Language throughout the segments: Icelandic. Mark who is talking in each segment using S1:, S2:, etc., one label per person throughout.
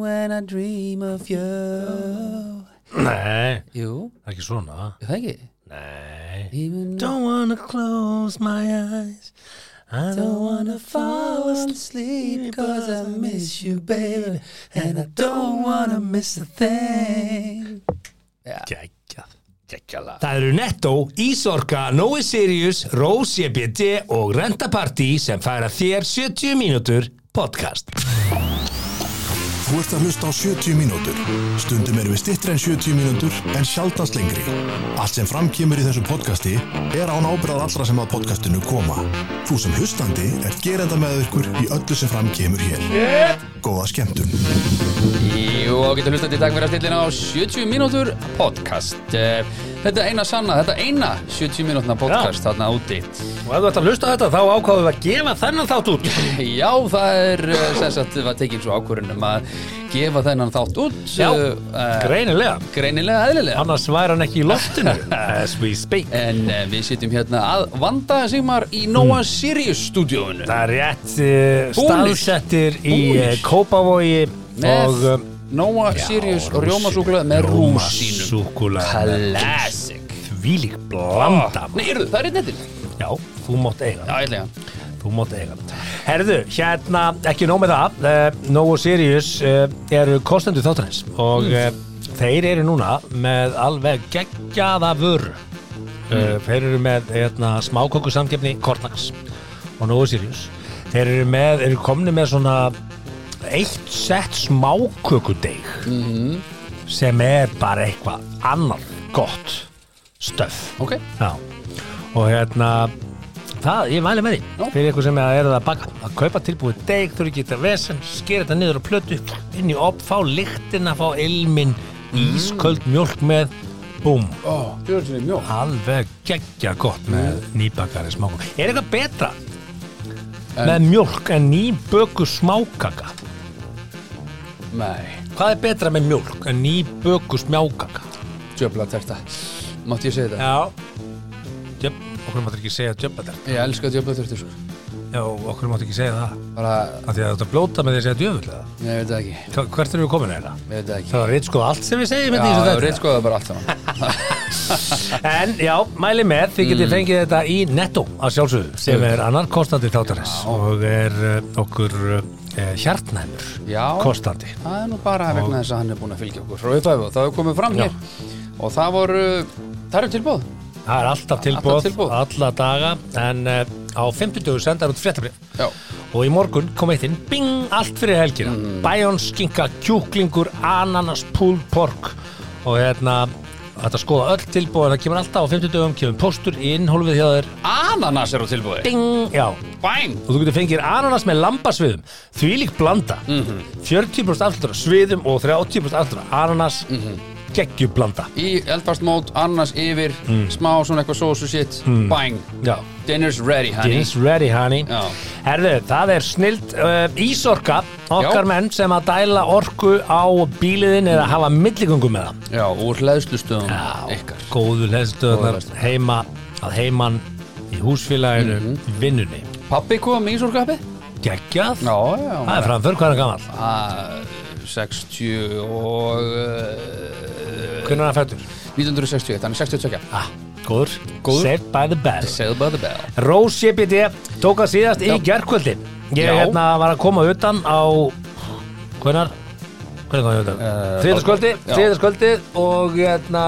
S1: When I dream of you
S2: Nei,
S1: Jú,
S2: það er ekki svona
S1: er það ekki?
S2: Nei
S1: Even
S2: Don't wanna close my eyes I don't wanna fall asleep
S1: asleep cause I miss you baby And I don't wanna miss a thing
S2: Gægjað Gægjala
S3: Það eru Netto, Ísorka, Nói Sirius, Rose EBD og Renta Party sem færa þér 70 mínútur podcast.
S4: Þú ert að hlusta á 70 mínútur. Stundum erum við stittri en 70 mínútur en sjaldast lengri. Allt sem framkýmur í þessu podcasti er án ábyrðað allra sem að podcastinu koma. Þú sem hlustandi er gerenda með ykkur í öllu sem framkýmur hér. Góða skemmtun.
S1: Jú, og getur hlustandi í dag fyrir að stillina á 70 mínútur podcast Eh, Þetta eina sanna, þetta eina 70 mínútna podcast þarna úti
S2: Og ef þú ert að hlusta á þetta þá ákváðum við að gefa þennan þátt út
S1: Já, það er eh, sem sagt, það var tekin svo ákvörun um að gefa þennan þátt út
S2: Já,
S1: eh,
S2: Greinilega
S1: greinilega eðlilega
S2: Annars væri hann ekki í loftinu As we speak
S1: En eh, við sitjum hérna að vanda Sigmar í Noah Sirius stúdíóinu
S2: Hmm. Það er rétt uh,
S1: Búnir.
S2: staðsettir í uh,
S1: Búnir.
S2: Kópavogi
S1: með
S2: og um,
S1: Noah Sirius og rjómasúkulega með rúsínum
S2: Rúmasúkulega
S1: Classic
S2: Þvílík blanda
S1: Nei, eru það er einn nettir?
S2: Já, þú mátt eiga
S1: Já, ætlega
S2: Þú mátt eiga Herðu, hérna, ekki nóg með það uh, Nógu Sirius uh, eru kostendur þáttanins og uh, þeir eru núna með alveg geggjaða vör uh, Þeir eru með hérna, smákókusamgefni Kortnags og Nógu Sirius Þeir eru með, eru komni með svona eitt sett smákökudeig sem er bara eitthvað annar gott stöf
S1: Ok,
S2: Já, og hérna það, ég væli með því,
S1: Já.
S2: fyrir ykkur sem er að baka að kaupa tilbúið deg, þurfi ekki þetta vesen skera þetta niður á plötu, inn í op fá lyktina, fá ilmin Mm. ísköld mjólk með búm,
S1: oh, djúrðsum við mjók
S2: alveg geggja gott með nýbakari smákaka er eitthvað betra með mjólk en nýböku smákaka
S1: Nei,
S2: hvað er betra með mjólk en nýböku smákaka
S1: djöfla terta Mátti ég segja þetta?
S2: já Jöp, okkur máttu ekki segja djöfadar
S1: Ég elska djöfla terta svo
S2: já, okkur máttu ekki segja það
S1: Bara,
S2: Af því að þetta blóta með því að segja djöfull eða?
S1: nei, ég veit það ekki
S2: Hva- Hvert erum við komin eða?
S1: Ég veit það ekki
S2: Það var reitt sko allt sem við segjum
S1: Já,
S2: hérna í þessu
S1: það
S2: þætti.
S1: er reytskoðað bara allt saman
S2: En já, mæli með, þið getið fengið þetta í Netto að sjálfsögðu sem er annar kostandi þáttarins og er uh, okkur uh, hjartnæmur
S1: Já,
S2: kostandi
S1: það er nú bara vegna þess að hann er búin að fylgja okkur frá upphæfu og það er komið fram
S2: Já.
S1: hér og það voru, það eru tilbúð
S2: Það er alltaf tilbúð,
S1: tilboð.
S2: alla daga en uh, á 50 sendar út fréttabrif
S1: Já,
S2: og í morgun kom eitt inn bing, allt fyrir helgina Bæjón, skinka, kjúklingur, ananas, púl, pork og hérna þetta skoða öll tilbúið en það kemur alltaf á 50 dögum, kemur póstur í innhólfið hjá þér
S1: ananas er á tilbúði
S2: bing, já,
S1: Bæn
S2: og þú getur fengið ananas með lambasviðum þvílík blanda 40% aftur af sviðum og 30% aftur af ananas mm geggjublanda
S1: Í eldfastmót, ananas yfir, smá svona eitthvað sósu shit, bæn
S2: já,
S1: Mm. Dinner's ready, honey.
S2: Dinner's ready honey
S1: Já.
S2: Herðu, það er snilt uh, Ísorka, okkar
S1: Já.
S2: menn sem að dæla orku á bíliðin eða hafa milligöngum með það
S1: Já, úr hlæðslustöðum ykkar.
S2: Góðu
S1: Góðu
S2: leðstöðnar
S1: hleðstöðvar.
S2: heima að heiman í húsfélaginu
S1: Mhm.
S2: vinnunni
S1: Pappi kom í Ísorgappi?
S2: Geggjað,
S1: Já, Ah. já.
S2: það er framför hvað er hann gamall
S1: Að, 60 og... Uh,
S2: Hvernig er hann fættur?
S1: 1961, hann er 62.
S2: Ah, góður,
S1: Góður.
S2: saved by the bell
S1: Sailed by the bell.
S2: Rós JPD tók að síðast í
S1: Já.
S2: gerkvöldi Ég
S1: Já.
S2: hérna var að koma utan á Hvernar? Hvernig kom ég utan? Uh, Þriðarskvöldi,
S1: Eh, já.
S2: þriðarskvöldi og hérna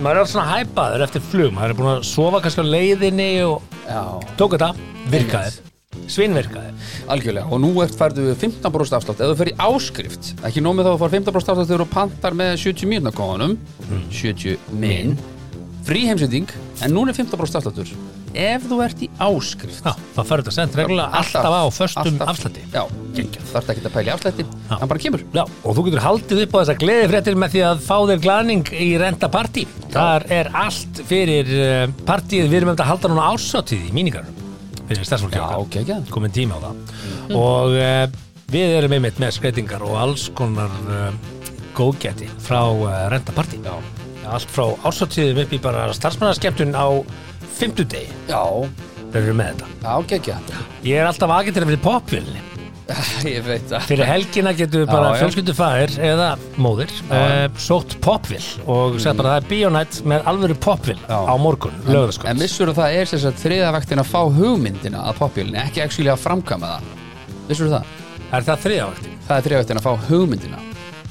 S2: maður er alveg svona hæpaður eftir flug maður er búin að sofa kannski á leiðinni og
S1: Já.
S2: tók þetta, virkaði svinnvirkaði
S1: Algjörlega, og nú ert færðu 15% afslátt eða þú fyrir áskrift, ekki nómið þá að fara 15% afslátt þegar þú pantar með 70 mínna kóðanum 70 Mm. minn frí heimsending, en núna er 15% afsláttur ef þú ert í áskrift
S2: Já, það fyrir þetta sent reglulega alltaf á föstum
S1: alltaf.
S2: afslætti
S1: Já, þarf ekki að pæla í afslætti, hann bara kemur
S2: Já, og þú getur haldið upp á þessa gleðifréttir með því að fá þér glaning í Renta Party. Þar er allt fyrir eh, partíið, við erum eftir að halda núna ársáttíð í míningarum. Fyrir stærsfólki
S1: Já, geggjað.
S2: Komin tíma á það. Og uh, við erum einmitt með skreitingar og alls konar uh, góðgæti frá uh, Renta Party.
S1: Já.
S2: Allt frá ársáttíðum upp í bara starfsmannaskeptun á fimmtudegi.
S1: Já,
S2: Við erum með þetta.
S1: já, geggja
S2: Ég er alltaf agitinn fyrir popvilni.
S1: Ég veit það
S2: Fyrir helgina getur við bara
S1: Já, já.
S2: fjölskyldufæðir eða móðir uh,
S1: já. Mm.
S2: sótt popvill og sett bara það er bíónætt með alvöru popvill
S1: Já.
S2: á morgun,
S1: En
S2: lögðaskvöld.
S1: vissur það er þess að þriða vaktin að fá hugmyndina að popjölunni ekki actually að framkama það Vissur það?
S2: Er það þriðavaktin?
S1: Það er þriða vaktin að fá hugmyndina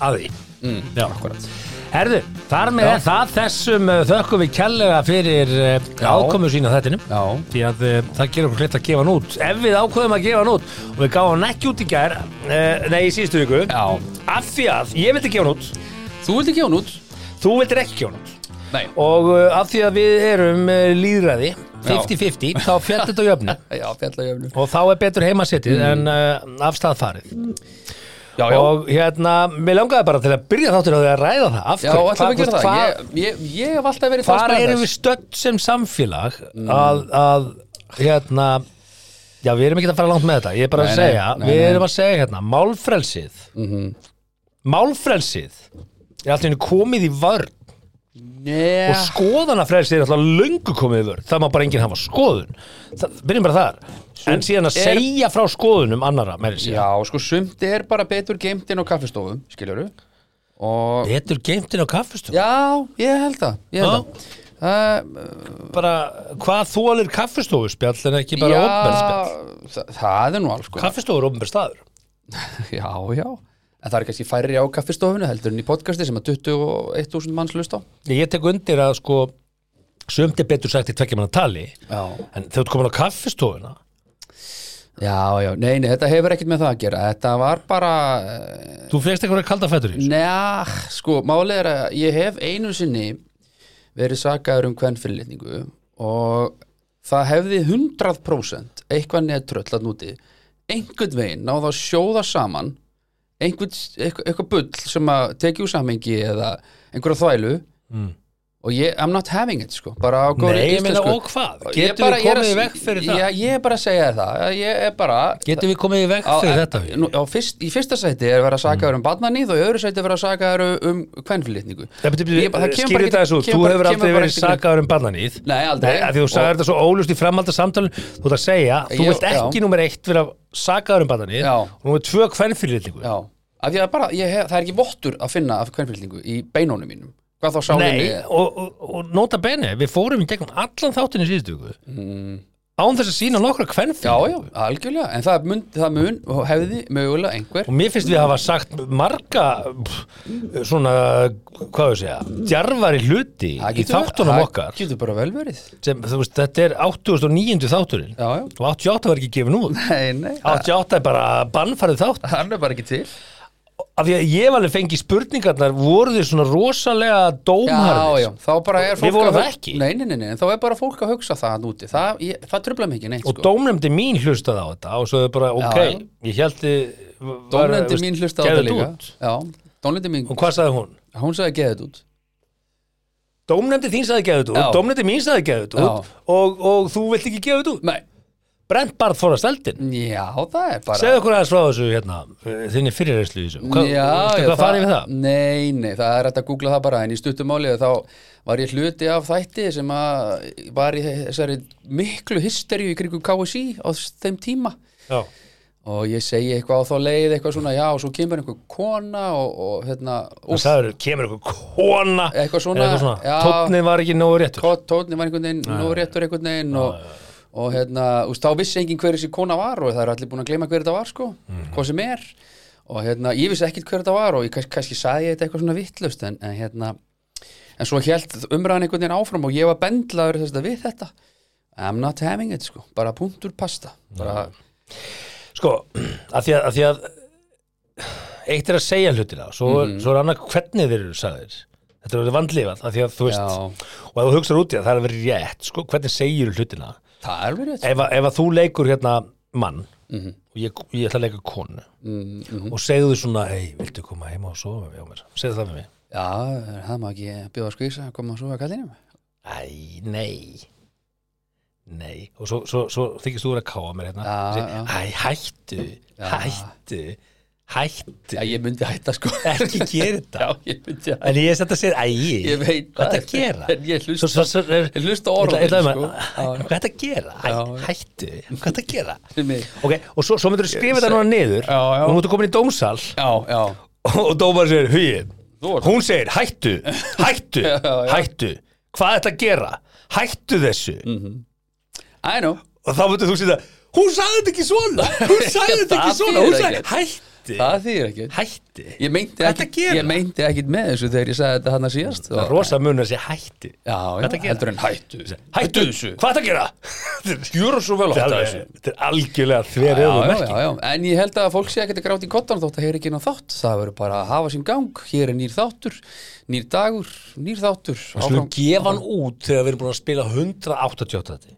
S2: Að því.
S1: mm,
S2: Já.
S1: Akkurat
S2: Herðu, þar með
S1: Já.
S2: er það þessum uh, þökkum við kellega fyrir uh,
S1: Já.
S2: ákomu sína þettinum.
S1: Já
S2: Því að uh, það gerir okkur hlut að gefa hann út. Ef við ákveðum að gefa hann út og við gáum hann ekki út í gær, uh, nei í síðustu viku,
S1: Já
S2: af því að ég vildi gefa hann út,
S1: Þú vilt ekki hún út?
S2: þú vildir ekki gefa hann út.
S1: Nei
S2: Og uh, af því að við erum uh, líðræði, 50-50, þá fjallt þetta á jöfnu.
S1: Já, fjallajöfnu
S2: og þá er betur heimasettið en uh, afstæð farið
S1: Já, Mm. já
S2: og hérna, mér langaði bara til að byrja þáttur á því að ræða það af
S1: Já,
S2: hverju,
S1: ætlum við að
S2: þú
S1: gera
S2: veist,
S1: það
S2: hvað-
S1: Ég- Ég ég hef alltaf verið
S2: hvar
S1: talsmaður
S2: erum
S1: þess.
S2: við stödd sem samfélag
S1: Mm.
S2: að, að hérna já, við erum ekki að fara langt með þetta ég er bara
S1: Nei,
S2: að
S1: nei,
S2: segja,
S1: nei,
S2: við
S1: nei. Mhm.
S2: erum að segja hérna málfrelsið málfrelsið er alltaf einu komið í vörn
S1: Nei.
S2: og skoðanafrelsi er alltaf löngu komið yfir það má bara enginn hafa skoðun það, byrjum bara þar en síðan að
S1: er-
S2: segja frá skoðunum annara meiri sér
S1: Já, sko, sumt er bara betur geimt inn á kaffestofum, skiljaru Og,
S2: betur geimtinn á kaffestofum
S1: já, ég held það Ég
S2: Já.
S1: held það uh,
S2: bara, hvað þólir kaffestofuspjall en ekki bara ofnbjörnspjall
S1: það, það er nú alls sko
S2: kaffestofur er ofnbjörn staður
S1: Já, já En það er kannski færri á kaffestofinu heldur en í podcasti sem að 21.000 manns lust á
S2: ég tek undir að sko sumt er betur sagt í tvekkja manna tali
S1: Já,
S2: en þegar þú ert komin á kaffestofuna
S1: já, já, nei, nei, þetta hefur ekkert með það að gera Þetta var bara, eh,
S2: þú fegst einhverja kalda fætur í þessu
S1: Njá, sko, málið er að ég hef einu sinni verið sakaður um kvennfyrirlitningu og það hefði 100% eitthvað neðtröll að núti einhvern veginn náða að sjóða saman einhvern, eitthvað, eitthvað bull sem að tekið úr samengi eða einhverja þvælu
S2: Mm.
S1: og ég, I'm not having it, sko bara á góðri
S2: nei, ég meina
S1: íslensku.
S2: og hvað
S1: Ég
S2: getum
S1: bara-
S2: við
S1: ég er að-
S2: komið í veg fyrir það
S1: Já, ég er bara að segja þér það, ég er bara
S2: getum við Mm. komið í veg
S1: Á-
S2: fyrir
S1: en-
S2: þetta
S1: nú, á fyrst, í fyrsta sæti er að vera sakaður um barnaníð og í öðru sæti er að vera sakaður um kvennflýtningu
S2: Nei, betur, betur,
S1: Ég bara- það kemur bara ekki-
S2: skýrðu þetta þessu, út. þú
S1: kemur bara-
S2: hefur
S1: kemur
S2: aldrei
S1: bara
S2: verið
S1: ekki til-
S2: sakaður um barnaníð
S1: Nei, aldrei.
S2: Nei, af því þú sagði þetta svo ólust í framhaldar samtalen þú ert að segja, þú
S1: Ég-
S2: vilt ekki
S1: já.
S2: nummer eitt vera sakaður um barnaníð
S1: Já.
S2: og nummer tvö kvennfyrirlitningu
S1: Já, af því að bara, ég, hef- það er ekki vottur að finna af kvennflýtningu í beinónum mínum hvað þá
S2: Nei,
S1: sálinni
S2: og, og, og nota bene við fórum í gegnum allan þáttinu síðustu viku án þess að sína
S1: Já,
S2: nokkra
S1: já,
S2: kvennfyrirlitningu
S1: algjörlega, en það mun, það mun og hefði mögulega einhver
S2: og mér finnst við hafa sagt marga pff, svona, hvað við segja djarfari hluti
S1: Það
S2: í
S1: getur-
S2: þáttunum
S1: það
S2: okkar
S1: getur bara vel verið
S2: sem, þú veist, þetta er 89. þátturinn
S1: Já, já,
S2: og 88 var ekki gefin út
S1: nei, nei,
S2: 88 er bara bannfarið þátt
S1: hann er bara ekki til
S2: af því að ég var alveg fengið spurningarnar voru þið svona rosalega
S1: Já,
S2: dómharðir
S1: já, þá bara er
S2: Við
S1: fólk
S2: vorum
S1: að
S2: það
S1: hug-
S2: ekki.
S1: Nei, nei, nei, nei, en þá er bara fólk að hugsa það núti Það, ég- það trubla mig ekki neitt
S2: og
S1: sko.
S2: dómnefndi mín hlustaði á þetta og svo þau bara,
S1: Já,
S2: ok,
S1: já.
S2: ég held þið var-
S1: Dómlendi
S2: veist,
S1: mín hlusta á
S2: gerðu
S1: það
S2: þetta
S1: líka
S2: út.
S1: Já, dómlendi mín,
S2: og hvað sagði hún?
S1: hún sagði geða þetta út
S2: Dómnefndi þín sagði geðut út,
S1: Já.
S2: dómnefndi mín sagði geðut út og, og þú vilt ekki geðut út
S1: Nei,
S2: brent bara fór að steltin
S1: já, það er bara
S2: segðu okkur aðeins frá þessu hérna eh, þinni fyrirreyslu í þessu hvað,
S1: já,
S2: veistu
S1: já,
S2: hvað farið við það?
S1: Nei, nei, það er hægt að googla það bara en í stuttumáli þá var ég hluti af þætti sem að var í þessari miklu hysteríu í kringum KSI á þeim tíma
S2: Já.
S1: og ég segi eitthvað á þá leið eitthvað svona, já, og svo kemur einhver kona og, og hérna,
S2: og sagður, kemur eitthvað kona
S1: Eitthvað svona,
S2: eitthvað svona.
S1: já.
S2: tónnið var ekki nógu réttur
S1: Tó- tónni var einhvern veginn, nú réttur einhvern veginn og, og hérna, úst, þá vissi enginn hver þessi kona var og það er allir búin að gleyma hver þetta var sko,
S2: Mhm.
S1: hvað sem er og hérna, ég vissi ekkit hver þetta var og ég, kannski, kannski sagði ég þetta eitthvað svona vittlust en, en hérna, en svo held umræðan einhvern veginn áfram og ég var bendlaður þess að við þetta I'm not having it sko, bara punktur pasta bara,
S2: Sko, að því að, að, því að eitt er að segja hlutina svo,
S1: Mhm.
S2: svo er annað hvernig þeir eru sagðir þetta er verið vandlifað að því að þú veist
S1: já,
S2: og ef þú hugsar út í það, það er að vera rétt sko, hvernig segir hlutina
S1: það er verið
S2: ef, að- ef að þú leikur hérna mann
S1: Mhm.
S2: og ég, ég ætla að leika konu
S1: mm, mm,
S2: og segðu svona, hei, viltu koma heima og sofa með mér, hjá mér? segðu það með mér
S1: já, það má ekki bjóða skvísa að koma svo að kallinum
S2: æ, nei nei, og svo, svo, svo þykist þú vera að káa mér hérna
S1: Já,
S2: Segir,
S1: já.
S2: æ, hættu,
S1: Já.
S2: hættu hætt
S1: Já, ég myndi hætta sko
S2: ekki gera þetta
S1: Já, ég myndi hætta
S2: en ég er satt að segja, æ,
S1: Ég veit
S2: hvað
S1: það,
S2: er að gera
S1: en ég hlusta-
S2: Svo- svo- svo-
S1: ég hlusta á orð
S2: Ég ætla- ég ætla
S1: þín,
S2: um að-
S1: sko. Já, já.
S2: hvað er að gera, Hæ,
S1: Já, já.
S2: hættu hvað er að gera
S1: Fyrir mig.
S2: ok, og svo, svo myndur þú skrifa þetta núna niður
S1: Já, já.
S2: og nú ertu komin í dómsal
S1: Já, já
S2: og dómar segir, hugi
S1: Þú ert-
S2: hún segir, hættu, hættu
S1: Já, já.
S2: hættu, hvað er að gera hættu þessu
S1: Mhm. I know
S2: og þá myndir þú sýta hún sagði þetta ekki svona hún sagði þetta ekki
S1: Það
S2: svona hún
S1: þýðir
S2: sagði
S1: ekkert.
S2: hætti
S1: Það þýðir ekki
S2: hætti
S1: Ég meinti
S2: Hvað ertu
S1: ekkit,
S2: að gera?
S1: ég meinti ekkit með þessu þegar ég sagði þetta hann að síðast
S2: það er rosa mun að segja hætti
S1: Já, já,
S2: ertu að gera?
S1: heldur en hættu
S2: hættu
S1: þessu
S2: hvað er að gera
S1: Gjöra svo vel að hætta
S2: Þetta er alveg-
S1: þessu
S2: þetta er algjörlega þver
S1: Já,
S2: eða
S1: já,
S2: merki
S1: já, já, en ég held að fólk sé ekkert að gráta í kottan þótt að heyra ekki inn á þátt það verður bara að hafa sín gang, hér er nýr þáttur nýr dagur, nýr þáttur
S2: Skulum
S1: áfram-
S2: gefa hann út þegar við erum búin að spila 188 þetta.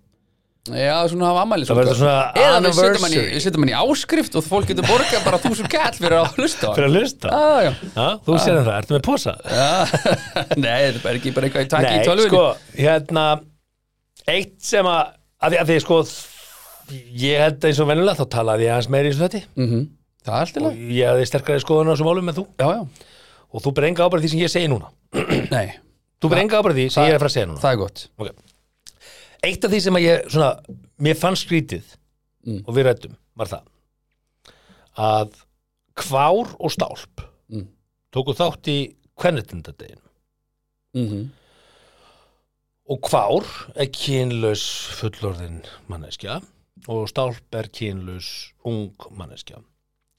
S1: Já, svona hafa ammæli
S2: Það verður svona
S1: Eða við setjum hann í,
S2: anniversary.
S1: við setjum hann í áskrift og fólk getur borgað bara þúsund kall fyrir að hlusta á
S2: Fyrir
S1: hann.
S2: að lusta.
S1: Já, já.
S2: Já, þú sér það, ertu með posa?
S1: Já, Nei, þetta er bara ekki bara eitthvað í takki í
S2: Nei,
S1: tölvunni
S2: sko, hérna, eitt sem að, að því að því, sko, ég held eins og venjulega, þá talaði ég aðeins meiri eins og þetta.
S1: Mhm. Það er allt í lagi
S2: Ég hefði sterkari skoðun á þessum málum en þú
S1: Já, já,
S2: og þú ber enga ábæri því sem ég segi núna
S1: nei,
S2: þú ber enga ábæri því sem ég er að fara að segja núna
S1: það er gott
S2: okay. eitt af því sem að ég svona, mér fannst skrítið
S1: Mm.
S2: og við rættum var það að kvár og stálp
S1: Mm.
S2: tóku þátt í kvenritindadegin
S1: mm
S2: og kvár er kynlaus fullorðin manneskja og stálp er kynlaus ung manneskja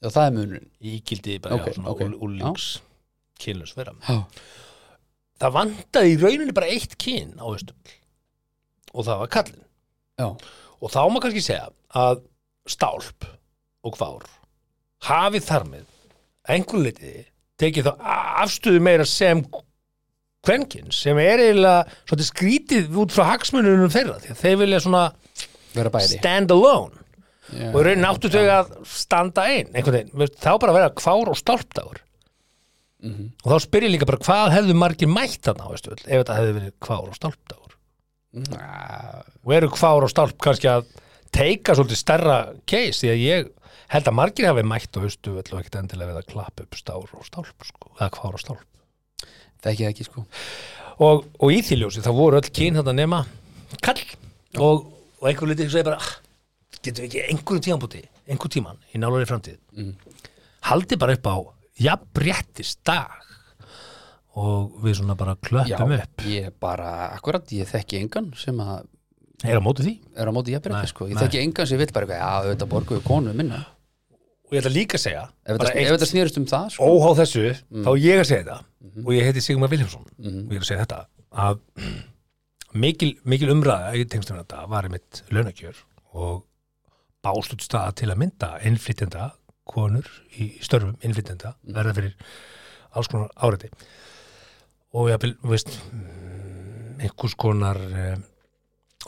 S1: Já, það er munurinn
S2: ígildi bara
S1: Ok,
S2: okay, svona
S1: ok.
S2: okay. úlíks kynlaus vera
S1: Já,
S2: það vantaði í rauninni bara eitt kyn á Östull og það var kallinn
S1: já,
S2: og þá má kannski segja að stálp og kvár hafi þar með einhver liti tekið þá afstöðu meira sem kvenkins sem er eiginlega svolítið skrítið út frá hagsmununum þeirra því að þeir vilja svona
S1: vera bæri
S2: stand alone
S1: Já.
S2: og í rauninni áttu þau að standa einn einhvern veginn, veist, þá bara að vera kvár og stálpdagur
S1: Mhm.
S2: og þá spyr ég líka bara hvað hefðu margir mætt þarna á Östull ef þetta hefði verið kvár og stálpdagur
S1: Já,
S2: og eru kvár og stálp kannski að teika svolítið stærra case því að ég held að margir hafi mætt og haustu og ekkert endilega við að klappa upp stár og stálp sko, eða kvár og stálp
S1: Þekki það ekki, sko
S2: og, og í því ljósi þá voru öll kyn þetta nema kall og, og einhver liti segi bara "Ah, getum við ekki einhverjum tímanbúti einhver tíman í nálari framtíð
S1: Mhm.
S2: haldi bara upp á jafnréttis dag og við svona bara klöppum upp
S1: ég bara, akkurat, ég þekki engan sem að
S2: er á móti því
S1: er á móti jafnbreyti,
S2: Nei,
S1: sko. Ég
S2: nei.
S1: þekki engan sem vill bara eitthvað, já, auðvitað borgu við konu minna.
S2: og ég ætla líka að segja
S1: Ef
S2: bara
S1: þetta, ef þetta snýrist um það, sko.
S2: óhá þessu, þá er ég að segja þetta og ég heiti Sigmar Viljámsson og ég er að segja þetta að mikil, mikil umræða í tengstum við þetta var einmitt launakjör og bástut staða til að mynda innflytjenda konur í störfum innflytjenda verða fyrir alls konar áreiti og ég vil, veist mm, einhvers konar eh,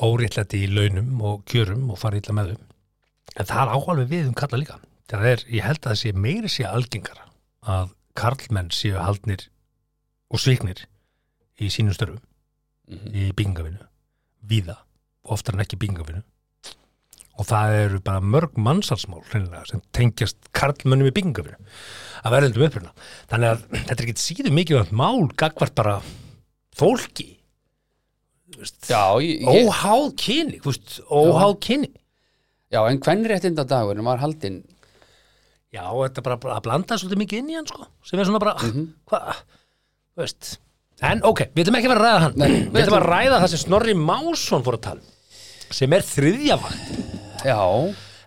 S2: óréttlæti í launum og kjörum og fara illa með þau en það er áhvalveg við um kalla líka það er, ég held að það sé meiri sé algengara að karlmenn séu haldnir og sviknir í sínum störfum
S1: Mhm.
S2: í byggingavinu víða, oftar en ekki byggingavinu og það eru bara mörg mannsalsmál hreinlega sem tengjast karlmönnum í byggingavinu að verðendum uppruna þannig að þetta er ekkit síðu mikilvægt mál gagvart bara fólki
S1: Já, ég, ég,
S2: óháð kyni þú veist, óháð kyni
S1: já, en hvernréttinda dagurinn var haldinn,
S2: Já, þetta er bara bara að blanda svolítið mikið inn í hann sko, sem er svona bara, mm
S1: Mhm.
S2: hvað, þú veist. En ok, við ætlum ekki að vera að ræða hann, við ætlum að ræða það sem Snorri Másson fór að tala, um, sem er þriðjavakt.
S1: já,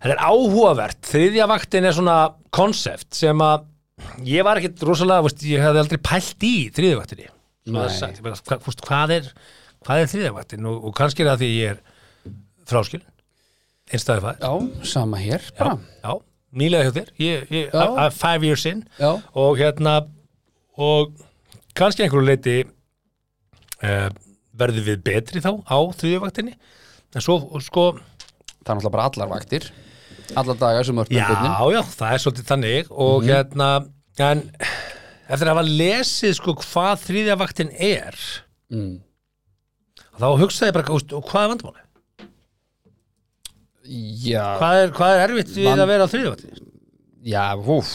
S2: Þetta er áhugavert, þriðjavaktin er svona konsept sem að ég var ekkit rosalega, þú veist, ég hefði aldrei pælt í þriðjavaktinni. Svo það er
S1: Nei.
S2: sagt, ég bara, hva, þú veist, hvað er, hvað er þriðjavaktin og, og kannski er það því ég er fráskilin, einstæði fæð.
S1: já, sama hér, bara.
S2: Já, nýlega hjá þér ég, ég,
S1: Já.
S2: a- a- Five years in
S1: Já.
S2: Og hérna Og kannski einhverju leiti uh, Verður við betri þá Á þriðjavaktinni En svo og sko
S1: Það er náttúrulega bara allar vaktir, allar dagar sem örtum
S2: Já, já, það er svolítið þannig Og hérna En eftir að hafa lesið sko Hvað þriðjavaktin er
S1: Mm.
S2: Þá hugsaði ég bara úst, og Hvað er vandamáli?
S1: Já,
S2: Hvað er, hvað er erfitt við
S1: Vand-
S2: að vera á þriðjavaktinni?
S1: já, húf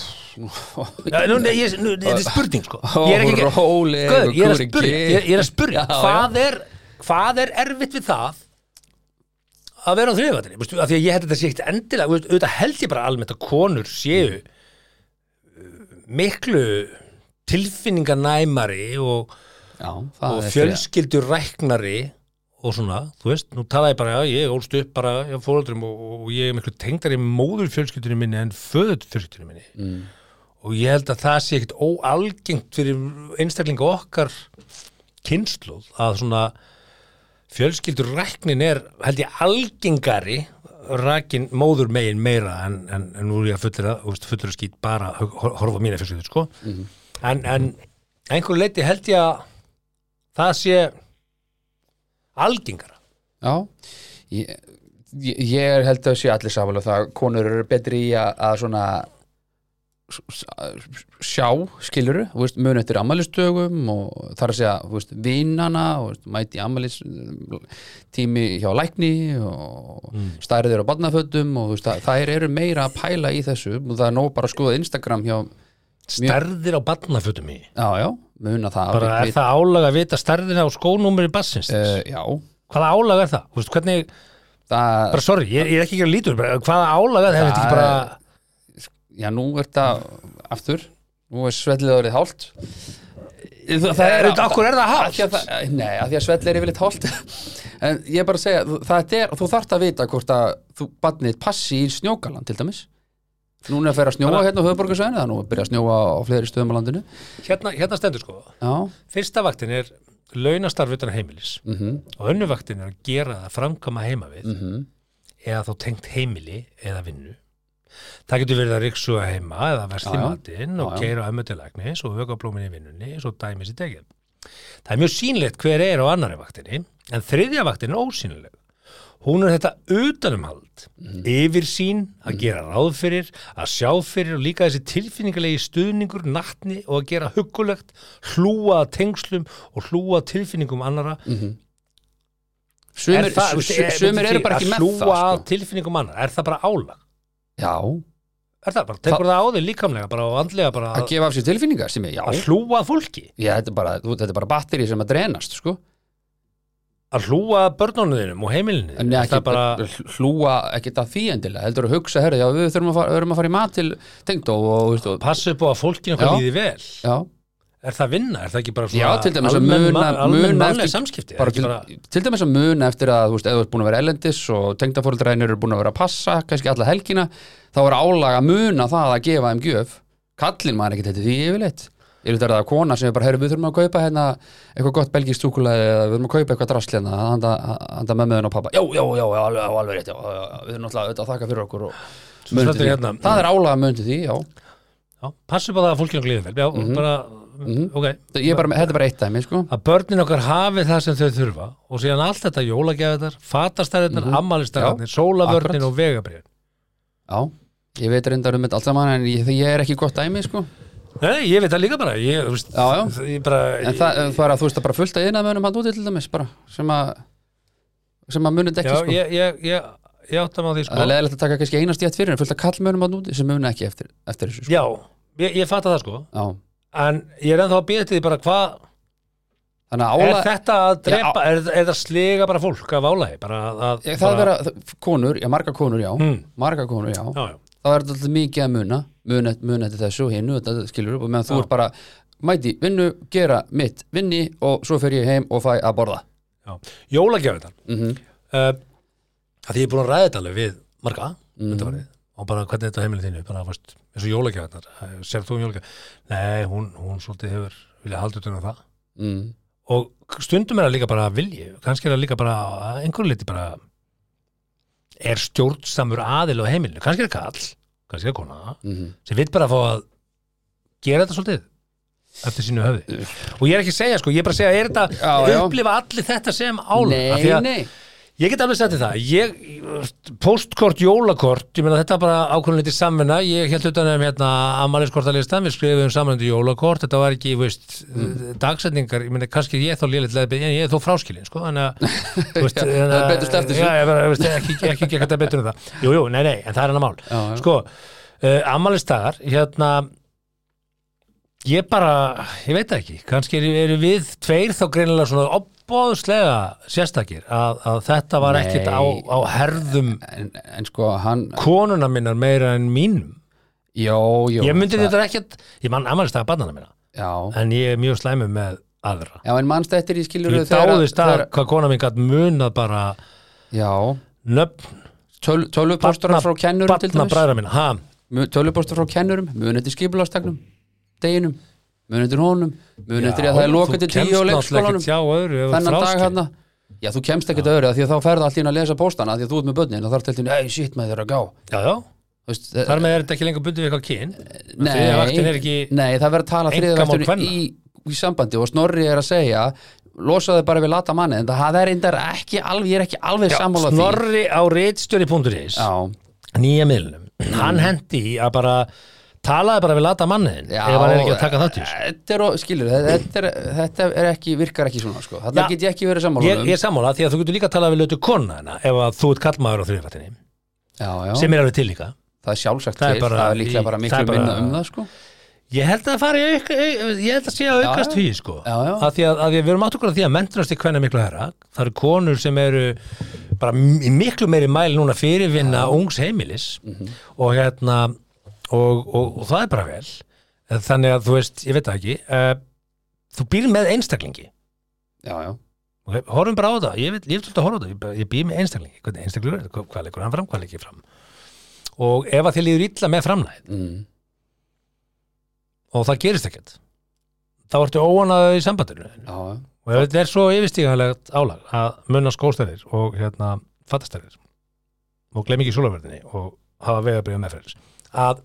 S2: Já, nú, nei, ég, nú, þetta er spurning sko ég er ekki
S1: Órólegur
S2: Gaur, ég er að
S1: kúreki.
S2: spurja, ég, ég er að spurja
S1: Já, já.
S2: hvað, Er, hvað er erfitt við það að vera á þriðvatni af því að ég held að þetta sé ekkert endilega þú veist, auðvitað held ég bara almennt að konur séu uh, miklu tilfinninganæmari og,
S1: Já, það
S2: og
S1: er fyrir-
S2: fjölskyldur ræknari og svona, þú veist, nú tala ég bara já, ég ólst upp bara á fóreldrum og, og ég er miklu tengdari móður fjölskyldunni minni en föður fjölskyldunni minni
S1: Mm.
S2: og ég held að það sé ekkit óalgengt fyrir einstaklinga okkar kynsluð að svona fjölskyldur ræknin er held ég algengari rækin móður megin meira en, en, en nú er ég að fullir að þú veist, fullur að skýt bara að hor- horfa á mína fjölskyldur sko
S1: Mhm.
S2: en, en einhver leiti held ég að það sé algengara
S1: Já, ég, ég- ég held að sé allir samanlega það að konur eru betri í að, að svona s- s- að sjá skiluru, þú veist, mun eftir ammælistögum og þar að segja, þú veist, vinnana og þú veist, mæti ammælis tími hjá lækni og
S2: Mm.
S1: stærðir á barnafötum og þú veist, það, þær eru meira að pæla í þessu og það er nóg bara að skoða Instagram hjá,
S2: stærðir á barnafötum í
S1: já, já, muna það
S2: bara er það álag að vita stærðina á skónúmeri bassins
S1: Uh, já,
S2: hvaða álag er það, þú veist, hvernig
S1: það
S2: bara sorry, ég, ég er ekki ekki að lítur bara, hvaða álaga það er þetta ekki
S1: Það
S2: bara
S1: já nú er það aftur nú er svellið orðið hált það, það
S2: er Hérna, þetta, okkur er það hált
S1: Ekki að það- eh, Nei, að því að svell er yfirleitt holt En ég er bara að segja, þú- það er, þú þarft að vita hvort að þú barnið passi í snjókaland til dæmis Núna er að fer að snjóa
S2: Bara-
S1: hérna á höfuborgarsvæðinu, það er nú að byrja að snjóa á fleiri stöðum á landinu
S2: hérna, hérna stendur sko,
S1: Já,
S2: fyrsta vaktin er launastarf utan heimilis
S1: mhm, mhm
S2: og önnu vaktin er að gera það framkama heima við eða þá tengt heimili eða vinnu það getur verið að riksuga heima eða versli
S1: Já, já.
S2: matinn og
S1: Já, já.
S2: keira ömmu til lagnis og vöka blómin í vinnunni svo dæmis í degið það er mjög sýnlegt hver er á annari vaktinni en þriðja vaktin er ósýnileg hún er þetta utanumhald
S1: Mm.
S2: yfir sín, að gera ráð fyrir að sjá fyrir og líka þessi tilfinningalegi stuðningur, nattni og að gera huggulegt, hlúa að tengslum og hlúa að tilfinningum annara
S1: Sumir,
S2: mhm. það-
S1: su- su- sumir eru bara ekki
S2: að
S1: með
S2: hlúa
S1: það
S2: að
S1: sko.
S2: tilfinningum annara, er það bara álag
S1: Já,
S2: er það bara, tekur það á þig líkamlega bara og andlega bara
S1: að
S2: að,
S1: gefa af sér tilfinningar sem ég, já,
S2: að hlúa að fólki
S1: já þetta, er bara, þú- þetta er bara batteri sem að drenast, sko
S2: að hlúa að börnunum þínum og heimilinu
S1: Nei,
S2: er
S1: ekki,
S2: það bara,
S1: hlúa ekkert að því endilega heldur að hugsa, herri, já, við þurfum að fara, þurfum að fara í mat til tengdó og, veist, og
S2: passa upp á að fólkinu hvað
S1: Já.
S2: líði vel
S1: já,
S2: er það vinna, er það ekki bara
S1: já,
S2: svona
S1: til dæmis að
S2: almenn
S1: muna,
S2: ma- almenn
S1: muna
S2: mannleg samskipti
S1: bara
S2: bara,
S1: til,
S2: bara,
S1: til dæmis að muna eftir að, þú veist, eða þú ert búin að vera ellendis og tengdafóreldræðin eru búin að vera að passa kannski alla helgina, þá er álag að muna það að gefa þeim gjöf kallinn maður ekkert þetta því yfirleitt er þetta það kona sem er bara, herri, við þurfum að kaupa hérna eitthvað gott belgist súkulega eða við þurfum að kaupa eitthvað drasl hérna, handa, handa mömmuðin og pappa já, já, já, já, alveg, alveg rétt, já, já, já, við erum náttúrulega auðvitað að þakka fyrir okkur og
S2: Svo
S1: mundu
S2: stendur
S1: því.
S2: hérna-
S1: það er álaga mundu því, já
S2: já, passa upp á það að fólkinu líði vel já,
S1: Mhm.
S2: bara, ok
S1: Ég er bara, þetta er bara eitt dæmi, sko
S2: að börnin okkar hafi það sem þau þurfa og síðan allt þetta jólagjafiðar, fatastæðirnar, mm -hmm. ammalistarðarnir,
S1: Mhm.
S2: sólavörnin
S1: akkurat.
S2: og vegabrið
S1: Já, ég veit reyndar um þetta allt saman en ég, ég er ekki gott dæmi, sko
S2: Nei, ég veit það líka bara ég, þú veist,
S1: Já, já.
S2: ég bara,
S1: En það, það er að þú veist að bara fullt að innað mönnum hann úti til dæmis, bara sem að sem að munið ekki,
S2: já,
S1: sko
S2: ég, ég, ég, ég átta mig á því sko
S1: Það er leðilegt að taka kannski einast í ett fyrir en fullt að kall mönnum hann úti sem munið ekki eftir, eftir þessu, sko
S2: Já, ég, ég fatta það sko
S1: Já,
S2: en ég er ennþá að býja til því bara hvað
S1: þannig að
S2: er
S1: ála
S2: þetta að drepa,
S1: Já,
S2: er, er það að sliga bara fólk af álægi, bara að, að
S1: Ég-
S2: bara,
S1: Það vera konur, já, marga konur, já
S2: Hmm.
S1: Marga konur, já
S2: Já, já,
S1: Það er alltaf mikið að muna muna, muna til þessu og hinu, þetta skilur upp og meðan þú
S2: Já.
S1: ert bara, mæti, vinnu, gera mitt, vinni og svo fer ég heim og fæ að borða
S2: já. Jólagjafið þann
S1: mm
S2: uh, að því ég er búin að ræða þetta alveg við marga
S1: Mhm.
S2: undanfarið, og bara hvernig þetta á heimilið þínu bara fast, eins og jólagjafirnar, sér þú um jólagjafir nei, hún, hún svolítið hefur vilja halda utan á það
S1: mm.
S2: og stundum er það líka bara vilji kannski er það líka bara að einhverju liti bara er stjórnsamur aðil á heimilinu, kannski er það kall kannski er það kona,
S1: Mhm.
S2: sem vil bara fá að gera þetta svolítið eftir sínu höfði og ég er ekki að segja sko, ég er bara að segja, er þetta
S1: Já, já.
S2: upplifa allir þetta sem álag Af
S1: Nei,
S2: því að
S1: nei
S2: ég get alveg sagt þér það ég, postkort, jólakort, ég meina þetta er bara ákvörðin liti samvinna, ég held utan um hérna ammæliskortalistan, við skrifum samvinna jólakort, þetta var ekki, þú veist
S1: Mm.
S2: dagsetningar, ég meina kannski er ég þá lélitt en ég er þó fráskilin, sko þannig að, þú veist,
S1: Já,
S2: þannig að-
S1: það er betur sleppt þessu.
S2: Já, ég bara, þú veist, ekki, ekki, ekki, ekki, ekki betur um það jú, jú, nei, nei, en það er hennar mál
S1: Já, já.
S2: sko, uh, ammalistagar hérna ég bara, ég veit það ekki kannski eru, eru við tveir þá greinilega svona opbóðslega sérstakir að, að þetta var
S1: Nei.
S2: ekkert á, á herðum
S1: en, en sko hann
S2: konuna minnar meira en mínum
S1: Jó, jó
S2: ég myndi
S1: það-
S2: þetta ekkert, ég mann ammalistaga barnana minna
S1: Já,
S2: en ég er mjög slæmur með aðra
S1: já en mannst eftir í skilur
S2: ég dáðist að hvað kona minn gætt munað bara
S1: Já,
S2: nöfn
S1: töl, tölvupostur frá kennurum til
S2: barna
S1: dæmis
S2: bræðra minna ha,
S1: Tölvupostur frá kennurum, mun eftir skipulastagnum Deginum, mun eftir honum Mun eftir að það er lokað til tíu og leikskólanum Þennan dag hann Já, þú kemst ekkert öðru af því að þá ferða allir að lesa póstana af því að þú ert með börnin og þar teltinu, ei, shit, maður þeirra að gá
S2: já, já
S1: Þú veist, eh,
S2: Þar með er þetta ekki lengur bundið við eitthvað kyn
S1: Nei,
S2: Þriðja vaktin er ekki
S1: nei, það verður að tala
S2: einkamál
S1: þriðavaktur
S2: kvenna.
S1: í, í sambandi og Snorri er að segja losaðu bara við lata manni en það er eindar ekki alveg, ég er ekki alveg sammála því
S2: Snorri á reitstjóri.is
S1: Já,
S2: Nýja miðlunum Hann hendi í að bara talaði bara við lata mannin
S1: já
S2: ef hann er ekki að taka þátt í þessu
S1: Þetta er, og- skilur, þetta, er, þetta er ekki, virkar ekki svona sko. Þetta
S2: Já.
S1: get ég ekki verið sammála um.
S2: Ég, ég er sammála því að þú getur líka að tala við lötu konna hennar ef að þú ert kallmaður á þriðfættinni
S1: um já, já.
S2: sem er alveg til líka
S1: Það er sjálfsagt
S2: Það er
S1: til,
S2: bara
S1: það er líklega
S2: í-
S1: bara
S2: það
S1: miklu
S2: er bara-
S1: minna um það sko.
S2: Ég held að það fari auk, auk, ég held að sé að aukast
S1: Já, já.
S2: hugi sko
S1: Já, já.
S2: Að því að, að því að við erum átt okkur að því að mentunast í hvernig miklu herra það eru konur sem eru bara m- í miklu meiri mæli núna fyrirvinna ungs heimilis
S1: Mhm.
S2: og hérna og, og, og það er bara vel Eh, þannig að þú veist, ég veit það ekki uh, þú býr með einstaklingi
S1: Já, já,
S2: okay? horfum bara á það, ég veit, ég veit svolítið að horfa á það ég, bara- ég býr með einstaklingi, hvernig einstaklingur er þetta? hvað leikur hann fram, hvað leikur ekki fram og ef að þið líður illa með framlæð
S1: mm.
S2: og það gerist ekkert þá ertu óanað í sambandinu þínu.
S1: já, já.
S2: og þetta er svo yfirstíganlegt álag að munna skóstæðir og hérna fattastæðir og glem ekki súlaverðinni og hafa vegabrið með fyrir að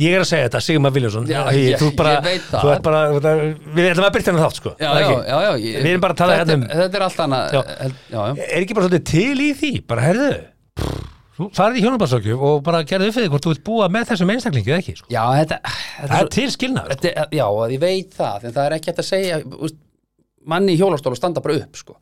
S2: ég er að segja þetta, Sigmar Viljósson
S1: Já,
S2: ég,
S1: ég-
S2: þú bara,
S1: ég veit það.
S2: þú ert bara við ætlum að byrta hennar þátt sko
S1: Já,
S2: Það er
S1: já,
S2: ekki-
S1: já, já, ég,
S2: Við erum bara að tala
S1: þetta,
S2: hérna um-
S1: Þetta er allt annað eh,
S2: Já.
S1: held- já, já.
S2: er ekki bara svolítið til í því bara herðu, þú farið í hjónabarsökjum og bara gerðu upp fyrir hvort þú vilt búa með þessum einstaklingið ekki sko.
S1: já, þetta, þetta
S2: það
S1: er
S2: er til skilnaður sko.
S1: þetta, já, að ég veit það en það er ekki hægt að segja úst, manni í hjólastóla standa bara upp sko.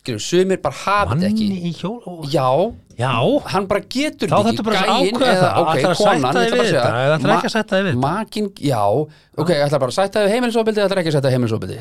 S1: Skilur, sumir bara hafa þetta
S2: sko. manni
S1: ekki
S2: í hjól
S1: já,
S2: já,
S1: hann bara getur
S2: Þá
S1: þetta
S2: þarftu bara að
S1: Gæinn
S2: ákveða
S1: eða-
S2: það,
S1: ok,
S2: ætlarðu að
S1: konan,
S2: sætta
S1: ég
S2: þig
S1: ætla bara
S2: við
S1: segja,
S2: þetta eða ætlarðu
S1: ma-
S2: ekki að sætta þig við þetta?
S1: makin, já, ok, ég ætla bara að sætta þig heimilisofbildi ætla ekki að sætta heimilisofbildi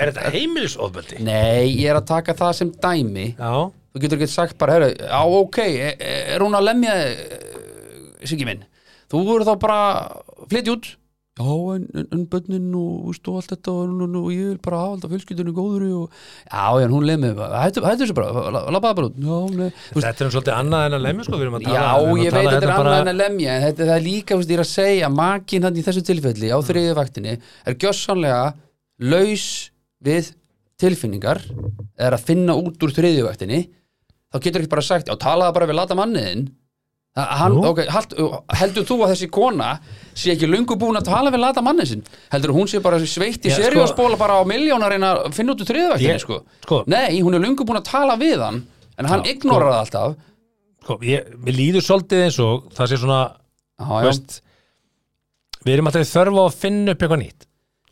S2: er þetta heimilisofbeldi?
S1: nei, ég er að taka það sem dæmi
S2: já,
S1: þú getur ekki sagt bara, herru, já, ok er, er hún að lemja þig, Siggi minn, þú voru þá bara flytt út já, en, en, en bönnin og, veist, og allt þetta og, og, og ég vil bara hafa alltaf fjölskyldunni góðri og, já, já, en hún lemja mig. hættu hættu þessu bara, lappaða bara út já, hún lemja Þú veist,
S2: Þetta er um svolítið annað en að lemja sko, við erum að tala
S1: Já,
S2: við erum að
S1: ég
S2: tala
S1: veit þetta er
S2: hérna
S1: annað
S2: bara-
S1: en að lemja en þetta það er líka, þú veist, ég er að segja makin hann í þessu tilfelli á
S2: Mm.
S1: þriðju vaktinni er gjössanlega laus við tilfinningar eða er að finna út úr þriðju vaktinni þá getur ekki bara sagt, já, talaða bara við lata manniðin Hann,
S2: Jú.
S1: okay, hald, heldur þú að þessi kona sé ekki lungu búin að tala við lata mannin sinn heldur hún sé bara sveitt í
S2: Já,
S1: seri
S2: sko-
S1: og spóla bara á miljónar en að finna út úr þriðvættinni
S2: Ég-
S1: sko.
S2: sko-
S1: nei, hún er lungu búin að tala við hann en hann
S2: Já,
S1: ignorar það alltaf
S2: sko, ég, Við líður svolítið eins og það sé svona
S1: já,
S2: þú veist, Við erum alltaf í þörf á að finna upp eitthvað nýtt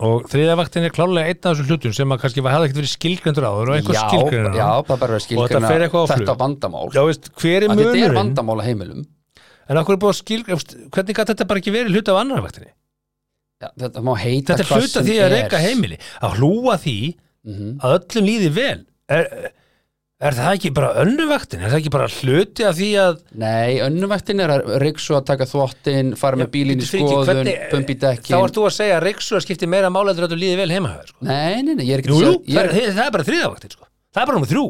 S2: og þriðavaktin er klálega einn af þessum hlutum sem að kannski var hefði ekkert verið skilgrendur áður og einhver skilgrendur
S1: já, það er bara að
S2: Og þetta
S1: skilgreina
S2: fer eitthvað á flug.
S1: þetta vandamál
S2: Já, veist, hver er
S1: að þetta er
S2: munurinn
S1: vandamál að heimilum
S2: en okkur er búið að skilgrendur hvernig gæti þetta bara ekki verið hluti af annar vaktinni
S1: já, þetta má heita
S2: Þetta er
S1: hvað
S2: hluti af
S1: sem
S2: því að
S1: er.
S2: reyka heimili að hlúa því
S1: Mhm.
S2: að öllum líði vel er, er það ekki bara önnuvaktin er það ekki bara hluti af því að
S1: nei, önnumvektin er að ryksu að taka þvottin fara með bílinn í
S2: Bíddu, fyrir ekki,
S1: skoðun,
S2: hvernig-
S1: pumpi
S2: Þá
S1: dekkin
S2: ert þú að segja að reyksuga skiptir meira mála heldur að þú líði vel heima hjá þér, sko.
S1: nei, nei, nei, ég er ekki
S2: Jú,
S1: að
S2: jú,
S1: segja- ég
S2: það,
S1: er-
S2: er- það er bara þriðavaktin sko. Það er bara nummer þrjú,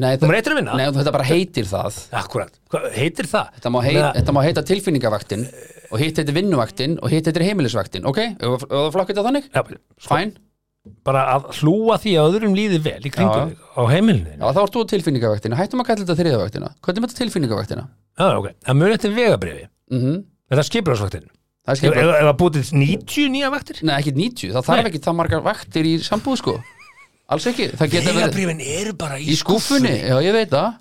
S1: nei,
S2: nummer
S1: það-
S2: eitt er að vinna
S1: nei, þetta bara heitir það
S2: Akkurat, Hvað, heitir það?
S1: Þetta má, heit,
S2: Meina-
S1: þetta má heita tilfinningavaktin og hitt heitir vinnuvaktin og hitt heitir heimilisvaktin ok, og það flokkið það þannig?
S2: Já, sko,
S1: Fæn,
S2: bara að hlúa því að öðrum líði vel í
S1: Já.
S2: kringum þig, á heimilinu
S1: já
S2: þínu.
S1: þá ert þú á tilfinningavaktina hættum að kalla þetta þriðavaktina, hvernig með þetta tilfinningavaktina?
S2: Já, ok, það muni þetta vegabriði
S1: Mm
S2: Þetta er skipurásvaktin
S1: Það er
S2: Ef
S1: skipað
S2: ef- ef það búið til 90 nýja vaktir
S1: Nei, ekkert 90, það þarf
S2: Nei.
S1: ekki það margar vaktir í sambúð sko Alls ekki, það geta verið
S2: Vegabriðin eru bara í,
S1: Í skúffunni, já ég veit það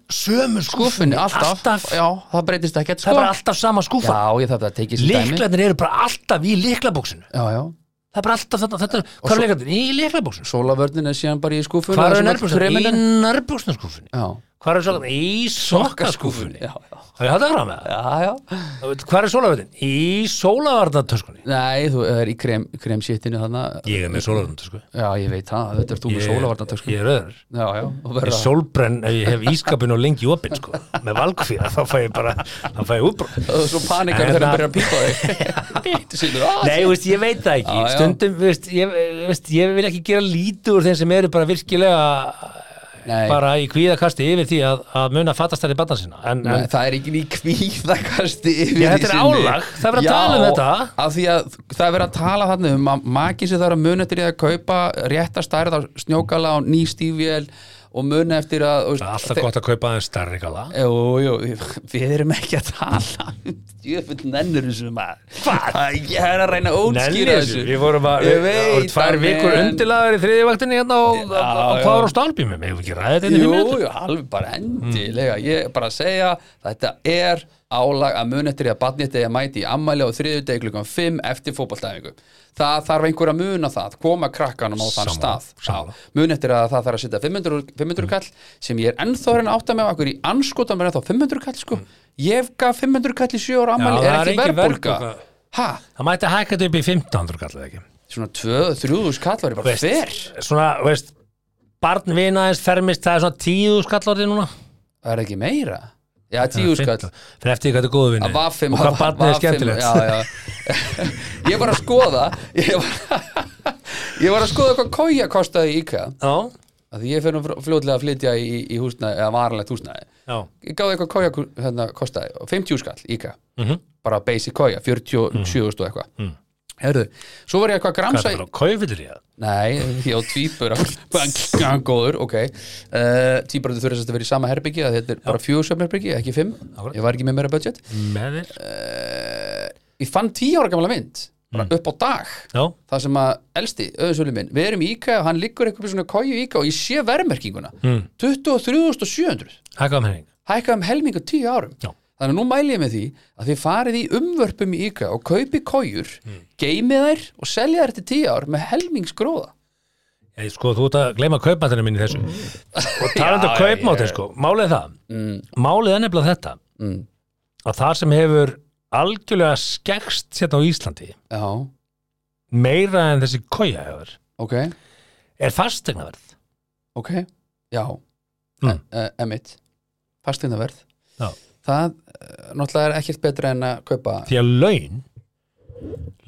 S1: Skúffunni,
S2: Sömu skúffunni,
S1: alltaf,
S2: alltaf.
S1: Já, það breytist ekkert
S2: Það
S1: sko
S2: er bara alltaf sama skúfa
S1: Já, ég þarf að tekið sem dæmi
S2: Líklarnir eru bara alltaf í líklabóksinu
S1: Já, já,
S2: Það er bara alltaf þetta, þetta Hvað er
S1: svo-
S2: líklarnir? Í líklabóksinu
S1: sólavörnin er síðan bara í skúffunni
S2: Hvað
S1: og
S2: eru
S1: svona
S2: nærbúksna?
S1: kreminu-
S2: Í nærbúksnaskúfunni
S1: Já,
S2: Hvað er sokkarnir? Í sokkaskúfunni.
S1: Já, já.
S2: Hafið þið haldið fram með það?
S1: Já, já.
S2: Hvað er sólaverðin? Í sólavarnatöskunni.
S1: Nei, þú er í krem, kremsjittinu þarna.
S2: Ég er með sólavarnatösku.
S1: Já, ég veit það. Þetta er þú með sólavarnatösku.
S2: Ég er öður.
S1: Já, já. og verða-
S2: Ég sólbrenn, ef ég hef ískapin og lengi opinn sko, með valgfýra, þá fæ ég bara, þá fæ ég útbróð.
S1: og svo panikar þegar það byrjar að pípa þig Þú sýnir, "Ah,
S2: Nei, þú veist, ég veit það ekki.
S1: Já, já.
S2: Stundum, þú veist, ég, eh, þú veist, ég vil ekki gera lítið úr þeim sem eru bara virkilega
S1: Nei,
S2: bara í kvíðakasti yfir því að, að muna fattastæri barna sinna. En,
S1: nei,
S2: en
S1: það er ekki í kvíðakasti yfir
S2: Já,
S1: í
S2: þetta er
S1: sinni.
S2: álag. Það er verið að tala um
S1: Já,
S2: þetta.
S1: af því að það er verið að tala þarna um að makin sem það er að muna eftir því að kaupa rétta stærð á snjókala og ný stífvél og muna eftir að þú veist,
S2: alltaf
S1: þe-
S2: gott að kaupa aðeins starri gala.
S1: Jú, jú, við erum ekki að tala Jöfull nennur þessu maður Hvað? Ég er að reyna að
S2: Nenni
S1: útskýra
S2: þessu,
S1: þessu
S2: við vorum að,
S1: Ég
S2: við við vorum
S1: veit
S2: tvær
S1: það,
S2: vikur
S1: en-
S2: undirlaður í þriðivaktinni hérna og
S1: Já, já.
S2: hvað var á stálbímum, hefur ekki ræðið þetta
S1: Jú,
S2: inn í mjög?
S1: jú, alveg bara endilega Ég er bara að segja, þetta er álag að muna eftir því að barnið þegar mæti í ammæli á þriðjudegi klukkan 5 eftir fótballtæfingu. Það þarf einhver að muna það, koma krakkanum á þann
S2: Sammála,
S1: stað
S2: sammála.
S1: mun eftir að það þarf að setja 500, 500 kall sem ég er ennþá að reyna átt að með okkur í anskota mér ennþá 500 kall sko ég gaf 500 kall í 7 ára ammæli
S2: Já,
S1: er
S2: það er
S1: ekki
S2: engin
S1: verðbólga
S2: verðbólga.
S1: ha,
S2: Það mætti að hækka þetta upp í 1500 kallar ekki.
S1: svona 2-3 kall var ég bara fyrr
S2: Svona, veist, barn vinaðins fermist, það er svona 10 skallar núna.
S1: það er ekki meira já, 10 skall
S2: 15. Fyrir eftir hvað þetta er góðu vinni.
S1: að vaffim
S2: Og hvað barnið er skemmtilegt.
S1: já, já. ég var að skoða ég var, ég var að skoða hvað kója kostaði í IKEA
S2: Já,
S1: að því ég fyrir fljótlega að flytja í, í húsnaði eða varanlegt húsnaði
S2: já.
S1: ég gáði eitthvað kója hérna, kostaði og 50 skall IKEA
S2: Mhm.
S1: bara basic kója, 47 og eitthvað Herðu, svo var ég eitthvað að
S2: Hvað er
S1: gramsa
S2: það
S1: í-
S2: bara, kaufillir í það?
S1: Nei, ég á tvíbura Bang, góður, ok uh, Tvíburandi þurfa þess að vera í sama herbyggi að Þetta er bara fjögursöfn herbyggi, ekki fimm
S2: Akkurat.
S1: Ég var ekki með meira budget
S2: Með þér?
S1: ég fann tíu ára gamla mynd bara upp á dag
S2: Já,
S1: það sem að elsti öðunsölu minn við erum í IKEA og hann liggur eitthvað svona kóju í IKEA og ég sé verðmerkinguna
S2: Hm.
S1: mm. 23.700
S2: hækkaðum henning.
S1: hækkaði um helming á tíu árum
S2: Já.
S1: þannig að nú mæli ég með því að þið farið í umvörpum í IKEA og kaupi kójur mm. geymið þær og selja þær til tíu ár með helmingsgróða
S2: Ég, sko, þú ert að gleyma kaupmátinu minni í þessu. Og talandi um
S1: Já, já,
S2: kaupmáti, sko, málið er það.
S1: mm.
S2: Málið er nefnilega þetta.
S1: Mm.
S2: Að það sem hefur algjörlega skekst sérna á Íslandi,
S1: já,
S2: meira en þessi koja hefur,
S1: ok,
S2: er fastegnaverð.
S1: ok já,
S2: Mm.
S1: mm. e emitt fasteinaverð
S2: Já.
S1: það eh, náttúrulega er ekkert betra en að kaupa
S2: Því að laun,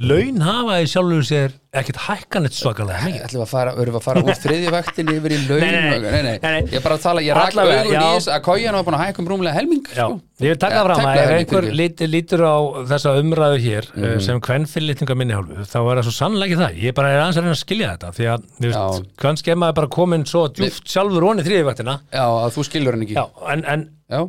S2: laun hafa í sjálfur sér ekkert hækkanett svakalega mikið.
S1: ætlum við að fara, erum við að fara úr þriðju vaktinni yfir í laun
S2: Nei, nei, nei. Nei, nei.
S1: Ég er bara að tala, ég rak
S2: Allavega,
S1: augun í
S2: já.
S1: þess að kójan var búin að hækka um rúmlega helming
S2: Já,
S1: sko.
S2: ég vil taka
S1: Ja,
S2: fram að
S1: tefla
S2: ef
S1: er
S2: einhver
S1: mikið.
S2: lit, lítur á þessa umræðu hér mm sem kvennfyllitninga minni hálfu, þá er það svo sannlega ekki það ég bara er aðeins að reyna að skilja þetta því að þú veist, kannski er maður bara komin svo djúft sjálfur honi þriðivaktina
S1: Já, að þú skilur hann ekki
S2: Já, en, en,
S1: já,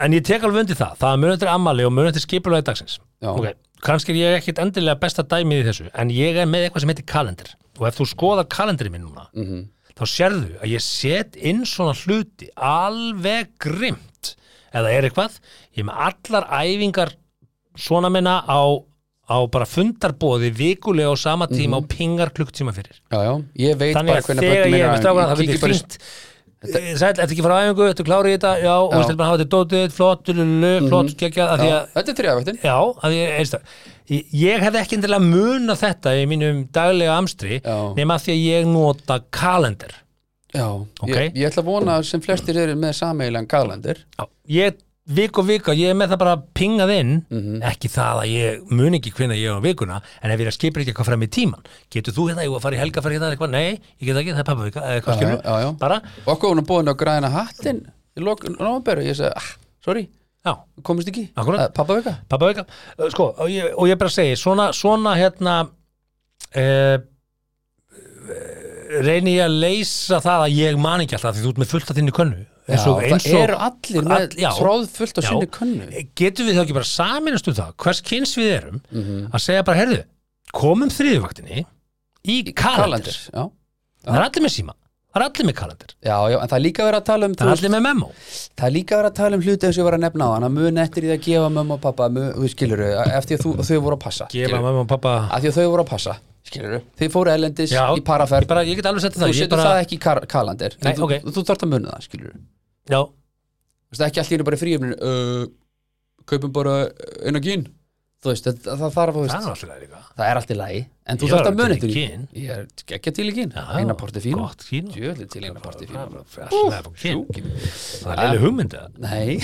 S2: en ég tek alveg undir það það er munandi ammali og munandi skipulagi dagsins
S1: Já.
S2: Ok, kannski er ég ekkit endilega besta dæmið í þessu, en ég er með eitthvað sem heitir kalender og ef þú skoðar kalendri minn núna
S1: mhm.
S2: þá sérðu að ég set inn svona hluti alveg grimt eða er eitthvað ég er með allar æfingar svona minna á, á bara fundarbóði vikulega á sama tíma
S1: Mhm.
S2: og pingar klukktíma fyrir
S1: já, já, ég veit
S2: þannig
S1: bara
S2: að
S1: hvernig
S2: þegar
S1: börnum eru
S2: ég er með
S1: aðeins.
S2: strákana þá
S1: Ég
S2: getur
S1: kíki bara í-
S2: fínt Eh, sæll, ertu ekki að fara á æfingu, ertu klári í þetta já, og þetta er bara að hafa þetta dótið, flott lulu, flott, geggjað, af því
S1: Mhm. Já,
S2: að
S1: Þetta er þriðja vaktin
S2: Já, að ég, einst, ég, ég hefði ekki endilega muna þetta í mínum daglega amstri
S1: Já.
S2: nema því að ég nota kalender
S1: Já,
S2: Ok.
S1: ég, ég ætla að vona að sem flestir eru með sameigilegan kalendir
S2: Já, ég vik og vika, ég er með það bara pingað inn,
S1: Mhm.
S2: ekki það að ég mun ekki hvenna ég á vikuna, en ef ég er að skipra ekki eitthvað fram í tíman, getur þú hérna, ég var að fara í helga fara hérna, eða eitthvað, nei, ég get það ekki, það er pappavika eða eitthvað
S1: Já,
S2: skilur,
S1: já, já.
S2: bara,
S1: Og okkur hún er búin að græna hattin í lok nómberu, ég segi, ah, sorry
S2: já,
S1: komist ekki, Eh,
S2: Akkúrat.
S1: pappa veika
S2: pappavika Eh, sko, og ég, og ég bara segi, svona, svona hérna eh, reyni ég að leysa það að ég man ekki alltaf því þú ert með fullt að þinni könnu eins og,
S1: Það
S2: eins og,
S1: eru allir með
S2: all- já.
S1: tróð fullt á
S2: Já.
S1: sinni könnu
S2: getum við þá ekki bara saminast um það hvers kyns við erum
S1: Mhm.
S2: að segja bara, herðu, komum þriðuvaktinni í kalendir
S1: Kalendir, já
S2: það er allir með síma, það er allir með kalendir
S1: Já, já, en það er líka verið að tala um þú
S2: það er
S1: veist,
S2: allir með memo
S1: Það er líka verið að tala um hluti eins og ég var að nefna á hann að mun eftir því að gefa mömmu og pappa mun, þú skilur þau, eftir því að þú- þau voru að passa
S2: gefa mamma og pappa
S1: að því að þau voru að passa skilur þau, þið fóru ellendis
S2: já,
S1: í paraferð
S2: ég, bara, ég get alveg sett
S1: þú
S2: það, ég
S1: setur
S2: bara,
S1: það ekki í kar kalandir
S2: Nei,
S1: þú,
S2: ok.
S1: þú, þú þarft að muna það, skilur
S2: Já,
S1: Þú veist, ekki allt í einu bara í fríöfninu uh, kaupum bara uh, eina gín þú veist, það, það þarf að þú
S2: Það
S1: veist,
S2: er alltaf leið líka
S1: það er allt í lagi en þú
S2: Ég
S1: þarft
S2: var
S1: að muna
S2: til í
S1: eftir því.
S2: gin.
S1: ég er geggja til í gín,
S2: Já,
S1: eina porti fín
S2: gott kín.
S1: djöðli til eina porti fín
S2: Það er alltaf leið
S1: sjúkin
S2: Það er leilig hugmynd eða?
S1: nei,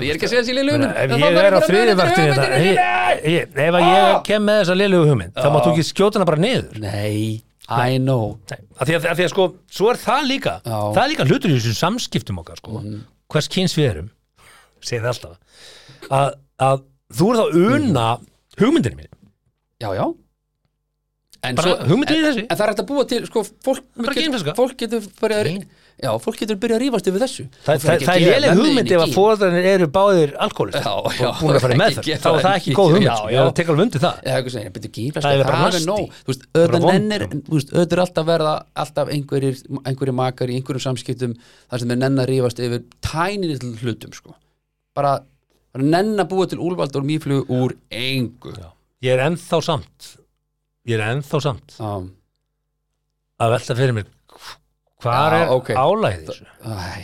S1: ég er ekki að segja þessi lillu
S2: Meina, Ef ég er á þriði vartu þetta ég- ég- Ef að ég kem með þessa liðlegu hugmynd þá máttu ekki skjóta hana bara niður
S1: nei, I know
S2: Nei, af því að, að því að sko, svo er það líka
S1: Já.
S2: það er líka hlutur í þessum samskiptum okkar sko, hvers kyns við erum segir það alltaf að, að þú er þá una hugmyndinu mín,
S1: já, já en,
S2: bara hugmyndinu í þessu
S1: en það er hægt að búa til sko, fólk,
S2: Bara kynferðiska.
S1: fólk getur byrjað
S2: Nei.
S1: já, fólk getur byrjað að rífast yfir þessu
S2: það, það, það er léleg hugmynd ef að fóreldrarnir eru báðir alkoholist
S1: Já,
S2: og
S1: já,
S2: búin að fara
S1: ekki
S2: með það
S1: gera
S2: þá er það
S1: það,
S2: ekki
S1: ekki
S2: góð
S1: gera-
S2: hugmynd
S1: já,
S2: sko,
S1: já.
S2: ég er að teka alveg undir það
S1: eða eitthvað segir, byrju gíflast
S2: Það
S1: það
S2: er
S1: er
S2: bara
S1: alveg
S2: nasty.
S1: nóg þú veist,
S2: Bara
S1: auðvitað
S2: vondum.
S1: nennir, þú veist, auðvitað er alltaf verða alltaf einhverjir, einhverjir makar í einhverjum samskiptum þar sem er nenn að rífast yfir tæninni til hlutum sko. bara, bara nenn að búa til úlvald og mýflugu úr engu já.
S2: ég er ennþá samt ég er ennþá samt að velta fyrir mér hvað
S1: Já,
S2: er
S1: ókei.
S2: álæðið þessu
S1: Æ,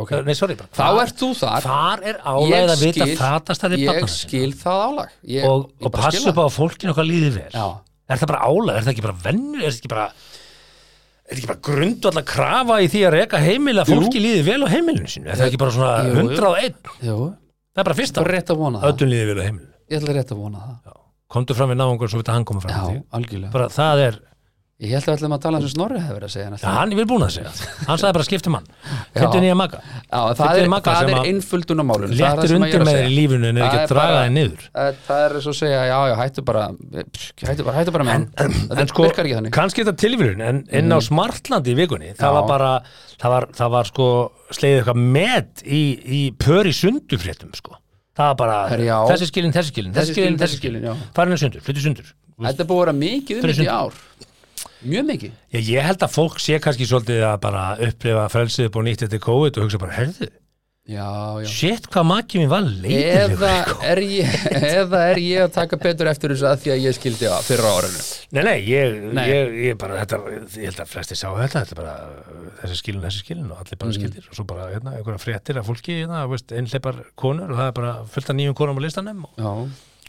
S1: ok
S2: nei, sorry bara,
S1: þá
S2: hvar-
S1: ert þú þar
S2: hvar er álæðið að
S1: Ég
S2: vita
S1: skil-
S2: fatastæði
S1: ég
S2: barnanna?
S1: skil það álag ég,
S2: og,
S1: ég
S2: og
S1: bara skil
S2: passa upp
S1: það.
S2: á að fólkinu okkar líði vel
S1: já,
S2: er það bara álag, er það ekki bara vennu er það ekki bara er það ekki bara grundu alltaf krafa í því að reka heimil að fólki líði vel á heimilinu sínu er það ekki bara svona
S1: Jú, jú.
S2: 101
S1: jú,
S2: það er bara fyrsta,
S1: bara rétt að vona það
S2: öllum líði vel á heimilinu
S1: ég ætla rétt að vona það
S2: komdu fram við náungur svo veit að hann koma fram við
S1: já,
S2: þig.
S1: algjörlega
S2: bara það er,
S1: ég held að við ætlum að tala um sem Snorri hefur verið að segja en alltaf-
S2: ja, hann er vel búin að segja hann sagði bara skiptum hann, finnstu nýja maka
S1: Já,
S2: Þetta
S1: það
S2: er
S1: er,
S2: Magga
S1: það
S2: sem
S1: er
S2: að
S1: einföldunamálun það er það
S2: léttir
S1: sem að ég er
S2: undir
S1: að
S2: með
S1: segja.
S2: þér í lífinu en er
S1: Það
S2: ekki
S1: er
S2: að draga
S1: bara-
S2: þig niður
S1: Eh, Það er svo að segja, já, já, hættu bara pss, hættu bara, hættu bara með hann
S2: en
S1: Það
S2: sko,
S1: virkar ekki þannig Mm.
S2: kannski þetta tilvílun en inn á Smartlandi í vikunni það
S1: Já.
S2: var bara, það var, það var sko slegið eitthvað met í, í pör í sundufréttum sko það var bara,
S1: Herri, já.
S2: þessi skilin, þessi skilin þessi skilin, þessi skilin,
S1: já.
S2: farin að sundur, flyttu sundur
S1: Þetta er búið að vera mikið um
S2: Fyrir
S1: þetta í ár Mjög mikið
S2: ég, ég held að fólk sé kannski svolítið að bara upplifa frelsið upp og nýtt þetta COVID og hugsa bara, herðu,
S1: Já, já
S2: shit hvað makið mér var leiðilegur
S1: Eða
S2: sko.
S1: er, ég, eða er ég að taka betur eftir þessu að því að ég skildi á fyrra árinu
S2: nei, nei, ég,
S1: Nei.
S2: Ég, ég bara þetta, ég held að flesti sá þetta, þetta er bara þessi skilin, þessi skilin og allir bara skildir og svo bara hérna, einhverja fréttir af fólki hérna, þú veist, einhleipar konur og það er bara fullt af nýjum konum á listanum og
S1: Já,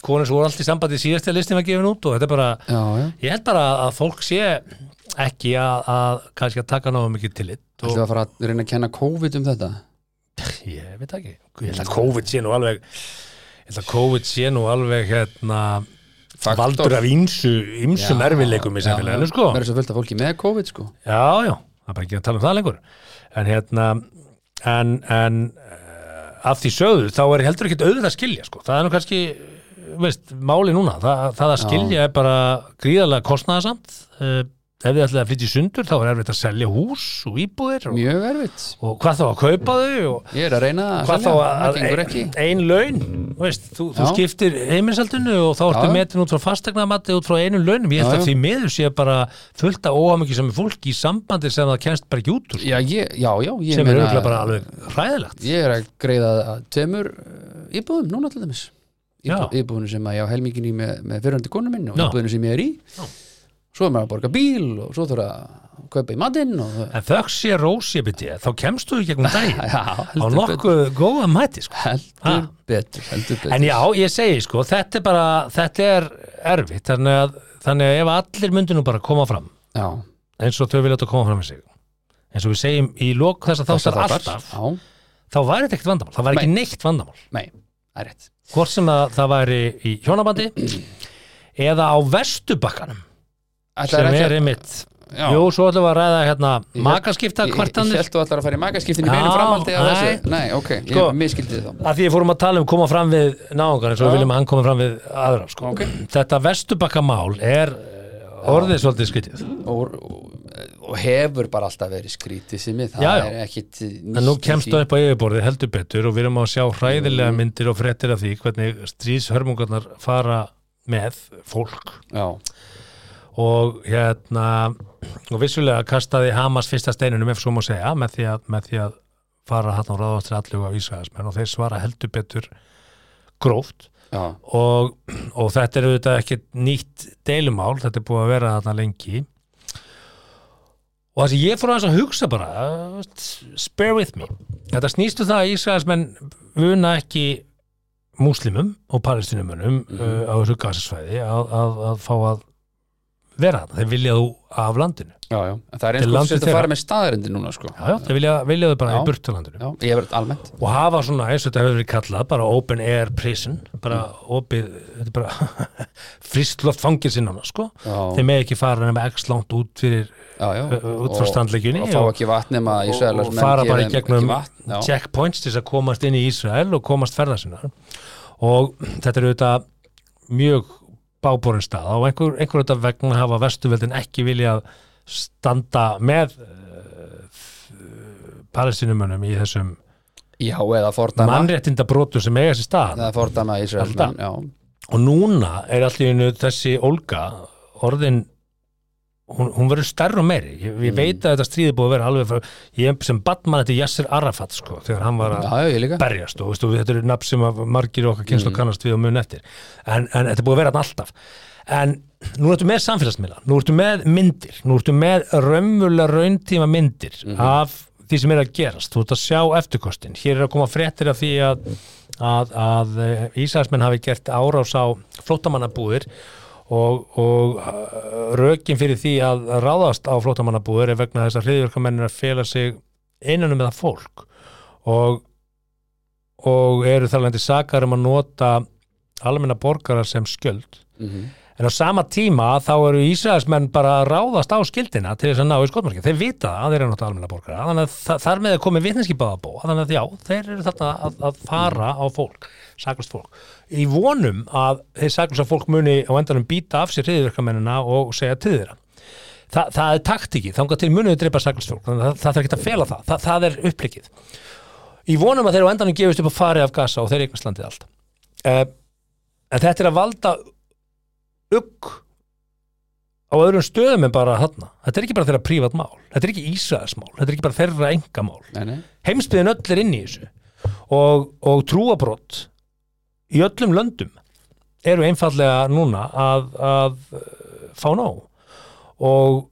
S2: konur sem voru allt í sambandi síðast að listin var gefin út og þetta er bara,
S1: já, já
S2: ég held bara að fólk sé ekki að, að kannski að taka náðu mikið til lit
S1: Þú
S2: og
S1: að fara að reyna að kenna COVID um þetta
S2: ég veit það ekki, ég held að COVID sé nú alveg ég held að COVID sé nú alveg hérna
S1: Faktor.
S2: valdur af ímsu, ímsum erfileikum í samfélaginu sko
S1: Það er svo fullt af fólki með COVID sko
S2: Já, já, það er bara ekki að tala um það lengur en hérna en, en uh, af því sögðu þá er heldur ekkit auðvitað að skilja sko. það er nú kannski, eh, veist, máli núna Þa, það að skilja er bara gríðarlega kostnaðasamt uh, ef þið ætlaði að flytja í sundur þá er erfitt að selja hús og íbúðir og,
S1: Mjög erfitt
S2: og hvað þá að kaupa þau og
S1: Ég er að reyna að
S2: hvað þá
S1: selja,
S2: að
S1: það gengur ekki
S2: ein, ein laun þú veist, þú, þú
S1: Já.
S2: skiptir heiminsaldinu og þá ertu
S1: Já.
S2: metin út frá fastegnamati út frá einum launum, ég held
S1: Já,
S2: að
S1: já.
S2: því miður sé bara fullt af óhamingi sem er fólk í sambandi sem það kennst bara ekki út úr,
S1: Já, ég, já, já, ég
S2: sem er
S1: meina-
S2: auðvitað bara alveg hræðilegt
S1: Ég er að greiða að tveimur uh, íbúðum núna til dæmis Íbú,
S2: Já.
S1: Íbúðinu sem að ég á helmingin í með, með fyrrandi konu minn og
S2: Já.
S1: íbúðinu sem ég er í
S2: Já.
S1: Svo er maður að borga bíl og svo þarf að kaupa í matinn og það
S2: en þögg sé rósjabiti, þá kemst þú í gegnum daginn
S1: Já,
S2: á
S1: heldur betur
S2: nokkuð góða mæti sko.
S1: Heldur
S2: Ha.
S1: betur, heldur betur
S2: en já, ég segi sko, þetta er bara þetta er erfitt, þannig að, þannig að ef allir myndu nú bara koma fram
S1: já,
S2: eins og þau vilja þetta koma fram með sig eins og við segjum í lok þess að þáttar
S1: þessar þáttar.
S2: alltaf
S1: Já,
S2: þá væri þetta ekkert vandamál, það væri ekki neitt vandamál
S1: nei, það er rétt
S2: hvort sem að það væri í hjónabandi eða á vestubakkanum
S1: Ætlar
S2: sem
S1: ekki
S2: er
S1: að-
S2: einmitt
S1: já.
S2: jú, svo ætlum við að ræða hérna
S1: Ég hélt-
S2: makaskipta
S1: Ég- Ég
S2: kvartanir
S1: held þú allar að fara í magaskiptin í beinu
S2: Já,
S1: framhaldi af þessu Nei, ok,
S2: Sko.
S1: ég miskildi þið þá
S2: að því við fórum að tala um koma fram við náungan eins og við
S1: Já.
S2: viljum að hann koma fram við aðra sko.
S1: Ok.
S2: þetta vestubakkamál er eh, orðið svolítið skytið
S1: og, og- og hefur bara alltaf verið skrítið sem ég, það
S2: Já, já.
S1: er ekkit
S2: en nú kemst það upp á yfirborðið heldur betur og við erum að sjá hræðilega myndir og frettir af því hvernig stríðshörmungarnar fara með fólk
S1: já,
S2: og hérna og vissulega kastaði Hamas fyrsta steinunum ef svo má segja með því að, með því að fara hann og ráðastir allu af Ísraelsmenn og þeir svara heldur betur gróft
S1: já,
S2: og, og þetta er auðvitað ekki nýtt deilumál, þetta er búið að vera þarna lengi og það sem ég fór aðeins að hugsa bara uh, veist, spare with me þetta snýstu það að Ísraelsmenn vuna ekki múslimum og palestinumunum uh, á þessu gasasvæði að, að, að fá að vera þarna, þeir vilja þú af landinu
S1: já, já. En það er eins
S2: Til
S1: og
S2: landið
S1: þú sért að
S2: þeirra.
S1: fara með staðarendi núna sko.
S2: já, já, þeir vilja, vilja þú bara
S1: Já.
S2: í burt til landinu
S1: Já, ég hef verið almennt
S2: og hafa svona eins og þetta hefur verið kallað bara open air prison bara
S1: Mm.
S2: opið, þetta er bara fristloft fangilsinn hana sko
S1: Já.
S2: þeir með ekki fara nema x langt út fyrir
S1: já, já.
S2: Ö- út frá
S1: Og-
S2: strandlengjunni
S1: og fá
S2: og-
S1: ekki vatn nema
S2: og,
S1: Ísraelar
S2: og
S1: sem
S2: fara
S1: ekki-
S2: bara í
S1: ekki
S2: gegnum
S1: vatn, já.
S2: checkpoints til þess að komast inn í Ísrael og komast ferða sinna og þetta er auðvitað mjög bábúrin stað og einhver, einhver auðvitað vegna hafa vestuveldin ekki viljað standa með uh, palestinumönum í þessum
S1: já, eða fordama
S2: mannréttinda sem eiga sér stað
S1: eða fordama Ísraelsmenn já.
S2: og núna er allt í einu þessi Olga orðin hún, hún verður stærri og meiri ég, ég veit að þetta stríði búið að vera alveg frá, ég sem batmann þetta Yasser Arafat sko, þegar hann var
S1: já,
S2: að
S1: já, ég líka
S2: berjast og veistu, þetta eru nafn sem að margir okkar kynslu kannast við og mun eftir en, en þetta er búið að vera þarna alltaf en nú ertu með samfélagsmiðla nú ertu með myndir, nú ertu með raunvöla rauntíma myndir af því sem er að gerast, þú ert að sjá eftirkostin, hér er að koma fréttir af því að, að, að eh, Ísraelsmenn hafi gert árás á flóttamannabúðir og, og uh, rökin fyrir því að ráðast á flóttamannabúðir er vegna þess að hliðverkamennir að fela sig innan um það fólk og og eru þar lendi sakar um að nota almenna borgara sem skjöld
S1: Mhm.
S2: en á sama tíma þá eru Ísraelsmenn bara að ráðast á skildina til þess að ná í skotmarkið, þeir vita að þeir eru að nota almenna borgara, þannig að þa- þar með er komið vitneskipáðabó, þannig að já, þeir eru þarna að, að fara á fólk saklust fólk, í vonum að þeir saklust fólk muni á endanum býta af sér reyðverkamennina og segja til þeirra Þa, það er taktíki, þangað til munið dreipa saklust fólk, þannig að það, það er ekki að fela það, það, það er upplikið í vonum að þeir á endanum gefist upp að fari af Gaza og þeir eignast landið allt uh, en þetta er að valda ugg á öðrum stöðum en bara þarna þetta er ekki bara þeirra prívat mál, þetta er ekki Ísraelsmál þetta er ekki bara þeirra engamál
S1: Nei, nei.
S2: heimsbyðin öll er inn í þessu og, og trúabrott í öllum löndum eru einfallega núna að, að eh, fá nóg og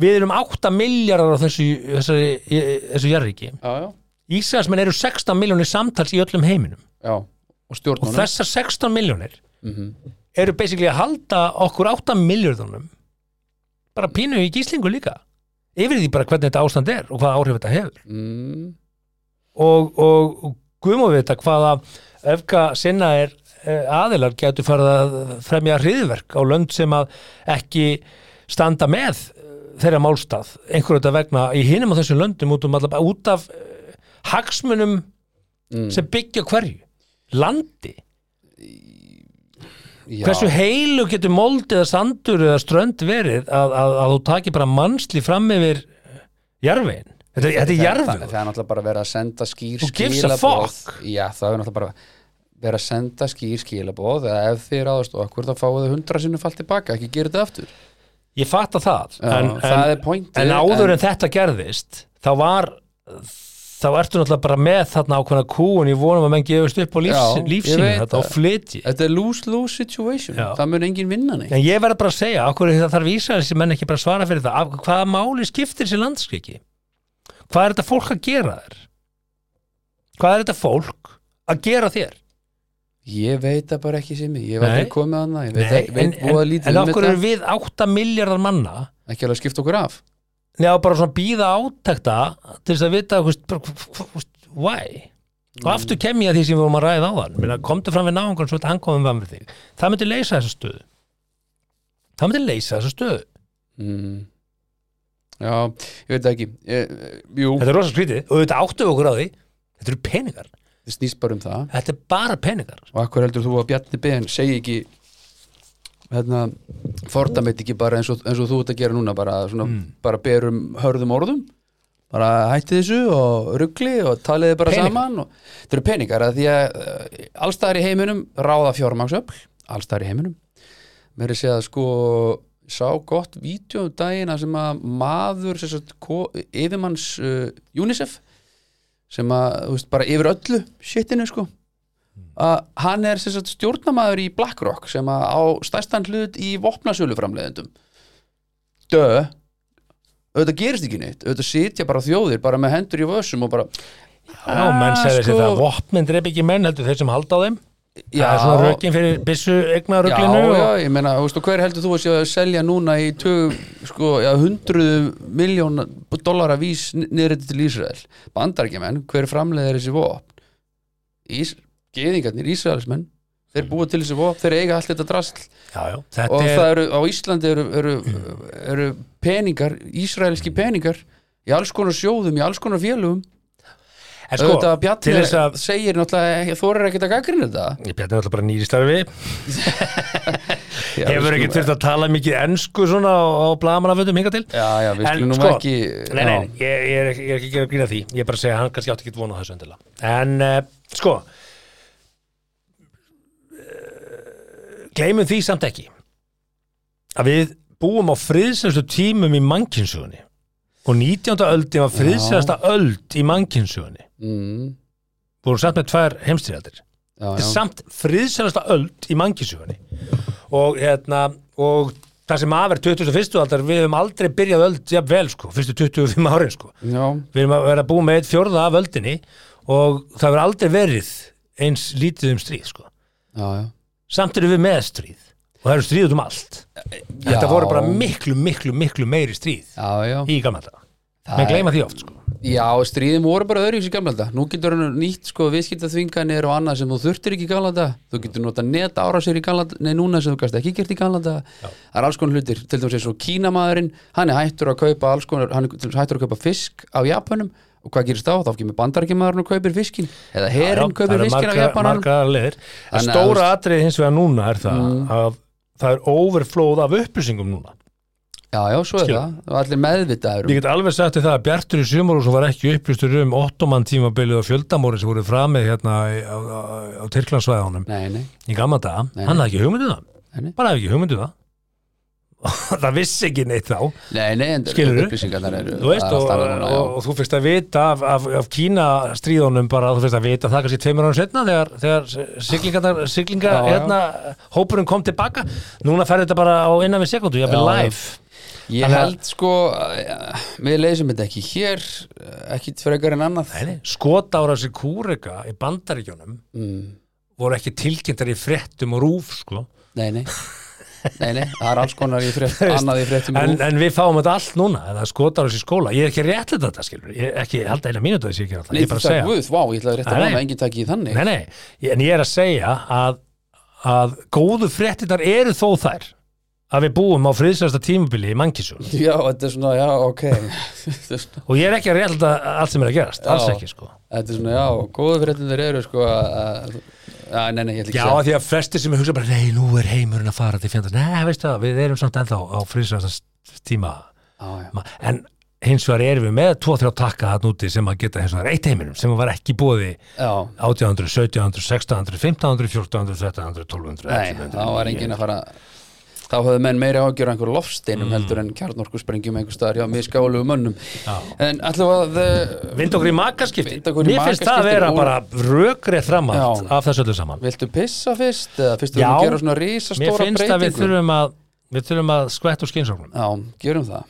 S2: við erum 8 miljardar á þessu, þessari, þessu jarriki
S1: já, já,
S2: Ísraelsmenn eru 16 miljónir samtals í öllum heiminum
S1: já og
S2: og
S1: stjórnunum
S2: þessar 16 miljónir
S1: Mhm.
S2: eru basically að halda okkur 8 miljörðunum bara pínu í gíslingu líka yfir því bara hvernig þetta ástand er og hvaða áhrif þetta hefur
S1: mm,
S2: og, og, og guðmum við þetta hvaða öfka sinna er eh, aðilar getur farið að fremja hriðverk á lönd sem að ekki standa með eh, þeirra málstað einhverju þetta vegna í hinum á þessum löndum út, um alla, út af eh, hagsmunum
S1: mm,
S2: sem byggja á hverju? Landi.
S1: já.
S2: Hversu heilu getur mold eða sandur eða strönd verið að, að, að þú takir bara mannsli fram yfir jarfin? Þetta, þetta er
S1: það,
S2: jarfin.
S1: það er náttúrulega bara að vera að senda skýr
S2: Who gives a
S1: skilaboð.
S2: fuck?
S1: já, það er náttúrulega bara að vera að senda skýr skilabóð eða ef þið ráðast okkur þá fáið þið hundra sinnum fallt tilbaka ekki gera þetta aftur
S2: Ég fatt að það.
S1: Já, það er pointið,
S2: en áður en,
S1: en-
S2: þetta gerðist, þá var þá ertu náttúrulega bara með þarna ákveðna kúun í vonum að menn gefist upp
S1: Já,
S2: á lífs-
S1: ég
S2: lífsínu
S1: veit
S2: þetta og
S1: það.
S2: flytji.
S1: þetta er lose-lose situation
S2: Já.
S1: það mun enginn vinna neitt
S2: En ég verð bara að segja, okkur það þarf Ísraels sem menn ekki bara að svara fyrir það, af hvaða máli skiptir sér landskriki? Hvað er þetta fólk að gera þér? Hvað er þetta fólk að gera þér?
S1: ég veit það bara ekki sem ég, ég var
S2: Nei.
S1: ekki komið annað ég veit, Nei,
S2: en,
S1: veit búa
S2: en,
S1: lítið
S2: en
S1: um
S2: okkur
S1: þetta
S2: er við 8 miljardar manna
S1: ekki alveg að skipta okkur af
S2: neða bara svona býða átekta til þess að vita hvist, bara, hv- hv- hv- why?
S1: Mm.
S2: Og aftur kem ég að því sem við vorum að ræða á þann Minna, komdu fram við náungan svo þetta hann komum fram við þig það myndi leysa þessa stöðu það myndi leysa þessa stöðu
S1: mm. já, ég veit það ekki ég, jú,
S2: Þetta er rosa skrítið og þetta áttum við okkur á því Þetta eru peningar,
S1: þetta snýst bara um það
S2: þetta er bara peningar
S1: og akkur heldur þú að Bjarni Ben segi ekki hérna, fordameit ekki bara eins og, eins og þú ert að gera núna bara, svona, bara berum hörðum orðum bara hætti þessu og ruggli og taliði bara
S2: Peningar.
S1: saman og, þetta eru peningar að því að uh, allstaðar í heiminum ráða fjármagsöfl allstaðar í heiminum mér er að segja að sko sá gott vídeo um dagina sem að maður sem sagt, ko- yfirmanns uh, UNICEF sem að, þú veist, bara yfir öllu shitinu sko að hann er sem sagt stjórnamaður í BlackRock sem að á stærstan hlut í vopnasöluframleðendum dö auðvitað gerist ekki neitt, auðvitað sitja bara þjóðir bara með hendur í vössum og bara
S2: Já,
S1: Ah,
S2: menn segir sko... þetta, vopnin dreip ekki menn heldur þeir sem halda á þeim
S1: Já,
S2: Það er svona rökin fyrir byssu
S1: já,
S2: eignaröglinu
S1: já,
S2: og...
S1: ég meina, veistu, hver heldur þú að sé að selja núna í tug, sko, já, hundruð miljón dollara vís niður þetta til Ísrael, bandarækjumenn hver framleiðir þessi vopn Ís, geðingarnir, Ísraelsmenn þeir búa til þessi vopn, þeir eiga allt þetta drasl
S2: já, já.
S1: og
S2: Þetta er,
S1: það eru, á Íslandi eru, eru, eru peningar, ísraelski peningar í alls konar sjóðum, í alls konar félugum
S2: en sko,
S1: auðvitað
S2: til
S1: Bjarni
S2: þess að
S1: segir náttúrulega þorir ekkert að gaggrinu þetta
S2: Ég bjarni alltaf bara nýri starfi
S1: Já,
S2: Hefur
S1: við
S2: ekki
S1: skulum-
S2: þurft að tala mikið ensku svona á, á blagamannaföndum hinga til
S1: Já, já, við
S2: En
S1: skulum nú
S2: sko,
S1: ekki
S2: Nei, nei,
S1: já.
S2: nei, ég, ég, er, ekki- ég er ekki að gera grína því Ég er bara að segja að hann kannski átti ekki vona þessu endilega En uh, sko uh, Gleimum eh, því samt ekki að við búum á friðsæðastu tímum í mannkynnsugunni og 19. öldi var friðsæðasta öld í mannkynnsugunni
S1: Mm,
S2: vorum samt með tvær heimstyrjaldir
S1: já,
S2: þetta
S1: já.
S2: er samt friðsælasta öld í mannkísugunni og hérna og það sem aðverð 2001. aldar við höfum aldrei byrjað öld jafn vel sko, fyrstu 25 árin sko
S1: já,
S2: við erum að vera að búa með eitt fjórða af öldinni og það hefur aldrei verið eins lítið um stríð sko
S1: já, já.
S2: samt erum við með stríð og það eru stríð út um allt þetta voru bara miklu, miklu, miklu meiri stríð
S1: já, já.
S2: í gamla þetta, menn gleyma því oft sko
S1: já, stríðum voru bara öðru í þessu gamla þetta nú getur hann nýtt sko viðskiptaþvinganir og annað sem þú þurftir ekki í gamla þetta þú getur nota net ára sér í gamla þetta nei, núna sem þú gæst ekki gert í gamla þetta það er alls konar hlutir, til dæmis eins og kínamaðurinn hann er hættur að kaupa alls konar hann er til dæmis hættur að kaupa fisk af Japanum og hvað gerist þá, þá kemur bandarækjumaðurinn og kaupir fiskin eða herinn kaupir fiskin af Japanum
S2: margar leðir
S1: Þannig að,
S2: en
S1: þú
S2: stóra
S1: Mm.
S2: atrið hins vegar núna er það að það er overflóð af upplýsingum núna
S1: já, já, svo er
S2: Skil.
S1: það, og allir meðvitaður um-
S2: ég get alveg sagt þér það að Bjartur í Sumarúsum var ekki upplýstur um 8 mann tímabilið og fjöldamóri sem voru framið hérna í- á, á, á Tyrklandsvæðanum
S1: nei, nei,
S2: í gamla daga,
S1: Nei,
S2: hann hafði ekki hugmyndið
S1: Nei, nei.
S2: það bara hafði ekki hugmyndið það það vissi ekki neitt þá
S1: nei, nei en
S2: Skilurðu?
S1: upplýsingarnar eru
S2: þú veist,
S1: það er
S2: og,
S1: allt annað
S2: og,
S1: núna, já.
S2: og þú fyrst að vita af, af, af Kína stríðunum bara, þú fyrst að vita það kannski tveimur ánum setna þegar, þegar siglinga, siglinga
S1: Já, já.
S2: hérna, hópurinn kom tilbaka núna fer þetta bara á innan við sekundu, ég er
S1: Já, já.
S2: live
S1: Ég
S2: Þannig að-
S1: held sko eh, við leysum þetta ekki hér eh, ekki frekar en annað
S2: skotára sér kúrika í bandaríkjónum
S1: mm,
S2: voru ekki tilkynntar í fréttum og rúf sko.
S1: nei, nei. nei, nei, það er alls konar í frétt, annað í fréttum
S2: en,
S1: en,
S2: en við fáum þetta allt núna það er skotára sér skóla, ég er ekki rétt þetta skilur, ég er ekki, held að eina mínútu að þessi ekki rétt
S1: Nei,
S2: ég er bara að segja
S1: Guð, vá, ég ætlaði rétt að
S2: Nei,
S1: vona
S2: nei.
S1: að enginn takki í þannig
S2: Nei, nei, ég- en ég er að segja að, að góðu fréttinar eru þó þær að við búum á friðsæðasta tímabili í mannkísun
S1: Já, þetta er svona, já, ok Þetta er svona-
S2: og ég er ekki að rétta allt sem er að gerast, alls
S1: Já.
S2: ekki sko
S1: Þetta er svona, já, góðu fréttin þeir eru sko að, að, nei, nei, ég ætla ekki
S2: Já,
S1: að
S2: af
S1: segja
S2: því að flesti sem hugsa bara nei, nú er heimurinn að fara til fjandar nei, veistu það, við erum samt ennþá á friðsæðasta tíma
S1: Já, já.
S2: Ma- en hins vegar erum við með tvo, þrjá takka hann úti sem að geta hins vegar eitt heiminum sem var ekki búið í
S1: já,
S2: 1800, 1700, 1600, 1500, 1400, 1300, 1200
S1: nei,
S2: 1100,
S1: þá var enginn að fara Þá höfðu menn meiri ágjör einhver loftsteinum
S2: Mm.
S1: heldur en kjarnorku sprengjum einhver staðar, já, miskálegu mönnum
S2: Já.
S1: En ætlum við að eh,
S2: Vind okkur í makaskipti
S1: Vinda okkur í
S2: Mér finnst það að
S1: makaskipti
S2: vera
S1: og-
S2: bara rökrið framhald
S1: Já.
S2: af þessu öllu saman
S1: Viltu pissa fyrst? Eða fyrst
S2: Já.
S1: við að gera svona
S2: Mér
S1: risastóra
S2: finnst að við
S1: breytingu?
S2: þurfum að við þurfum að skvett úr skynsóknum
S1: Já, gerum það.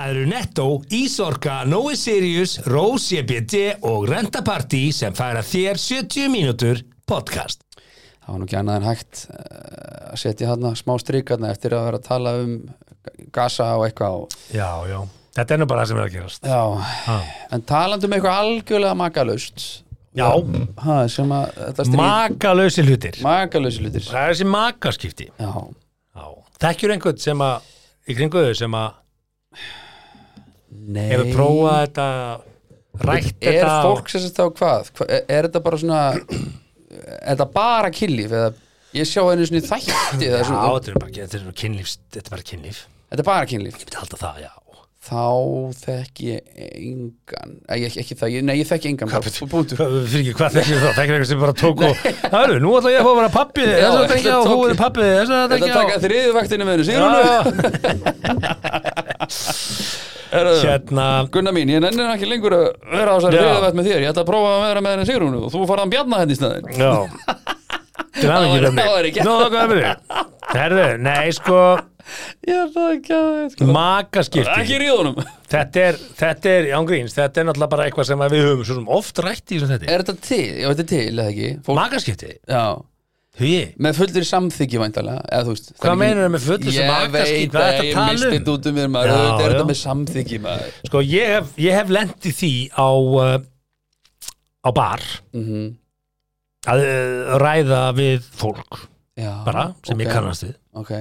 S3: Það eru Netto, Ísorka, Nói Sirius, Rós EBD og Renta Party sem færa þér 70 mínútur podcast.
S1: Það var nú ekki annað en hægt eh, að setja þarna smá strik þarna eftir að vera að tala um gasa og eitthvað. Og,
S2: Já, já, þetta er nú bara það sem er að gerast
S1: já,
S2: ha.
S1: en talandi um eitthvað algjörlega makalaust.
S2: Já,
S1: Ha, sem að þetta stríð...
S2: makalösi hlutir
S1: Makalausi hlutir.
S2: Það er þessi makaskipti
S1: Já,
S2: já. Þekkjur einhvern sem að í kringu þau sem að
S1: nei.
S2: hefur prófað þetta rætt
S1: Er
S2: þetta og-
S1: fólk sem sagt þá hvað? Hva, er, er þetta bara svona... Er þetta bara kynlíf? Eða, ég sjá einu svona þætti. eða
S2: Já,
S1: svona-
S2: þetta er bara, þetta er bara kynlíf þetta er bara kynlíf,
S1: Þetta er bara kynlíf.
S2: ég myndi halda það, já
S1: þá þekk ég engan Æ, ekki, ekki það, ég, nei ég þekk engan bara, punktur.
S2: Hvað- fyrir ekki, hvað þekkir það? Þekkir eitthvað sem bara tók og Hörru, nú ætla ég að fá að vera pappi
S1: Já,
S2: þess að
S1: þetta
S2: tekja á,
S1: tók-
S2: þú er pappi þess að
S1: Þetta
S2: tekja á
S1: taka þriðu vaktinu með hennu Sigrúnu,
S2: Já,
S1: herðu,
S2: Hérna
S1: Gunnar mín, ég nenni nú ekki lengur að vera á þessari
S2: Já.
S1: þriðu vakt með þér Ég ætla að prófa að vera með henni Sigrúnu og þú farðan bjarna henni í staðinn
S2: Já Til hann
S1: Það var-
S2: ekki
S1: það var ekki.
S2: Nú, það var ekki Herru, nei, sko
S1: Ég er það ekki að sko.
S2: Makaskipti
S1: Ekki ríðunum
S2: Þetta er, þetta er, ángríns, þetta er náttúrulega bara eitthvað sem að við höfum svo sem oft rætt í sem þetta
S1: Er þetta til? Já, þetta er til, eða ekki? Eh, Fólk,
S2: Makaskipti?
S1: já,
S2: Hugi,
S1: með fullri samþyggi væntalega eða þú veist það
S2: Hvað
S1: er ekki-
S2: meinarðu með fullri
S1: Ég
S2: samþykki?
S1: veit að
S2: Hvað er þetta að
S1: ég
S2: tala
S1: misti
S2: um?
S1: þetta út um mér maður
S2: Já,
S1: auðvitað er þetta
S2: já.
S1: með samþyggi maður
S2: sko ég hef, ég hef lent í því á uh, á bar
S1: Mhm.
S2: að uh, ræða við fólk
S1: Já,
S2: bara, sem
S1: ok,
S2: ég kannast við
S1: ok,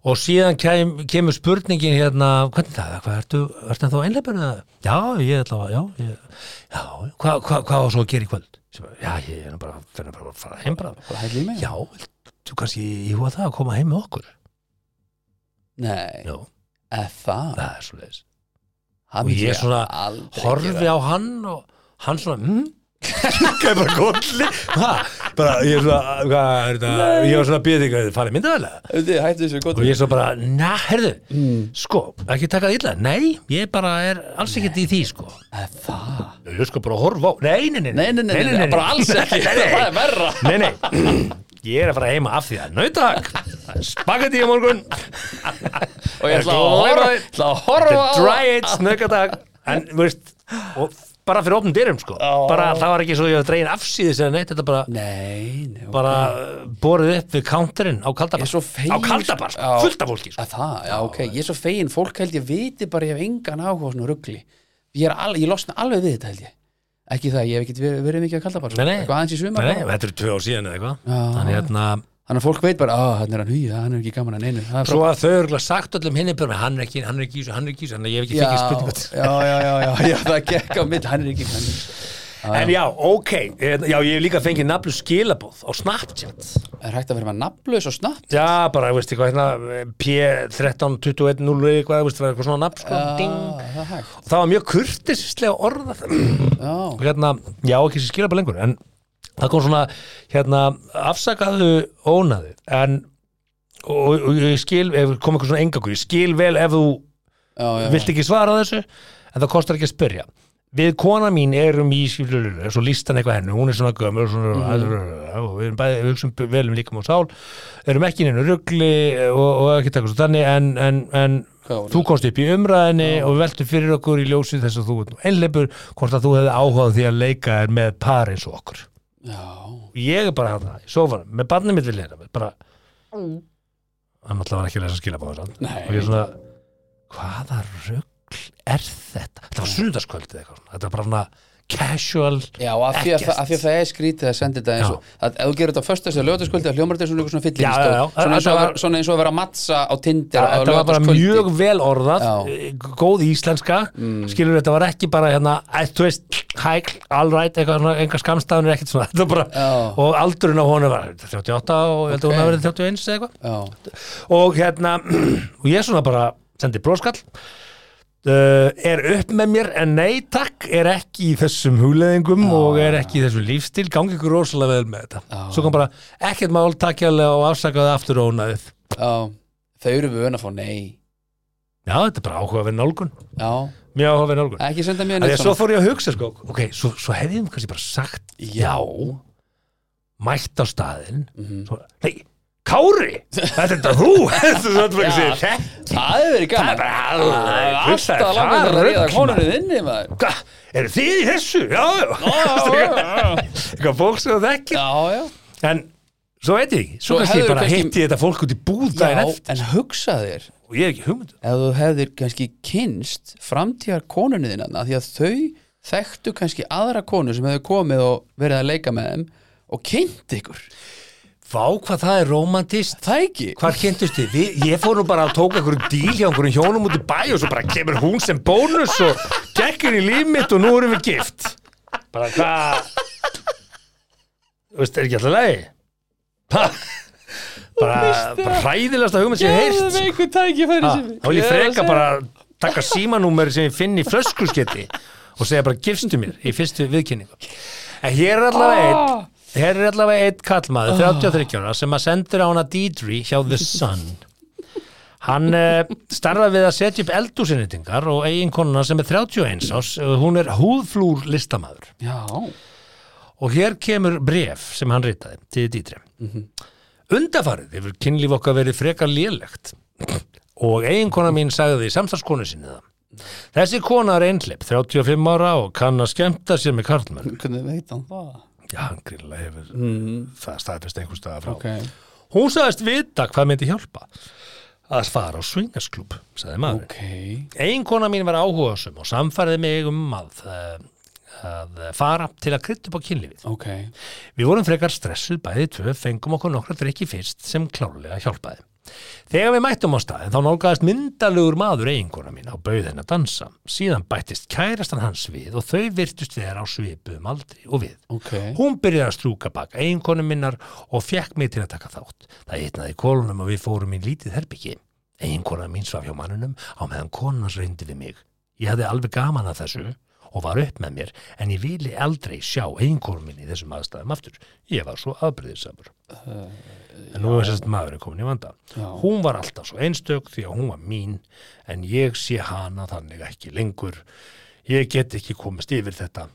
S2: og síðan kem, kemur spurningin hérna, hvernig það, er? hvað ertu ertu ennþá einleipur eða? Já, ég ætla að, já, ég, já, hvað hva, hva var svo að gera í kvöld? Sem bara, Já, ég er nú bara, fyrir bara að fara heim bara
S1: bara hæll í mig
S2: Já, þú kannski íhuga það að koma heim með okkur
S1: Nei,
S2: Já,
S1: eða það
S2: það er svo leiðis
S1: Það
S2: Og
S1: myndi
S2: ég svona
S1: aldrei
S2: horfi
S1: gera.
S2: á hann og hann svona mm? Kæði bara kolli ha, bara, ég er svona hvað er þetta, ég var svona býðið ykkur farið myndavælega
S1: Þið, Hættu þessu gott
S2: og ég er svona bara, na, herðu sko, ekki taka það illa, nei ég bara er alls ekkert í því sko
S1: Eða það
S2: ég sko bara að horfa á, nei, nei, nei
S1: Nei, nei, nei, nei, bara alls ekki
S2: Nei, nei.
S1: Það er verra
S2: Nei, nei, ég er að fara heima af því að nautak, spagetti á morgun
S1: Og ég ætla
S2: Glóra-
S1: að horfa- ætla að horfa á
S2: The dry it, snöggadag En, þú veist, og bara fyrir opnum dyrum, sko Bara, það var ekki svo ég hef dregin afsýðis eða neitt Þetta bara,
S1: Nei, nei ok.
S2: bara uh, borið upp við counterinn á kaldabar
S1: Ég er svo fegin
S2: Á kaldabar, sko,
S1: Já.
S2: fullt af fólki, sko
S1: Að það, já, ok, ég er svo fegin, fólk held ég viti bara ég hef engan áhuga á svona ruggli ég, er al, ég losna alveg við þetta held ég ekki það, ég hef ekki verið, verið mikið að kalda bara
S2: Nei, nei,
S1: eitthvað aðeins í sumar
S2: nei,
S1: bara.
S2: nei, þetta eru tvö ár síðan eða eitthvað
S1: Já.
S2: Þannig hérna,
S1: þannig að fólk veit bara, að hann er hann hýja, hann er ekki gaman að neinu Það er
S2: svo að þau eru sagt öllum hinni bara, hann er ekki, hann er ekki, í þessu, hann er ekki, í þessu, þannig að ég hef ekki
S1: bara-
S2: fengið spurningat
S1: já, já, já, já, já, já, það gekk á mitt hann er ekki hann
S2: En já, ok, eh, já, ég hef líka fengið nafnlu skilabóð á Snapchat
S1: er hægt að vera með nafnlaus og snapp
S2: Já, bara, veist eitthvað hérna, P1321 eitthvað, veist, það var eitthvað svona nafn, sko, ding
S1: Ah, það er hægt,
S2: það var mjög kurtislega orðað og
S1: já,
S2: hérna, já ekki sem skilja bara lengur en það kom svona hérna, afsakaðu ónaði en og, og ég skil, ef kom eitthvað svona engangur ég skil vel ef þú
S1: já, já,
S2: vilt ekki svara þessu en það kostar ekki að spyrja við kona mín erum í skilululu svo lístan eitthvað henni, hún er svona gömur svona, og við erum bæði, við hugsum vel um líkam og sál, erum ekki neina rugli og, og ekki taka svo þannig en, en, en
S1: Hvað var
S2: þú komst upp í umræðinni og við veltum fyrir okkur í ljósið þess að þú ert nú einleipur hvort að þú hefði áhugað á því að leika þér með par eins og okkur
S1: já,
S2: og ég er bara hann það, sofanum, með barnið mitt vil hérna bara hann alltaf var ekki að lesa skilabóð og
S1: Nei.
S2: ég er svona hvaða rugl er þetta þetta var sunnudagskvöldið eitthvað svona. þetta var bara svona casual
S1: Já, af því, að,
S2: Ekkert.
S1: af því að það er skrítið að senda þetta eins og að ef þú gerir þetta á föstas eða lögataskvöldi að hljómar þetta er svona einhver svona fyllir
S2: Já, já, já.
S1: Svona, eins og að
S2: Þetta
S1: vera- svona eins og að vera að mattsa á Tinder á
S2: þetta var bara
S1: laugardagskvöldi.
S2: mjög vel orðað
S1: Já.
S2: eh, góð íslenska,
S1: Mm.
S2: skilur þetta var ekki bara hérna, eh, þú veist hækl, all right, eitthvað, svona, enga skamstafnir ekkert svona, þetta var bara,
S1: Já.
S2: og aldurinn á honum var 38 og ég held að hún
S1: Ok.
S2: hafa verið 31 eða eitthvað,
S1: Já,
S2: og hérna og ég svona bara sendi bróskall Uh, er upp með mér en nei takk er ekki í þessum hugleðingum og er ekki í þessum lífstil gangi ykkur rosalega vel með þetta svo kom bara ekkert mál takkjálega og afsakaði aftur ónaðið
S1: já, þau eru vön að fá nei
S2: já þetta er bara áhuga við nálgun
S1: Já,
S2: mjög áhuga við nálgun
S1: ekki senda mér
S2: Þegar
S1: neitt
S2: svo fór ég að hugsa sko, ok, svo, svo hefði ég kannski bara sagt
S1: Já,
S2: mætt á staðinn svo, nei, Kári, þetta er þetta þú þetta er þetta fyrir sig þetta
S1: það hefur verið
S2: það er
S1: gaman
S2: bara
S1: Það
S2: alveg
S1: er
S2: hugsaði,
S1: alltaf langar
S2: það
S1: til að reyða
S2: rugl, maður.
S1: konur í þinni maður
S2: Hva, eru þið í þessu? Já, já, eitthvað fólk sem það ekki
S1: Já, já,
S2: en svo veit ég ekki, svo
S1: Svo
S2: kannski ég
S1: hefðirðu
S2: bara
S1: kannski-
S2: hitti ég þetta fólk út í búð
S1: já,
S2: daginn eftir
S1: en hugsa þér
S2: og ég er ekki hugmynd um-
S1: ef þú hefðir kannski kynst framtíðar konunni þinnan af því að þau þekktu kannski aðra konu sem hefur komið og verið að leika með þeim og kynnt ykkur
S2: Vá, hvað það er romantist
S1: það ekki
S2: Hvar kynntust þið? Við, ég fór nú bara að tóka einhverjum díl hjá einhverjum hjónum út í bæ og svo bara kemur hún sem bónus og gekkur í líf mitt og nú erum við gift. Bara hvað? Þú veist, er ekki alltaf leiði? Bara, bara hræðilegasta hugmynd sem ég hef heyrt.
S1: með einhver tækifæri
S2: Ha,
S1: sem
S2: Þá vil ég freka bara að taka símanúmeri sem ég finn í flöskusketti og segja bara gifstu mér í fyrstu viðkynningu en hér er allavega einn hér er allavega einn kallmaður 33 ára sem að sendur á hana Deidre hjá The Sun hann uh, starfaði við að setja upp eldúsinnitingar og eiginkonuna sem er 31 ás eh, hún er húðflúr listamaður
S1: já,
S2: og hér kemur bref sem hann ritaði til Dítri mm -hmm. undafarið hefur kynlíf okkar verið frekar lélegt og eiginkona mín sagði því samstarfskonu sinni það. Þessi kona er einhleip, 35 ára og kann að skemmta sér með karlmenn.
S1: Hvernig veit hann það?
S2: Já, hann grilla hefur mm. það staðfest einhvers staðar frá.
S1: Ok,
S2: Hún sagðist vita hvað myndi hjálpa að fara á swingersklub, sagði maður.
S1: ok
S2: Ein kona mín var áhugasum og samfærði mig um að, eh, að fara til að krytta upp á kynlífið.
S1: Ok,
S2: Við vorum frekar stressuð bæði tvö, fengum okkur nokkra drikki fyrst sem klárlega hjálpaði. Þegar við mættum á staðin þá nálgaðist myndalugur maður eiginkona mín á bauð henni að dansa. Síðan bættist kærastan hans við og þau virtust þeirra á svipum aldri og við.
S1: ok
S2: Hún byrjaði að strúka bak eiginkonu minnar og fekk mig til að taka þátt. Það hitnaði kolunum og við fórum í lítið herbyggi. Eiginkona mín svaf hjá mannunum á meðan konans reyndi við mig. Ég hafði alveg gaman að þessu og var upp með mér en ég vili aldrei sjá eiginkonu minn í þessum aðstæðum aftur. Ég var svo afbreyðisamur. En nú er sérst maðurinn komin í vanda.
S1: Eh, Já.
S2: Hún var alltaf svo einstök því að hún var mín en ég sé hana þannig ekki lengur. Ég get ekki komist yfir þetta.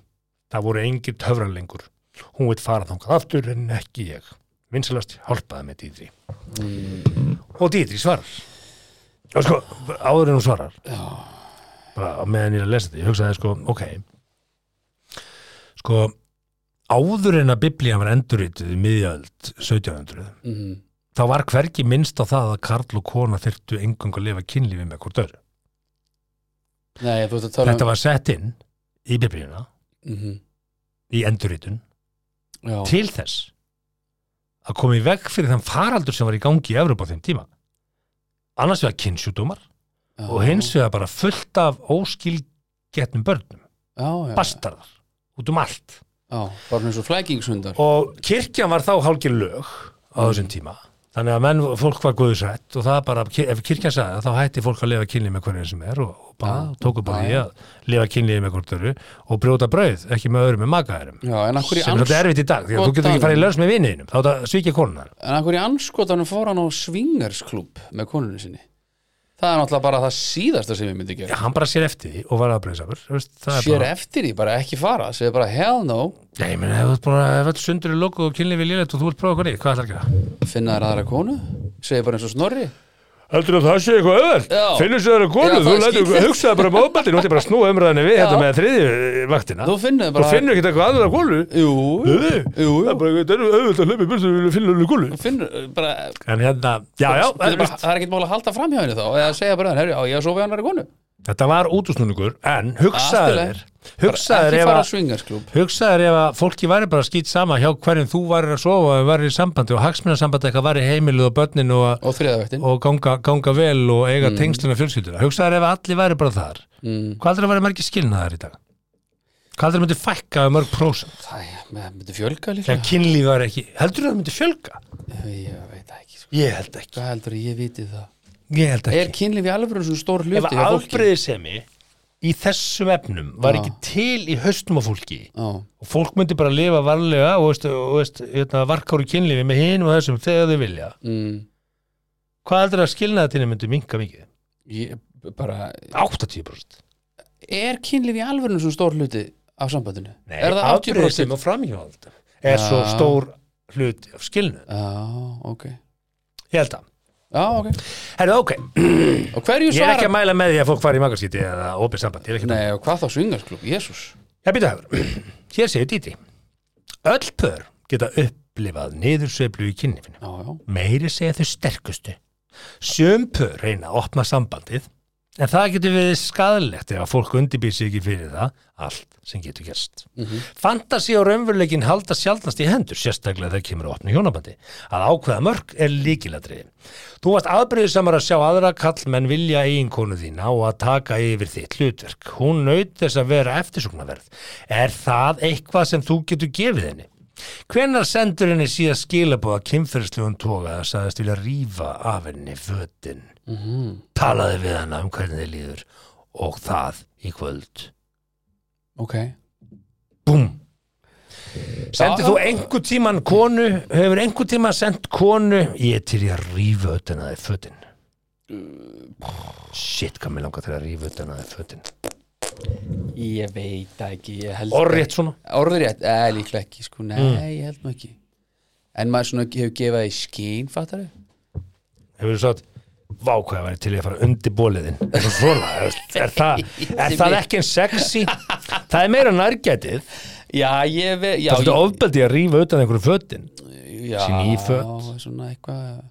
S2: Það voru engir töfrar lengur. Hún veit fara þangað aftur en ekki ég. Vinsalast hjálpaði með Dýðri. Og Dýðri svarar. Og sko, áður en hún svarar. Já. Bara á meðan ég er að lesa þetta. Ég hugsaði sko, ok. Sko, áður en að biblían var endurrituð í miðjöld 1700
S1: Mhm.
S2: þá var hvergi minnst á það að Karl og kona þyrftu engungu að lifa kynlífi með hvort öðru.
S1: Nei, þú veist að tala
S2: Þetta var sett inn í biblíuna,
S1: mm -hmm.
S2: í endurritun,
S1: Já,
S2: til þess að koma í veg fyrir þann faraldur sem var í gangi í Evrópa á þeim tíma. Annars vegar kynnsjúdómar
S1: já,
S2: og hins vegar bara fullt af óskilgetnum börnum,
S1: Já, já,
S2: bastardar, út um allt.
S1: já Bara eins og flækingshundar
S2: Og kirkjan var þá hálgir lög á
S1: Mm.
S2: þessum tíma. Þannig að menn, fólk var guðsrætt og það bara, ef kirkjan sagði það, þá hætti fólk að lifa kynlíf með hvernig sem er og, og bara,
S1: Já.
S2: og tóku bara
S1: Já,
S2: í
S1: já.
S2: að lifa kynlíf með hvort öru og brjóta brauð, ekki með öðrum með makaðurum.
S1: Já, en akkur í
S2: Sem er þetta erfitt í dag, því að þú getur ekki farið í löns með viniðinum, þá þetta svíkja konunar.
S1: En akkur í anskotanum fór hann á swingersklub með konunni sinni Það er náttúrulega bara það síðasta sem ég myndi gera
S2: Já, hann bara sér eftir því og var aðbreyðsamur.
S1: Sér eftir því, bara ekki fara Segir bara hell no,
S2: Já, ég meina, ef þú ert búin að, ef öll sundur er lokuð og kynlífi lélegt og þú vilt prófa hvernig, hvað ætlar að gera?
S1: finna þær aðra konu Segir bara eins og snorri
S2: Heldur að það sé eitthvað öðvöld?
S1: Já.
S2: Finnur sér aðra
S1: Já,
S2: konu,
S1: það
S2: þú
S1: er
S2: lætur
S1: skýrt.
S2: hugsaði bara um ofbeldi, nú ætti bara að snúa umræðinni við
S1: Já.
S2: þetta með þriðju eh, vaktina.
S1: Þú finnur
S2: Þú
S1: bara
S2: finnur ekkert eitthvað aðra konu.
S1: Jú, jú,
S2: Nei,
S1: jú, jú.
S2: Það er bara eitthvað auðvöld að hlaupa í burtu og finna alveg konu.
S1: Þú finnur eh, bara
S2: En hérna, já, já,
S1: Það er bara- það er ekkert mál að halda fram hjá henni þá eða segja bara, herri, á ég að sofa hjá hann konu
S2: þetta var útúsnúningur,
S1: Allt
S2: en
S1: í
S2: hugsaður,
S1: lagi.
S2: hugsaður
S1: ekki
S2: ef
S1: fara að
S2: að
S1: swingersklub
S2: Hugsaður ef að fólki væri bara skýt sama hjá hverjum þú væri að sofa og væri í sambandi og hagsmunasambandi eitthvað væri heimiluð og börnin og, að-
S1: og þriðavektin
S2: og ganga, ganga vel og eiga mm. tengslina fjölskylduna hugsaður ef allir væri bara þar
S1: Mm.
S2: hvað heldur að væri margir skilnaðar í dag hvað heldur að myndi fækka um mörg prósent
S1: það er- með- myndi fjölga líka
S2: þegar kynlíf var ekki, heldur að það myndi fjölga
S1: ég veit það ekki, sko.
S2: ég held ekki,
S1: hvað heldur að ég viti það
S2: ég held
S1: er
S2: ekki.
S1: kynlíf í alvöru svona stór
S2: ef
S1: hluti hjá fólki
S2: afbreyðisemi í þessum efnum var
S1: Já.
S2: ekki til í höstum á fólki
S1: Já,
S2: og fólk myndi bara lifa varlega og, veist, og veist, hérna, varkáru kynlífi með hinn og þessum þegar þau vilja
S1: mm,
S2: hvað heldur að skilnaðatíðin myndi minka mikið
S1: ég, bara,
S2: 80%
S1: er kynlíf í alvöru svona stór hluti af sambandinu
S2: Nei,
S1: er það 80%
S2: afbrýðisemi og framhjóðald er svo
S1: Já.
S2: stór hluti af skilnað
S1: já, ok
S2: ég held að,
S1: já, ok,
S2: herðu ok
S1: og hverju
S2: ég er
S1: svara
S2: ekki að mæla hérna. með því að fólk fari í magarskíti eða opið samband, ég er ekki að
S1: nei, og hvað þá swingersklub, jésús
S2: ég býta hefur, hér segir Díti öll pör geta upplifað niðursveiflu í kynlífinu
S1: já, já,
S2: meiri segja þau sterkustu sum pör reyna að opna sambandið en það getur verið skadalegt ef að fólk undirbýr sig ekki fyrir það allt sem getur gerst Fantasi og raunveruleikin halda sjaldnast í hendur sérstaklega þegar kemur að opna hjónabandi að ákveða mörg er líkilatriði Þú varst aðbreyðisamar að sjá aðra kall menn vilja eiginkonu þína og að taka yfir þitt hlutverk hún naut þess að vera eftirsóknarverð Er það eitthvað sem þú getur gefið henni? Hvenær sendur henni síðan skilabóða kynferðslegum toga að sagðist vilja rífa af henni fötin? Talaði við hana um hvernig þið líður og það í kvöld.
S1: ok
S2: Búm! Sendir
S1: Já,
S2: þú
S1: já.
S2: einhver tíman konu, hefur einhver tíman sendt konu, ég er til ég að rífa utan að þið fötin. Shit, hvað mér langar til að rífa utan að þið fötin.
S1: ég veit það ekki, ég held
S2: Orrétt svona.
S1: Orðrétt, eða líklega ekki sko, nei,
S2: Mm.
S1: ég held nú ekki En maður svona hefur gefað í skín, fattar þau?
S2: Hefur þú sagt, vákvæða væri til í að fara undir bóliðin svona, er, er, það, er það ekki en sexy það er meira nærgætið
S1: já, ég ve... já,
S2: það er svolítið ofbeldið að rífa utan einhverju fötin
S1: já,
S2: sín íföt.
S1: svona eitthvað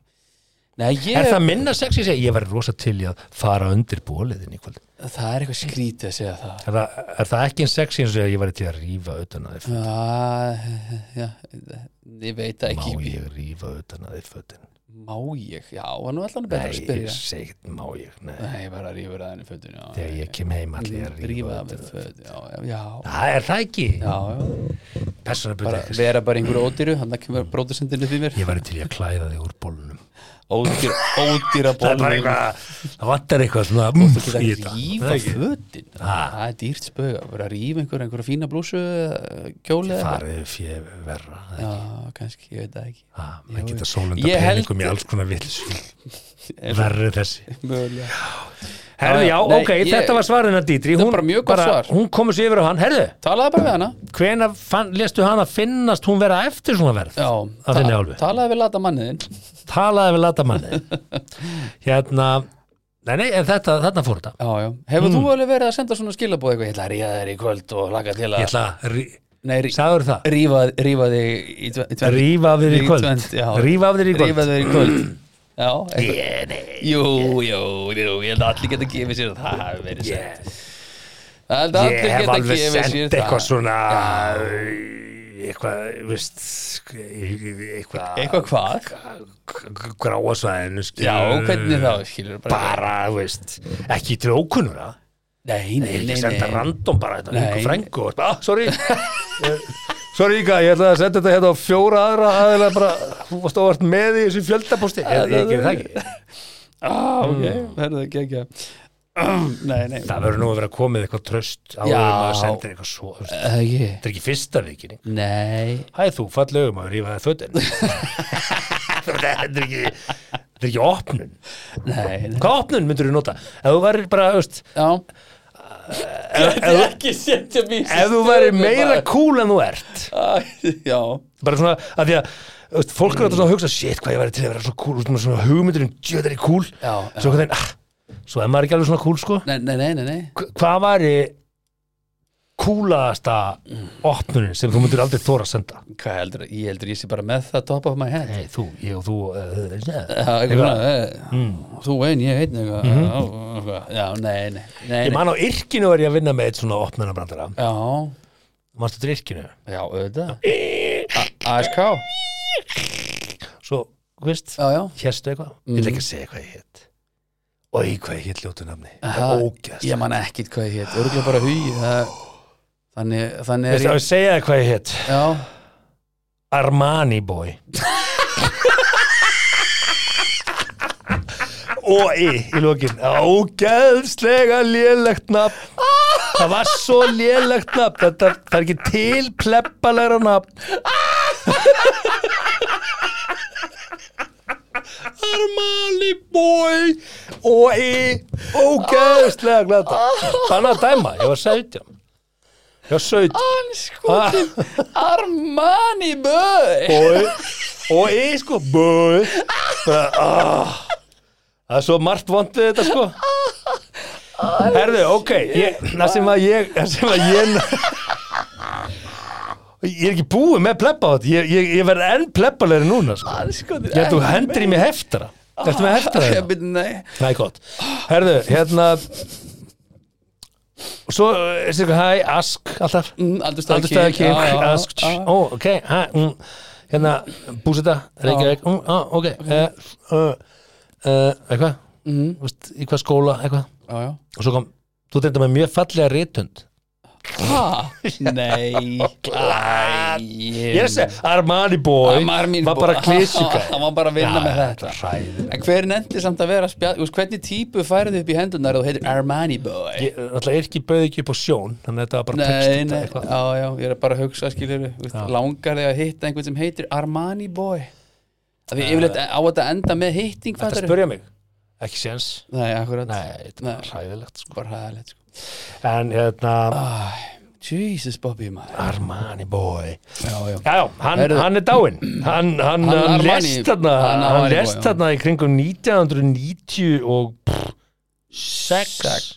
S1: Nei, ég,
S2: er
S1: það...
S2: það minna sexy segja, ég væri rosa til í að fara undir bóliðin í kvöld
S1: er eitthvað skrítið að segja það
S2: er, það- er það ekki en sexy eins og að ég væri til að rífa utan að þið
S1: Já, já, ég veit það
S2: má
S1: ekki
S2: ég rífa utan að þið fötin
S1: Má ég? Já, hann var allan betra að
S2: nei, ég
S1: spyrja
S2: segi, má ég, nei
S1: Nei, ég bara rífur að henni fötun já.
S2: þegar ég kem heim allir að
S1: Rífa
S2: rífa
S1: að
S2: utan
S1: henni
S2: af-
S1: fötun Já, já, já,
S2: það er það ekki
S1: já, já. Bara
S2: persónaböld
S1: vera bara einhverju ódýru Þannig að kemur bróðusendinu því mér
S2: ég væri til í að klæða þig úr bólunum
S1: Ódýra, ódýra
S2: það er bara
S1: bólur
S2: eitthvað, það vantar eitthvað svona mm,
S1: Þú geta
S2: í þetta.
S1: rífa
S2: Það er ekki-
S1: fötin Það er dýrt spöga Bara rífa einhverju einhverju fína blúsu eh, Kjóli eða
S2: farið fjö verra það er
S1: Já,
S2: ekki-
S1: kannski, ég veit það ekki
S2: Ha, menn geta
S1: Ég
S2: sólenda
S1: held-
S2: peningum í alls konar vill verri þessi
S1: Mögulega
S2: herðu já,
S1: Nei,
S2: ok,
S1: ég-
S2: þetta var svarina Dítri
S1: Þetta er bara mjög gott svar.
S2: hún komur sér yfir á hann, herðu,
S1: Talaði bara við hana
S2: hvena fann, lestu hann að finnast hún vera eftir svona verð
S1: Já,
S2: að þinni álfi,
S1: talaði við lata manniðin
S2: talaði við latamanni hérna nei, nei, en þetta, þarna fór þetta
S1: Já, já, hefur þú
S2: Mm.
S1: alveg verið að senda svona skilabóð eitthvað, ég ætla að ríða þér í kvöld og laka til
S2: ég
S1: að
S2: ætla að, rí-
S1: Nei, rí-
S2: sagður það
S1: rífa, rífa þig í tve- í tvend
S2: rífa af þér í
S1: Í
S2: kvöld
S1: tvönd, já.
S2: rífa af þér í kvöld
S1: Rífa þig í kvöld Já, eitthvað
S2: Ég- nei,
S1: Jú, jú, jú, ég held að allir geta gefið sér að það hafi verið
S2: ég-
S1: sent Ég held að
S2: ég
S1: allir
S2: hef
S1: geta
S2: alveg
S1: gefið sér
S2: sendt
S1: það.
S2: eitthvað svona eitthvað, veist eitthvað
S1: Eitthvað hvað?
S2: gráasvæðinu
S1: Já, hvernig þá, skilur bara
S2: Mm. bara, þú veist, ekki til ókunnur það
S1: Nei, nei, nei,
S2: ekki senda
S1: nei
S2: random bara þetta,
S1: Nei.
S2: einhver frængu og, ah, sorry sorry Íka, ég ætlaði að senda þetta hérna á fjóra aðra aðeins bara, þú varst óvart með í þessu fjöldaposti ég, ég gerði það ekki,
S1: Á, ok, verður það ekki Nei, nei
S2: Mm. það verður nú að vera komið eitthvað tröst áður
S1: Já.
S2: um að senda eitthvað svo þú veist.
S1: Það ekki
S2: þetta er ekki fyrsta vikinni
S1: Nei
S2: Hæ þú, fallegum að rífa það fötin Þetta er ekki Þetta er ekki opnun
S1: Nei, nei
S2: Hvað opnun myndur þú nota? Ef þú væri bara, veist
S1: Já
S2: Ef,
S1: Ég
S2: ef,
S1: ekki setja mig í
S2: ef þú
S1: stöðu
S2: væri meira
S1: bara.
S2: cool en þú ert
S1: Æ, Já,
S2: Bara svona, af því að þú veist, Fólk er alltaf svona að hugsa, shit, hvað ég væri til að vera svo cool Þú veist, maður svona hugmyndur um, djöð er ég cool
S1: já, já.
S2: Svo hvernig, ah, svo er maður ekki alveg svona cool, sko
S1: Nei, nei, nei, nei, nei.
S2: Hva- Hvað væri Kúlaðasta opnunin sem þú myndur aldrei þóra að senda
S1: Hvað heldur, ég heldur ég sé bara með það top of my head
S2: Nei, þú, ég og þú uh,
S1: Já, eitthvað Mhm. svona, eh,
S2: Mm.
S1: Þú ein, ég einn eitthvað já, eitthvað. Já, nei, nei, nei,
S2: Ég
S1: nei.
S2: man á Yrkinu var ég að vinna með eitt svona opnunabrandara
S1: Já,
S2: Manstu þetta Yrkinu?
S1: já, auðvitað A- ASK Já,
S2: Svo, þú veist,
S1: já,
S2: hérstu eitthvað Ég ætla ekki að segja hvað ég hétt Og í hvað ég hétt ljótu nafni Það
S1: Aha,
S2: er ógæst
S1: ég man ekkit hvað ég hét Örgulega bara hugi það- Þannig, þannig
S2: Veist,
S1: er
S2: ég... að
S1: ég
S2: segja þér hvað ég hétt
S1: Já,
S2: Armani boy Og í, í lokin Ógæðslega lélegt nafn Það var svo lélegt nafn Þetta, það er ekki til plebbalegra nafn Armani boy Og í Ógæðslega glata Þannig að dæma, ég var 17 Ég var 17
S1: Anskotin Armani Böy
S2: Bói Og ég sko Bói Bara, ah. Það er svo margt vond við þetta sko Herðu, ok ég, Það sem að ég Það sem að ég Ég er ekki búið með pleppa á þetta Ég, ég, ég verð enn pleppalegri núna sko.
S1: Anskotin
S2: Ég held þú hendur í mig heftara Ertu með heftara
S1: Ég
S2: hérna?
S1: byrja, nei
S2: Það er gott Herðu, hérna Svo, er þetta eitthvað, hæ, ask, alltaf
S1: Mm, Aldurstæða
S2: Aldurstæða
S1: já, já, já.
S2: Ask Ó, ok, hæ, mm, hérna Búseta, Reykjavík mm, á, Ok, eh, uh, uh, eitthvað
S1: Mhm.
S2: mm. Vist, Í hvað skóla, eitthvað
S1: Já, já.
S2: Og svo kom, þú þetta með mjög fallega rithund
S1: Ha? Nei
S2: Glad.
S1: Ég
S2: Ég er að segja, Armani boy Var bara
S1: sko.
S2: klísjuka
S1: Hann var bara að vinna með þetta
S2: Hræðir
S1: En hver nefndi samt að vera spjall Þú veist, Hvernig típu færðu upp í hendunar og heitir Armani boy
S2: Ég, alltaf er ekki bauð ekki upp á sjón Þannig að þetta var bara
S1: Nei,
S2: textið
S1: nei,
S2: eitthvað
S1: já, já, ég er bara að hugsa skilur langar þig að hitta einhvern sem heitir Armani boy að því yfirleitt á þetta enda með hitting
S2: Þetta
S1: fattarðu?
S2: spurja mig, ekki séns
S1: Nei, akkurat
S2: Nei, þetta
S1: Nei.
S2: var hræðilegt sko.
S1: bara hæðilegt sko.
S2: En hérna
S1: Jesus Bobby maður
S2: Armani boy
S1: Já, já
S2: Já, já, hann,
S1: Heyrðu.
S2: hann er dáinn Hann, hann, hann,
S1: Hann Armani-
S2: lest þarna
S1: hann
S2: Hann,
S1: Armani boy,
S2: lest
S1: já.
S2: þarna í kringum 1990 og pff, sex
S1: Sex.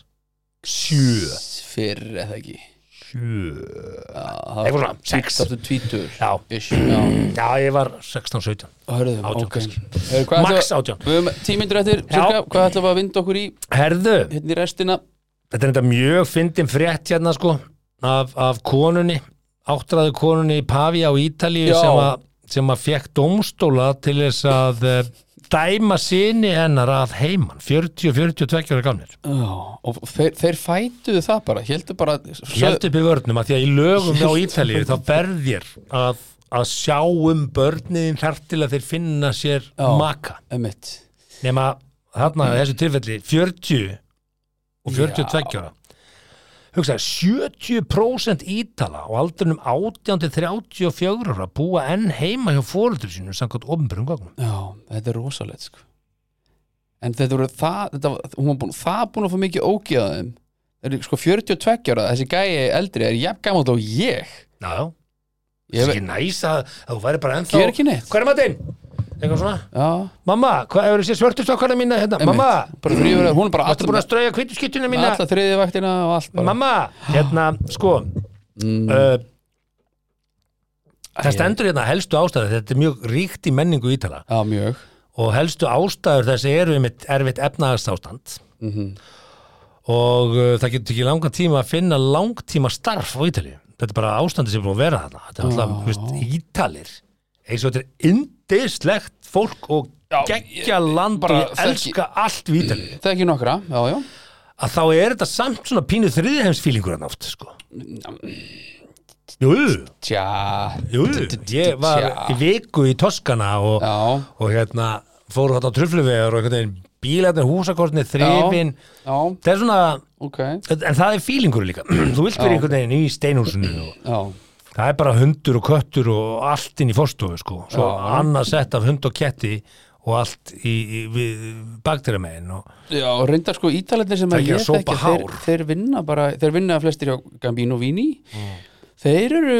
S2: sjö
S1: Fyrr eða ekki
S2: Eitthvað svona, sex
S1: Státtu tvítur
S2: Já.
S1: Ish, já
S2: Já, ég var 16-17
S1: Hörðum,
S2: Átján
S1: ok
S2: kannski.
S1: Heyrðu, hvað
S2: Max
S1: ætlum-
S2: átján.
S1: Við höfum tímyndur eftir cirka, Hvað ætlum við að vinda okkur í
S2: Herðu,
S1: hérna í restina
S2: þetta er þetta mjög fyndin frétt hérna sko af, af konunni, áttræðu konunni í Pavi á Ítalíu
S1: Já.
S2: sem að, sem að fekk dómstóla til þess að eh, dæma sinni hennar að heiman 40-42 ára gamlir
S1: Já, og þeir, þeir fætuðu það bara Hjöldu bara
S2: Hjælt upp í vörnum að því að í lögum á Ítalíu þá verðir að, að sjá um börnin þar til að þeir finna sér
S1: Já.
S2: maka
S1: Emitt
S2: nema þarna í þessu tilfelli 40 og 42 ára hugsaði 70% ítala á aldrinum 18 til 34 ára búa enn heima hjá fóröldur sínum samkvæmt ofnbjörnum gögnum
S1: Já, þetta er rosalegt sko En þetta voru það þetta, var- Hún var búin, það búin að fá mikið ógeðaðum Það er sko 42 ára Þessi gæi eldri er jafn gamall og ég
S2: Já, já,
S1: Ég
S2: það er
S1: veit-
S2: ekki næs að, að þú væri bara ennþá
S1: Ger ekki neitt
S2: Hvað er maður þeim? Eitthvað svona
S1: Já,
S2: Mamma, hvað hefur þessi svörtustokkana mína hérna?
S1: einmitt.
S2: Mamma,
S1: Bara þrýfur Hún er bara
S2: ertu búin að
S1: alltaf
S2: strauja kvítuskittunum mína?
S1: Alla þriði vaktina og allt bara
S2: Mamma, hérna, sko uh, Það stendur hérna helstu ástæður Þetta er mjög ríkt í menningu ítala
S1: Já, mjög
S2: og helstu ástæður þessi eru um erfitt efnaðastástand og uh, það getur ekki langan tíma að finna langtíma starf á Ítali Þetta er bara ástandi sem er búið að vera þarna Þetta er alltaf, þú veist, Ítalir eins og þetta er indislegt fólk og
S1: Já,
S2: geggja land
S1: bara
S2: og ég elska allt við Ítali
S1: Það er ekki nokkra, já, já
S2: að þá er þetta samt svona pínu þriðheimsfílingur hann oft, sko Jú,
S1: Tja
S2: jú, ég var í viku í Toskana og,
S1: Já,
S2: og hérna fóru þarna á trufluvegar og einhvern veginn bílarnir, húsakortnir, þrifin
S1: já,
S2: það er svona,
S1: ok
S2: en það er fílingur líka þú vilt vera einhvern veginn í steinhúsinu og
S1: Já,
S2: það er bara hundur og köttur og allt inn í fórstofu, sko svo
S1: Já.
S2: annað sett af hund og ketti og allt í, í, við bakteramegin og
S1: já og reyndar sko ítalendir sem
S2: Það
S1: að
S2: ekki að
S1: ég
S2: sópa
S1: þekki, þeir,
S2: hár.
S1: þeir vinna bara þeir vinna flestir hjá Gambino Vini
S2: Mm.
S1: Þeir eru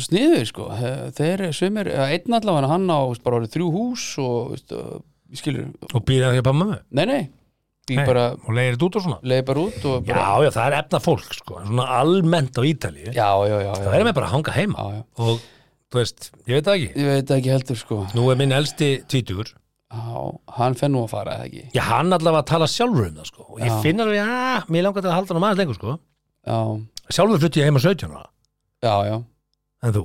S1: sniður sko Þeir sumir, eða einn allavega hann á veist, bara orðið þrjú hús og veist, uh, ég skilur,
S2: og býra því að pamma með
S1: nei nei Því bara
S2: og leiðir þetta út og svona
S1: leiði bara út og bara,
S2: Já, já, það er efna fólk, sko, en svona almennt á Ítalíu,
S1: já, já, já,
S2: það
S1: já,
S2: er með bara að hanga heima
S1: já, já.
S2: og, þú veist, ég veit það ekki
S1: Ég veit ekki heldur sko
S2: Nú er minn elsti tvítugur
S1: Já, hann fenn nú að fara eða ekki
S2: Já, hann allavega tala sjálfur um það, sko og ég
S1: Já.
S2: finn alveg, já, mér langar til að halda hann maður lengur, sko
S1: Já,
S2: Sjálfur flutti ég heima 17 ára,
S1: já, já
S2: en þú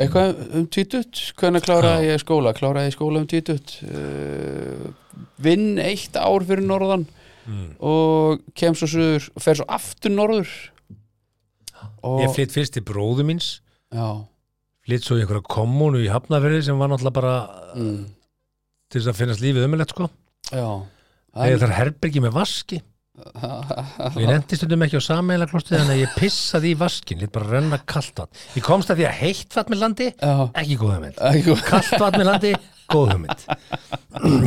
S1: Eitthvað um títut, hvernig kláraði ég skóla? Kláraði ég skóla um títut uh, Vinn eitt ár fyrir norðan
S2: Mm.
S1: og kem svo suður og fer svo aftur norður og,
S2: Ég flytt fyrst til bróðu míns
S1: Já,
S2: flytt svo í einhverja kommunu í Hafnafyrði sem var náttúrulega bara
S1: mm,
S2: til þess að finnast lífið ömulegt, sko
S1: já
S2: Þegar það er herbergi með vaski og ég nefndi stundum ekki á sameila klostið þannig að ég pissaði í vaskin, lít bara renna kalt vatn Ég komst að því að heitt vatn með landi
S1: Já,
S2: ekki góða mynd
S1: ekki
S2: kallt vatn með landi, góð hugmynd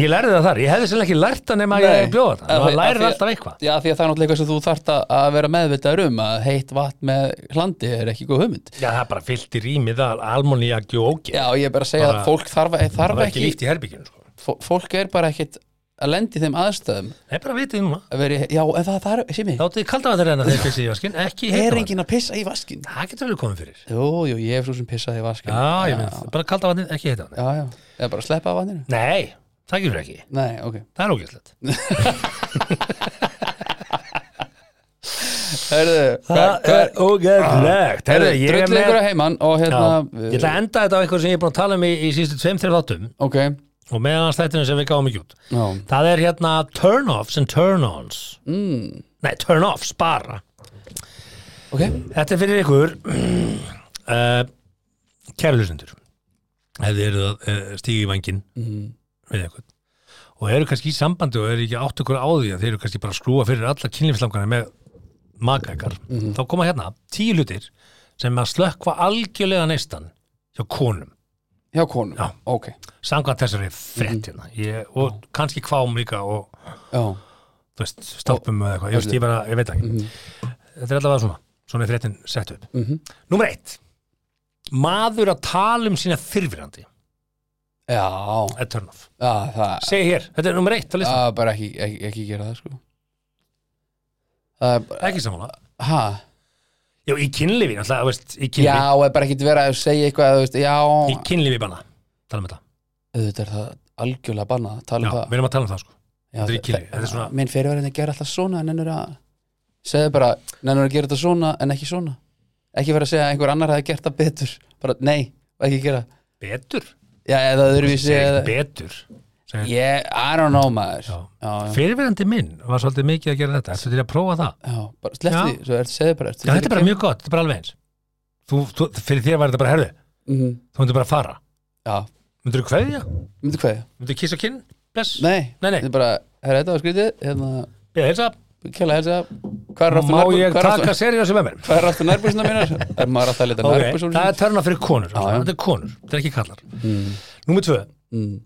S2: ég lærði það þar, ég hefði sérlega ekki lært það nema að
S1: Nei.
S2: ég bjóða það,
S1: Af því- af
S2: maður
S1: því-
S2: lærir alltaf eitthvað
S1: Já, því að það er náttúrulega eitthvað sem þú þarft að- að vera meðvitaður um að heitt vatn með hlandi er ekki góð hugmynd
S2: já, það er bara fyllt í rýmið að almoníaki og ógeð
S1: Já, ég er bara að segja
S2: Bara-
S1: að fólk þarf,
S2: það
S1: þarf
S2: er
S1: ekki,
S2: ekki líft í herbygginu sko.
S1: fó- fólk er bara ekkit að lendi þeim aðstæðum
S2: nei, bara vitið núna,
S1: að veri, já, en það, það er, Simi,
S2: þá þið kallt vatn reyna þegar fyrst í vaskin, ekki heitt
S1: er
S2: vatn
S1: enginn að pissa í vaskin
S2: það getur alveg komið fyrir
S1: Jú, jú, ég hef svo sem pissaði í vaskin
S2: já, ég mynd, bara kallt vatn, ekki heitt vatn
S1: Já, já, eða bara sleppa af vanninu
S2: nei, það getur ekki,
S1: Nei, ok
S2: það er ógeðslegt
S1: Herðu, hvað,
S2: það
S1: hvað
S2: er ógeðslegt
S1: Herðu,
S2: Herðu, ég er
S1: drullu ykkur
S2: með-
S1: að heiman og
S2: Já,
S1: hérna
S2: ég ætla
S1: uh,
S2: að enda þetta á eitthvað sem ég er búin að tala um í, í sístu tveim, þreim þáttum
S1: Ok,
S2: og meðan hans þættinu sem við gáum ekki út
S1: já,
S2: Það er hérna turn-offs and turn-ons mm. Nei, turn-offs bara
S1: ok
S2: Þetta er fyrir ykkur uh, Kærlusendur Ef þið eru að uh, stíga í vangin
S1: Mhm.
S2: Við eitthvað Og eru kannski í sambandi og eru ekki átt ykkur á því að þeir eru kannski bara að skrúa fyrir alla kynlífslangana með maka ykkar Þá koma hérna tíu hlutir sem að slökkva algjörlega neistan hjá konum
S1: Hjá konum,
S2: Já.
S1: ok
S2: Samkvæmt þessari frett hérna Ég, og kannski kvám líka og
S1: Já, Mhm.
S2: þú veist, stoppum eða eitthvað, ég, veist, ég, bara, ég veit það ekki þetta er allavega svona Svona er fréttin sett upp. Mm Númer eitt. Maður að tala um sína þyrfirandi.
S1: Já,
S2: Það er turn off.
S1: já það
S2: Segir hér, þetta er númer eitt að lista.
S1: að bara ekki, ekki, ekki gera það sko Það er bara,
S2: Ekki samanlega.
S1: hæ?
S2: Já, í kynlífi, náttúrulega, þú veist, í
S1: Já,
S2: kynlífi.
S1: er bara ekki vera að segja eitthvað, þú veist,
S2: Í
S1: já
S2: kynlífi banna. Tala um þetta.
S1: Auðvitað er það algjörlega bannað, að
S2: Já,
S1: tala um
S2: við
S1: það
S2: erum að tala um það, sko.
S1: Já,
S2: þetta er í
S1: þe-
S2: kynlífi. Þetta er svona,
S1: Minn fyrirverðin gera alltaf svona en ennur að segja bara, ennur að gera þetta svona en ekki svona ekki vera að segja að einhver annar hefði gert það betur bara nei, ekki gera
S2: betur.
S1: já, eða öðruvísi
S2: Segir
S1: eða,
S2: betur. Segir,
S1: yeah, I don't know maður já,
S2: Já.
S1: já,
S2: Fyrirverandi minn var svolítið mikið að gera þetta Ertu til að prófa það?
S1: já, bara sleppti
S2: Já.
S1: því svo er, segðu bara,
S2: Já, þetta er bara mjög gott, þetta er bara alveg eins þú, þú, Fyrir þér var þetta bara herðu
S1: mm -hmm.
S2: Þú myndir bara fara
S1: já,
S2: Myndir þú kveðja?
S1: myndi hvað
S2: Myndir þú kissa kinn? Bless?
S1: nei,
S2: nei, nei.
S1: þetta er bara, herra þetta var skrítið hérna,
S2: Ég heilsa
S1: kjæla helsa hvað er
S2: Má
S1: aftur
S2: ég taka
S1: nærbúrsina
S2: seriósi með mér?
S1: hvað er aftur nærbúrsina mínar er maður alltaf að leta
S2: Ok,
S1: nærbúrsina
S2: það er törna fyrir konur
S1: já.
S2: Þetta er konur, þetta er ekki kallar Númer tvö
S1: Mm.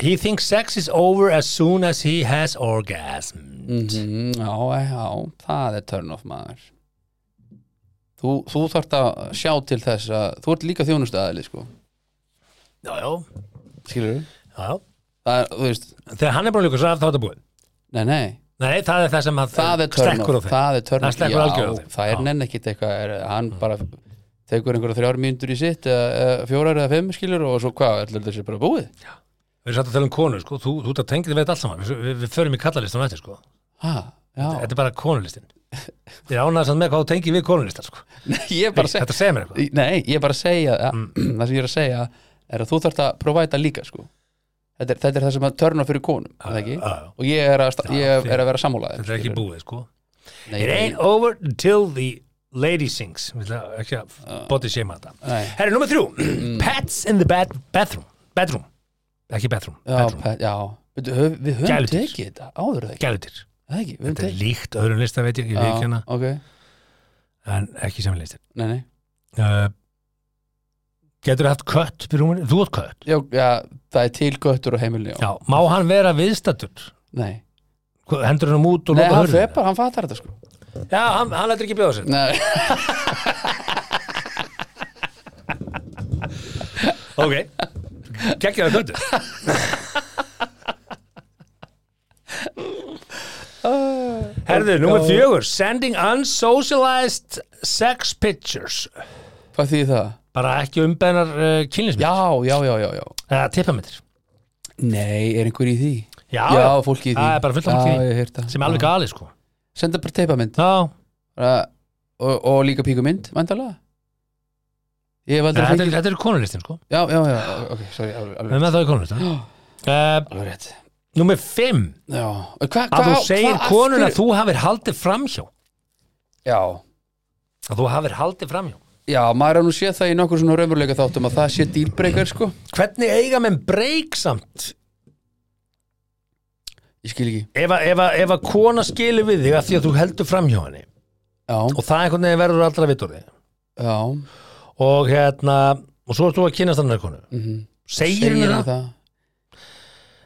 S2: He thinks sex is over as soon as he has orgasm
S1: Mhm, Já, já, það er turn off maður Þú, þú þarft að sjá til þess að þú ert líka þjónustæðali sko
S2: Já, já,
S1: skilur
S2: já, já
S1: það er, þú veist,
S2: Þegar hann er búin að ljúka svo af þá er þetta búin
S1: nei nei
S2: Nei, það er það sem að
S1: það er turn
S2: stekkur á
S1: off,
S2: þeim
S1: það er turn
S2: Það
S1: off
S2: stekkur algjörlega á
S1: já,
S2: þeim.
S1: það
S2: Já. Mm.
S1: er nenn ekkit eitthvað er, hann bara tekur einhverja þrjár mínútur í sitt eða, eða fjórar eða fimm skilur og svo hvað, ætlar þessi bara búið
S2: Við erum satt að tala um konur, sko, þú, þú ert að tengja þig við þetta allt saman Við, við, við förum í kallarlistan á eftir, sko
S1: ha, já,
S2: Þetta er bara konulistin Ég ánægði samt með hvað þú tengir við konulistan, sko
S1: ég er bara að segja
S2: Þetta Mm. segir mér eitthvað
S1: Nei, ég er bara að segja það sem ég er að segja er að þú þarft að provæta líka sko. þetta, er, þetta er það sem að törna fyrir konum er það ekki?
S2: já, já.
S1: og ég er að, sta- ég
S2: þið-
S1: er að vera sammálaði
S2: Þetta er ekki búið, sko
S1: Nei,
S2: It ain't
S1: nei,
S2: over till the lady sings Við ætla ekki að
S1: Ah.
S2: body shame að þetta
S1: nei.
S2: Herri, nummer þrjú
S1: Mm.
S2: Pets in the bed, bathroom Bedroom, ekki bathroom
S1: Já, pe- já. Við, höf, við höfum
S2: Gæludýr.
S1: tekið þetta áður er það ekki,
S2: Gælutir
S1: Er það ekki? Við höfum
S2: Þetta er
S1: tekið
S2: líkt öðrum lista, veit ég, ég veit
S1: Já,
S2: ekki hérna. hana
S1: ok,
S2: En ekki sem listin
S1: nei, nei
S2: uh, Getur haft kött upp í rúminu? Þú átt kött
S1: já, já, það er til göttur á heimilni já.
S2: Já, má hann vera viðstatur?
S1: Nei,
S2: Hendur hann um út og
S1: nei
S2: loka
S1: hann
S2: hurðinni?
S1: fer bara, hann fattar þetta sko
S2: Já, hann, hann lætur ekki bjóða sér
S1: Nei,
S2: Ok, geggjaði köttur Herðu,
S1: Oh,
S2: nummer fjögur Sending unsocialized sex pictures
S1: hvað þýðir það?
S2: Bara ekki umbeðnar uh, kynlismið
S1: Já, já, já, já, já
S2: Eða tippamittir
S1: Nei, er einhver í því?
S2: Já,
S1: Já, fólki í því
S2: Það er bara fullt af
S1: Já,
S2: fólki í því.
S1: ég hef heyrt það.
S2: Sem er alveg
S1: Já.
S2: gali, sko
S1: Senda bara teipamynd
S2: Já,
S1: uh, og, og líka píkumynd væntalega ég hef aldrei
S2: þetta er,
S1: fengið
S2: þetta er konulistin, sko
S1: já, já, já, ok, sorry, alveg,
S2: Við
S1: alveg,
S2: með það er konulistin uh,
S1: alveg rétt
S2: Nummer fimm
S1: já, Og hva, hva,
S2: Að þú segir konun
S1: af
S2: að þú hafir haldið framhjá
S1: hverju- já,
S2: Að þú hafir haldið framhjá
S1: já, maður er nú séð það í nokkur svona raumurleika þáttum að það sé dílbreykar sko,
S2: Hvernig eiga menn breyk samt
S1: ég skil ekki
S2: ef að- ef að ef að kona skilur við þig að því að þú heldur framhjá henni
S1: já,
S2: og það einhvern veginn verður allra vitur þig
S1: já,
S2: og hérna og svo ert þú að kynast annar konu
S1: mm -hmm.
S2: segir henni Mhm. það?
S1: það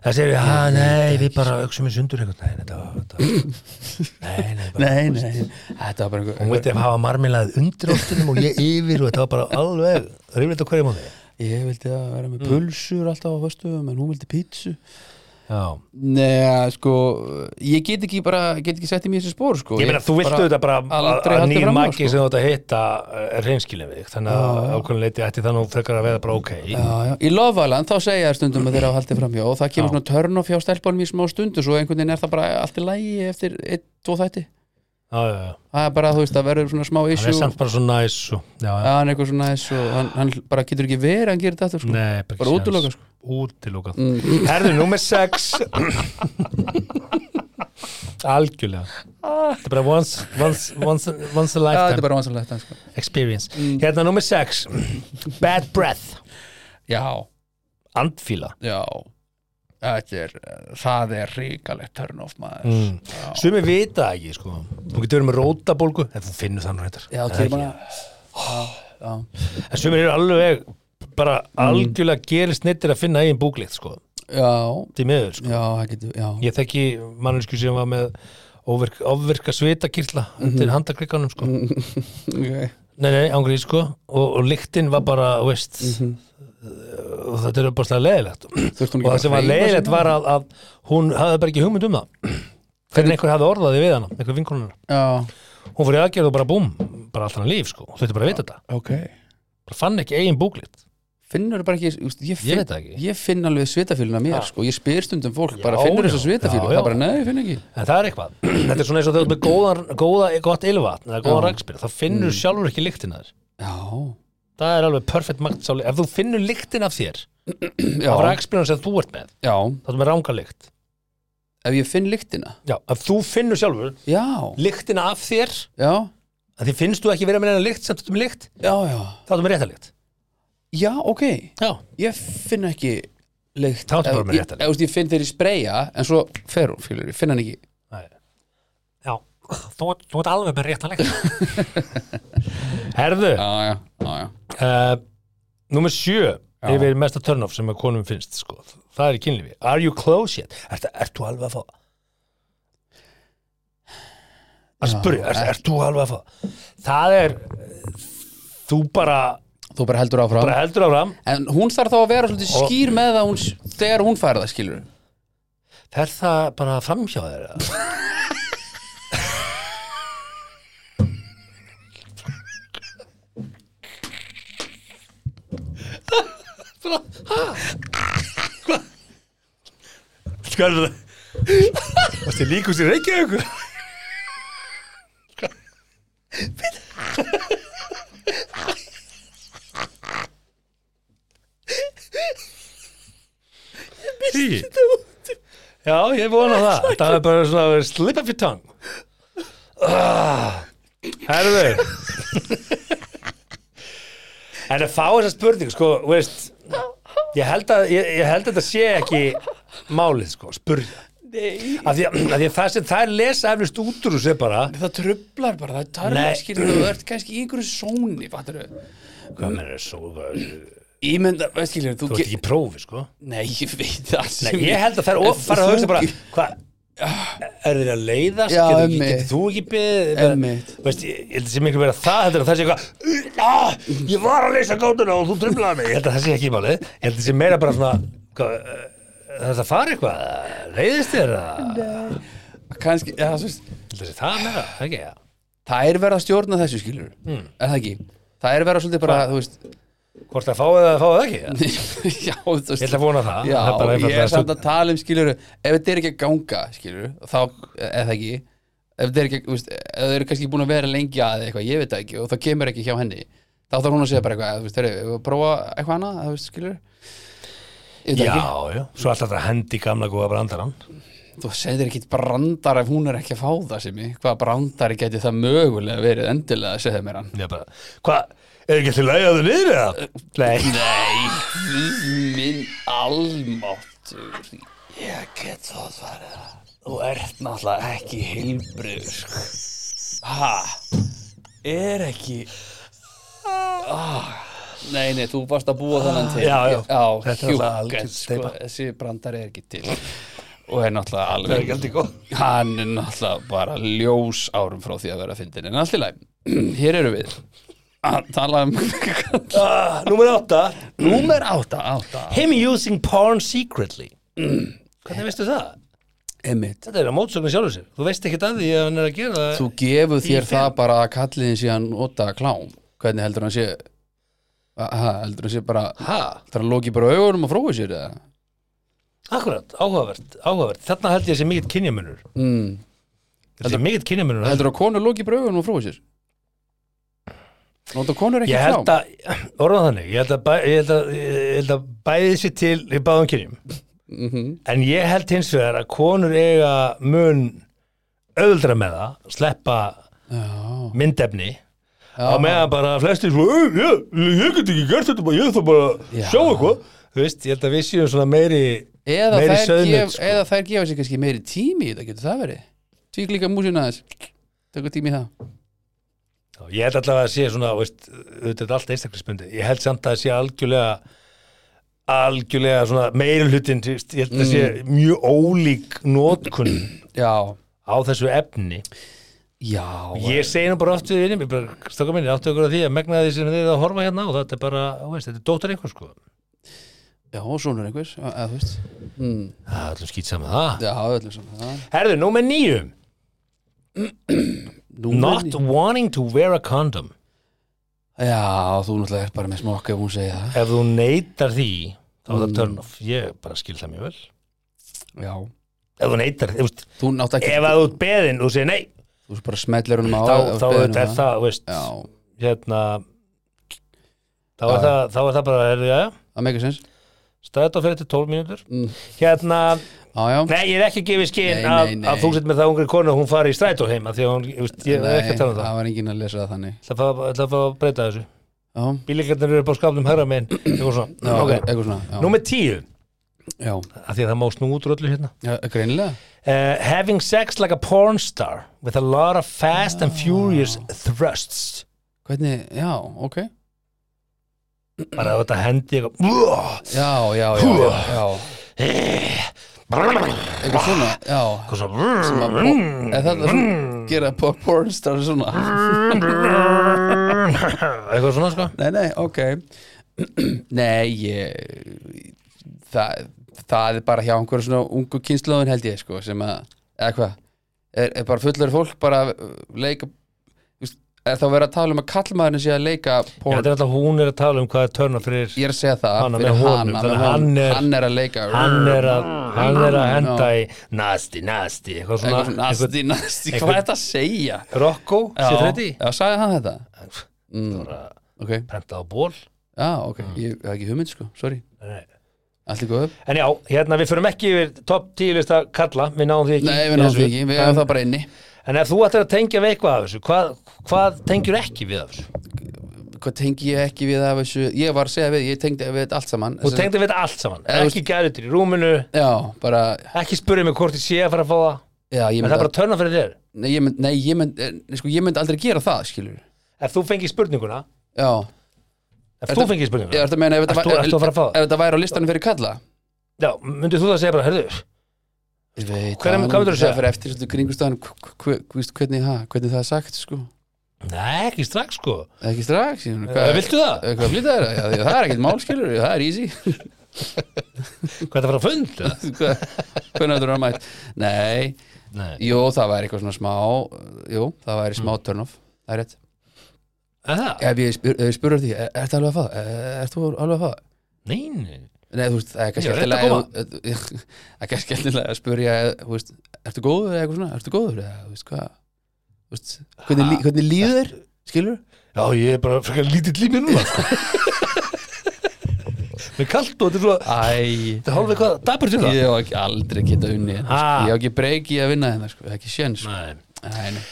S2: það segir við, að nei, við bara auksum við sundur einhvern veginn þetta, var- þetta, var- nei, nei, bara
S1: nei, nei, þetta var bara einhver,
S2: hún veit að hafa marmilaðið undir ástunum og ég yfir og þetta var bara alveg ríflegt á hverju mánu
S1: ég vildi að vera með pulsur alltaf á höstum en hún vildi pítsu
S2: já
S1: Nei, sko, ég get ekki bara, get ekki sett í mér þessi spór, sko
S2: Ég meina, þú viltu þetta bara að-
S1: aldrei
S2: að
S1: haldið
S2: nýjum
S1: fram á,
S2: maki
S1: sko.
S2: sem þú átt að hitta er reynskilin við, þig. þannig að ákveðin leiti ætti þannig að frekar að vera bara ok.
S1: Já, já. Í Lofaland þá segja það stundum að þeirra hafa haldið framhjá og það kemur svona törn og fjá stelpunum í smá stundu svo einhvern veginn er það bara allt í lægi eftir einn, tvo þætti
S2: Já, já, já.
S1: það er bara, þú veist, það verður svona smá
S2: Það er
S1: issue
S2: samt bara svo næs og, já, já.
S1: að hann er eitthvað svona þessu og hann, hann bara getur ekki verið að hann gerir þetta aftur, sko.
S2: Nei,
S1: Bara
S2: séns.
S1: útilokað, sko. Mm.
S2: Útilokað Herðu, nummer 6 Algjörlega Þetta er bara once, once, once, once a
S1: Já, þetta
S2: lifetime
S1: er bara vansanlegt sko.
S2: experience Hérna, nummer 6 Bad breath
S1: Já,
S2: Andfíla
S1: já Þetta er, það er ríkalegt törn of maður
S2: mm. Sumi vita það ekki, sko Þú getur verið með rótabólgu En þú finnur þannig hættar
S1: Já, það er bara Já,
S2: En sumi eru alveg bara
S1: Mm.
S2: algjörlega gerist neittir að finna eigin búkleikt, sko
S1: já,
S2: Því miður, sko
S1: já, það getur, já
S2: Ég þekki mannesku sem var með ofvirk, ofvirka svitakirla undir handakrikanum sko.
S1: okay.
S2: nei, nei, ángrið sko og, og lyktin var bara, þú veist og þetta er bara slega leiðilegt
S1: Þurfti hún ekki
S2: og það
S1: bara
S2: sem
S1: að
S2: var
S1: hreyfa
S2: leiðilegt
S1: sig?
S2: var að, að hún hafði bara ekki hugmynd um það fyrir einhver hafði orðaði við hana, einhver vinkonuna
S1: Já,
S2: hún fór í aðgerð og bara búm, bara allt hann líf sko, þú veitir bara að vita þetta
S1: ok
S2: bara fann ekki eigin búklit
S1: Finnur bara ekki, úst, ég, finn,
S2: Ég veit það ekki.
S1: ég finn alveg svitafíluna mér sko, ég spyr stundum fólk, bara
S2: Já,
S1: finnur
S2: já.
S1: þessu svitafílu
S2: Já,
S1: það
S2: já.
S1: er bara, nei, ég finn ekki
S2: en það er eitthvað, þetta er svona eins og þau með góðan, góða, gott ylvatn eða góðan rækspyr, þá finnur sjálfur ekki lyktin að þér
S1: Já,
S2: það er alveg perfect magnsáli ef þú finnur lyktin af þér af
S1: já,
S2: rækspyrun sem þú ert með
S1: já,
S2: þá erum við ranga lykt
S1: ef ég finn lyktina
S2: já, ef þú finnur sjálfur
S1: Já,
S2: lyktina af þér
S1: já,
S2: að því finnst þú ekki vera með neina lykt sem þú erum lykt
S1: já, já
S2: þá erum við rétta lykt
S1: Já, ok,
S2: já,
S1: ég finn ekki lykt
S2: Þá ertu bara
S1: Ef-
S2: með
S1: ég-
S2: rétta lykt.
S1: ef, úst, Ég finn þeir í spreja, en svo fer hún, fylgur, ég finn hann ekki
S2: já. Þú, þú ert alveg með rétta lykt herðu
S1: Já, já, já, já
S2: uh, númer sjö yfir mesta turn-off sem að konum finnst sko. það er í kynlífi are you close yet? ert ert þú alveg að fá að spyrja, ert er, þú alveg að fá það er eh, þú bara,
S1: Þú bara heldur áfram
S2: bara heldur áfram
S1: En hún þarf þá að vera svolítið
S2: Og-
S1: skýr með það hún, s- þegar hún fær það, skilur
S2: fer það bara framhjá þér eða? Bara, ha? Hva? Hvað er það? Varstu líkus í Reykjavík? Hvað? Já, ég vona það Það er bara svona slip of your tongue ah, Herðu En að fá þessa spurning sko, þú veist Ég held að, ég, ég held að þetta sé ekki málið sko, spurja
S1: Nei
S2: af því, að, af því að það sem þær lesa efnist út úr þessu er bara
S1: það trublar bara, það
S2: Nei.
S1: tarfar skilur þú ert kannski í einhverju sóni, fattur
S2: Hvað með þessu, hvað-
S1: ímynda, veist skilur, þú,
S2: þú ert ekki í prófi sko
S1: nei, ég veit það
S2: Nei, ég held að þær of fara að hugsa bara hvað, er þeir að leiðast
S1: Já,
S2: getur, ekki,
S1: einmitt.
S2: getur þú ekki beðið Bara-
S1: Einmitt.
S2: veist, ég ég held að sé miklu verið að það heldur en það sé eitthvað "Ah, ég var að leysa gátuna og þú drömlaði mig ég held að það sé ekki málið, ég held að sé meira bara svona hvað, eh, það er að fara eitthvað leiðist þér að ég
S1: kannski, ja, það, veist,
S2: held að sé það meira, það ekki ja.
S1: það er verið að stjórna þessu skilur
S2: Hmm.
S1: mm. er það ekki, það er verið að svolítið bara þú veist,
S2: hvort það fáið það, fáið það ekki ja.
S1: já, þú veist
S2: ég held að vona það
S1: já,
S2: það er bara
S1: ég er
S2: einfaldlega
S1: samt
S2: stund-
S1: að tala um skilur ef þetta er ekki að ganga skilur þá, eða það ekki ef þetta er ekki, þú veist, ef það eru kannski búin að vera lengi að eða eitthvað, ég veit það ekki og það kemur ekki hjá henni þá þarf hún að segja bara eitthvað, þú veist, þeir eru að prófa eitthvað annað, þú veist, skilur Ég veit það
S2: já,
S1: ekki.
S2: já, svo alltaf þetta hendi gamla góða brandarann
S1: Þú segir ekki brandar ef hún er ekki að fá það sem ég Hvað brandari geti það mögulega verið endilega að segja mér hann
S2: ég bara, hvað, er ekki til að þú niður eða? nei
S1: Nei, guð minn almáttur Ég get það farið Þú ert náttúrulega ekki heilbrið Ha? Er ekki ah. Nei, nei, þú varst að búa þannan til
S2: Já, já.
S1: já
S2: Þetta er náttúrulega algjör
S1: hjúkens, sko,
S2: steypa.
S1: Þessi brandari er ekki til Og er náttúrulega
S2: það er
S1: alveg
S2: ekki alltaf góð
S1: Hann er náttúrulega bara ljós árum frá því að vera fyndin En allt í læm, hér eru við að tala um
S2: Ah, Númer átta
S1: Númer átta, Mm. átta
S2: Him using porn secretly Hvernig veistu það?
S1: Einmitt
S2: Þetta er að mótsögnu sjálfur sér Þú veist ekki að því að hann er að gera það
S1: Þú gefur þér
S2: Í
S1: það bara að kalliðin sé að nota klám Hvernig heldur hann sé ha, Heldur hann sé bara
S2: Ha,
S1: Heldur hann loki bara augunum og frói sér eða?
S2: akkurat, áhugavert, áhugavert Þarna held ég að sé mikill kynjamunur
S1: Mm.
S2: Þetta er mikill kynjamunur
S1: Heldur hann konur loki bara augunum og frói sér Nota konur ekki
S2: Ég
S1: klám
S2: held að, orðan þannig Ég held að, bæ, ég held að, ég held að bæði sér til í báðum kynjum
S1: Mhm.
S2: En ég held hins vegar að konur eiga mun auðvöldra með það Sleppa
S1: Já,
S2: myndefni á
S1: já,
S2: meðan bara flestir svo, "Ey, ég, ég get ekki gert þetta bara, ég þarf bara að
S1: Já.
S2: sjá eitthvað þú veist, ég held að við séum svona meiri
S1: eða,
S2: meiri
S1: þær
S2: sauðnaut,
S1: gef,
S2: sko.
S1: eða þær gefa sér kannski meiri tími í þetta getur það verið Tvík líka um músina þess Tökur tími í það
S2: Já, ég held allavega að sé svona, þú veist, þetta er allt einstaklisbundi ég held samt að það sé algjörlega Mm. algjörlega svona meiri hlutin, þú veist, ég held að það sé mjög ólík nótkun
S1: Já,
S2: á þessu efni
S1: Já,
S2: ég segi nú bara oft við vinnum, ég bara, stakka minni, áttu ykkur á því að megna því sem þið er að horfa hérna á, þetta er bara, þú veist, þetta er dóttar einhver sko
S1: já, sonur einhvers já, eða, þú veist. Hmm.
S2: það er allum skýt saman það
S1: já, öllum saman já.
S2: herðu, númer nýjum,
S1: Nú
S2: not
S1: er-
S2: wanting to wear a condom
S1: Já, þú náttúrulega er bara með smokk ef hún segir það
S2: ef þú neytar því þá
S1: Mm.
S2: er það turn off, ég bara skil það mjög vel
S1: Já,
S2: ef þú neytar, þú veist,
S1: þú nátt ekki
S2: ef að þú ert beðin og þú segir nei,
S1: Þú bara smellir honum á
S2: þá,
S1: ef
S2: þá
S1: beðin
S2: er
S1: um
S2: það, þú veist
S1: Já,
S2: hérna þá er, það, þá er það bara, er það, já
S1: það meikir sens
S2: staðið á fyrir til 12 mínútur
S1: Mm.
S2: hérna,
S1: Já, já,
S2: nei, ég er ekki að gefa í skinn
S1: Nei,
S2: að,
S1: nei, nei.
S2: að þú sett með það ungri konu og hún fari í strætó heim af því að hún, ég, veist, ég er ekki að tala um það
S1: það var enginn að lesa það þannig
S2: ætla að fá- ætla að fá að breyta þessu
S1: Já,
S2: bílikarnir eru bara skapnum herra minn eitthvað
S1: já
S2: svona, ok,
S1: eitthvað svona Já,
S2: númer 10
S1: já.
S2: af því að það má snú út úr öllu hérna
S1: já greinilega
S2: uh, having sex like a porn star with a lot of fast and furious thrusts
S1: Hvernig, já, ok
S2: bara þetta hendi eitthvað
S1: Já, já, já, já, já. Eitthvað svona, já
S2: og svo
S1: Sem að po-
S2: Mm.
S1: Eða þetta er svona Gera po- pornstar svona
S2: eitthvað svona sko
S1: Nei, nei, ok Nei, ég það, það er bara hjá einhverju svona ungu kynslóðin held ég sko, sem að, eða hvað er, er bara fullur fólk bara að leika þú veist, er þá verið að tala um að kallmaðurinn sé að leika
S2: Já,
S1: porn
S2: þetta er alltaf hún er að tala um hvað er törna fyrir
S1: ég er að segja það
S2: Hana
S1: fyrir
S2: með honum,
S1: hana, með
S2: þannig að hann
S1: honum.
S2: er-
S1: hann er að leika
S2: hann er að, hann er að henda í nasty, nasty, eitthvað svona
S1: eitthvað svona nasti, nasti, hvað
S2: eitthvað-
S1: er þetta að segja?
S2: Rocco, sé þreyti
S1: já, sagði hann þetta? Mm,
S2: það var að
S1: Ok,
S2: prenta á ból
S1: já, ok, ég hef ekki hugmynd sko, sorry
S2: Mm. Nei.
S1: Allt í góðu
S2: en já, hérna við förum ekki yfir topp 10 lista kalla, við náum því ekki
S1: Nei, við náðum því ekki, við hefum
S2: en,
S1: það bara inni
S2: en ef þú ættir að tengja við eitthvað af þessu hvað, hvað tengjur ekki við af þessu
S1: hvað tengi ég ekki við af þessu ég var að segja við, ég tengdi við þetta allt saman
S2: þú tengdi við þetta allt saman,
S1: Eða þú
S2: ekki gærutur í rúminu
S1: já, bara
S2: ekki spurði mig hvort ég sé að fara að fá það
S1: já, ég
S2: en
S1: mynd,
S2: það er bara törna fyrir þér
S1: nei, ég mynd, nei, ég mynd, eh, nei, sko, ég mynd aldrei gera það skilur
S2: ef þú fengir spurninguna
S1: já,
S2: ef
S1: Ertu-
S2: þú fengir
S1: ég
S2: spurninguna
S1: er þetta að meina ef þetta
S2: Ertu-
S1: væ-
S2: ertu að fara að fá það?
S1: ef þetta væri á listanum fyrir kalla
S2: já, myndir þú það segja bara, herðu
S1: Ég veit,
S2: Hver-
S1: það-
S2: hvað myndirðu segja?
S1: það fyrir eftir svolítið kringustæðan hvernig, ha, hvernig það er sagt sko
S2: Nei, ekki strax sko
S1: ekki strax ég, meina,
S2: Hvað, Viltu það?
S1: eh, hvað flýta er það, það er ekkert mál skilur það er easy
S2: Hvað er það að fara að fund? Eh, eða?
S1: Hvað- hvernig þetta er að mæta nei,
S2: Nei
S1: jú, það væri eitthvað svona smá jú, það væri smá turn off það er rétt
S2: Er það?
S1: Ef ég spyr, ef ég spyrir því, er þetta alveg að faða? Er þú alveg að faða?
S2: Nei, nei
S1: Nei, þú veist, það er kannski
S2: Ég
S1: ekki
S2: er rétt að
S1: lega Það er kannski ekki lega að spyrja Þú veist, ertu góður eða eitthvað svona? Ertu góður eða, þú veist, hvað? Þú veist, hvernig, lí, hvernig líður þér? Skilur?
S2: Já, ég er bara frekar lítill í mér núna sko Mér er kalt og þetta er svo
S1: Æ,
S2: Þetta er hálfið hvað, dapur til það?
S1: ég á ekki aldrei geta unni hérna, sko.
S2: Ha.
S1: Ég á ekki breyki að vinna hérna, sko, það er ekki sjens sko.
S2: Nei,
S1: Nei, nei.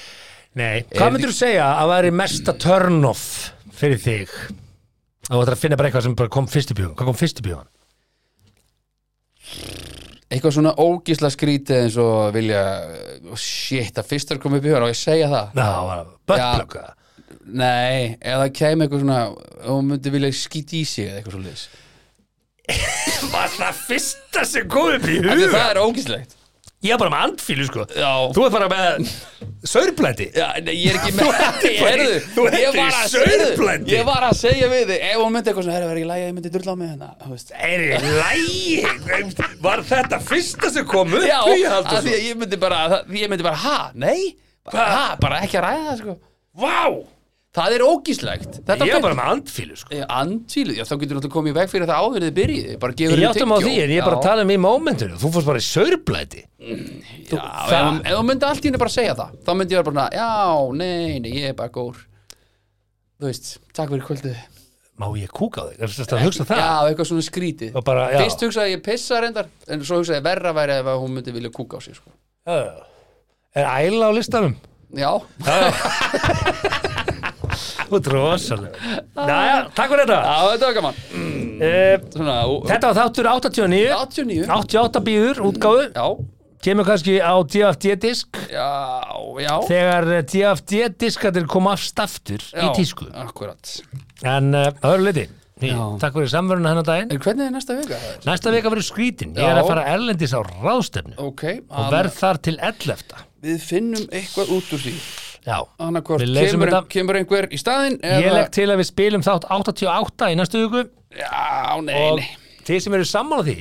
S2: nei. Hvað myndir þú segja að væri mesta turn off fyrir þig? Þú ætlar að finna bara eitthvað sem bara kom fyrst í bjóðan Hvað kom fyrst í bjóðan?
S1: Eitthvað svona ógísla skrítið eins og vilja oh, Shit, að fyrst er komið upp í hugan og ég segja það
S2: Ná, var það buttplug eða?
S1: Nei, eða það kemur eitthvað svona og hún myndi vilja skýti í sig eða eitthvað svo liðs
S2: Var það fyrsta sem kom upp í
S1: Því
S2: hug?
S1: það er ógíslegt
S2: Ég er bara með andfílu sko
S1: Já,
S2: Þú er bara með saurblæti
S1: já nei, ég er ekki með
S2: ertu bara í-
S1: Heyrðu,
S2: þú ertu
S1: ég var að
S2: í
S1: segja-
S2: saurblendi.
S1: Ég var að segja við þig Ef hún myndi eitthvað svona, herra, verður ekki lægja, ég myndi drulla á mig hérna þú veist.
S2: Er ég lægi? Var þetta fyrsta sem kom upp
S1: Já,
S2: í
S1: að
S2: haldur
S1: því
S2: svo?
S1: að ég myndi bara það- Ég myndi bara, ha, nei Ha, bara ekki að ræða það, sko
S2: Vá!
S1: Það er ógíslegt Þetta
S2: Ég var bara með andfílu sko.
S1: Andvílu, já þá getur náttúrulega komið í veg fyrir það áður en þið byrjið Bara gefur
S2: Ég
S1: henni
S2: áttum á
S1: tyggjó.
S2: því en ég er
S1: Já.
S2: bara að tala um í momentinu Þú fórst bara í saurblæti
S1: Já, ef- ef þú myndi allt í henni bara segja það þá myndi ég vera bara, svona, já, nei, nei, ég er bara gór þú veist, takk fyrir kvöldu já,
S2: Má ég kúka á þig? Er þetta að hugsa það?
S1: eitthvað svona skrítið
S2: Og bara, já.
S1: fyrst hugsaði ég pissa reyndar en svo hugsaði ég verra væri ef að hún myndi vilja kúka á sig sko.
S2: Já. Er æla á listanum?
S1: já,
S2: Þú drosalega Næja, takk fyrir þetta
S1: já, þetta var gaman
S2: Eh,
S1: svona, ú-
S2: Þetta var þáttur 89
S1: 89 já,
S2: 88 býður útgáfu
S1: já,
S2: Kemur kannski á DFD-disk
S1: já
S2: Þegar eh, DFD-diskatir kom afstaftur í tísku
S1: akkurat
S2: En uh, öðru liti, Hí,
S1: Já.
S2: Takk fyrir samverðuna hennar daginn
S1: En hvernig er næsta vika?
S2: Næsta veka verður skrítin, ég er
S1: Já.
S2: að fara erlendis á ráðstefnu
S1: Ok,
S2: og
S1: að-
S2: verð þar til 11
S1: við finnum eitthvað út úr því
S2: Já,
S1: Annarkvort,
S2: Við leysum
S1: kemur,
S2: þetta.
S1: kemur einhver í staðinn
S2: ég legg til að við spilum þátt 88 í næstu viku
S1: Já, nei,
S2: og
S1: nei
S2: þið sem eru sammála því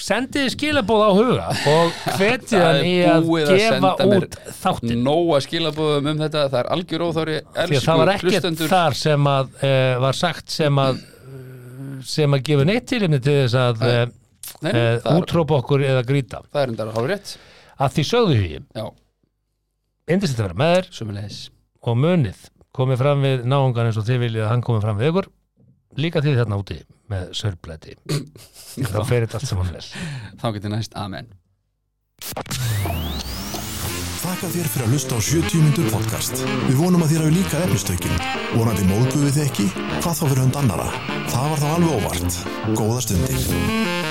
S2: sendiði skilabóð á huga og hvetið
S1: Það
S2: hann
S1: er
S2: í að
S1: búið að
S2: gefa
S1: senda mér
S2: út þáttin
S1: Nóa skilabóðum um þetta, það er algjör óþári
S2: því
S1: Elsku
S2: að það var ekkert
S1: hlustendur
S2: þar sem að uh, var sagt sem að eh, sem að gefa neitt til til þess að uh,
S1: Nei, nei,
S2: uh,
S1: það, er,
S2: útrópa okkur eða grýta
S1: það er endara hálf rétt
S2: að því sögðu hugi,
S1: Já,
S2: indisett að vera með þér
S1: sömulegis
S2: og munið komið fram við náungan eins og þið viljið að hann komið fram við ykkur líka því þarna úti með sörblæti þá fer þetta allt saman vel
S1: Þá getur næst, amen
S4: Þakka þér fyrir að hlusta á 70 myndur podcast. Við vonum að þér hafi líka efnistökin. Vonandi móðguðu þið ekki? Hvað þá fyrir hund annara? Það var þá alveg óvart. Góða stundir.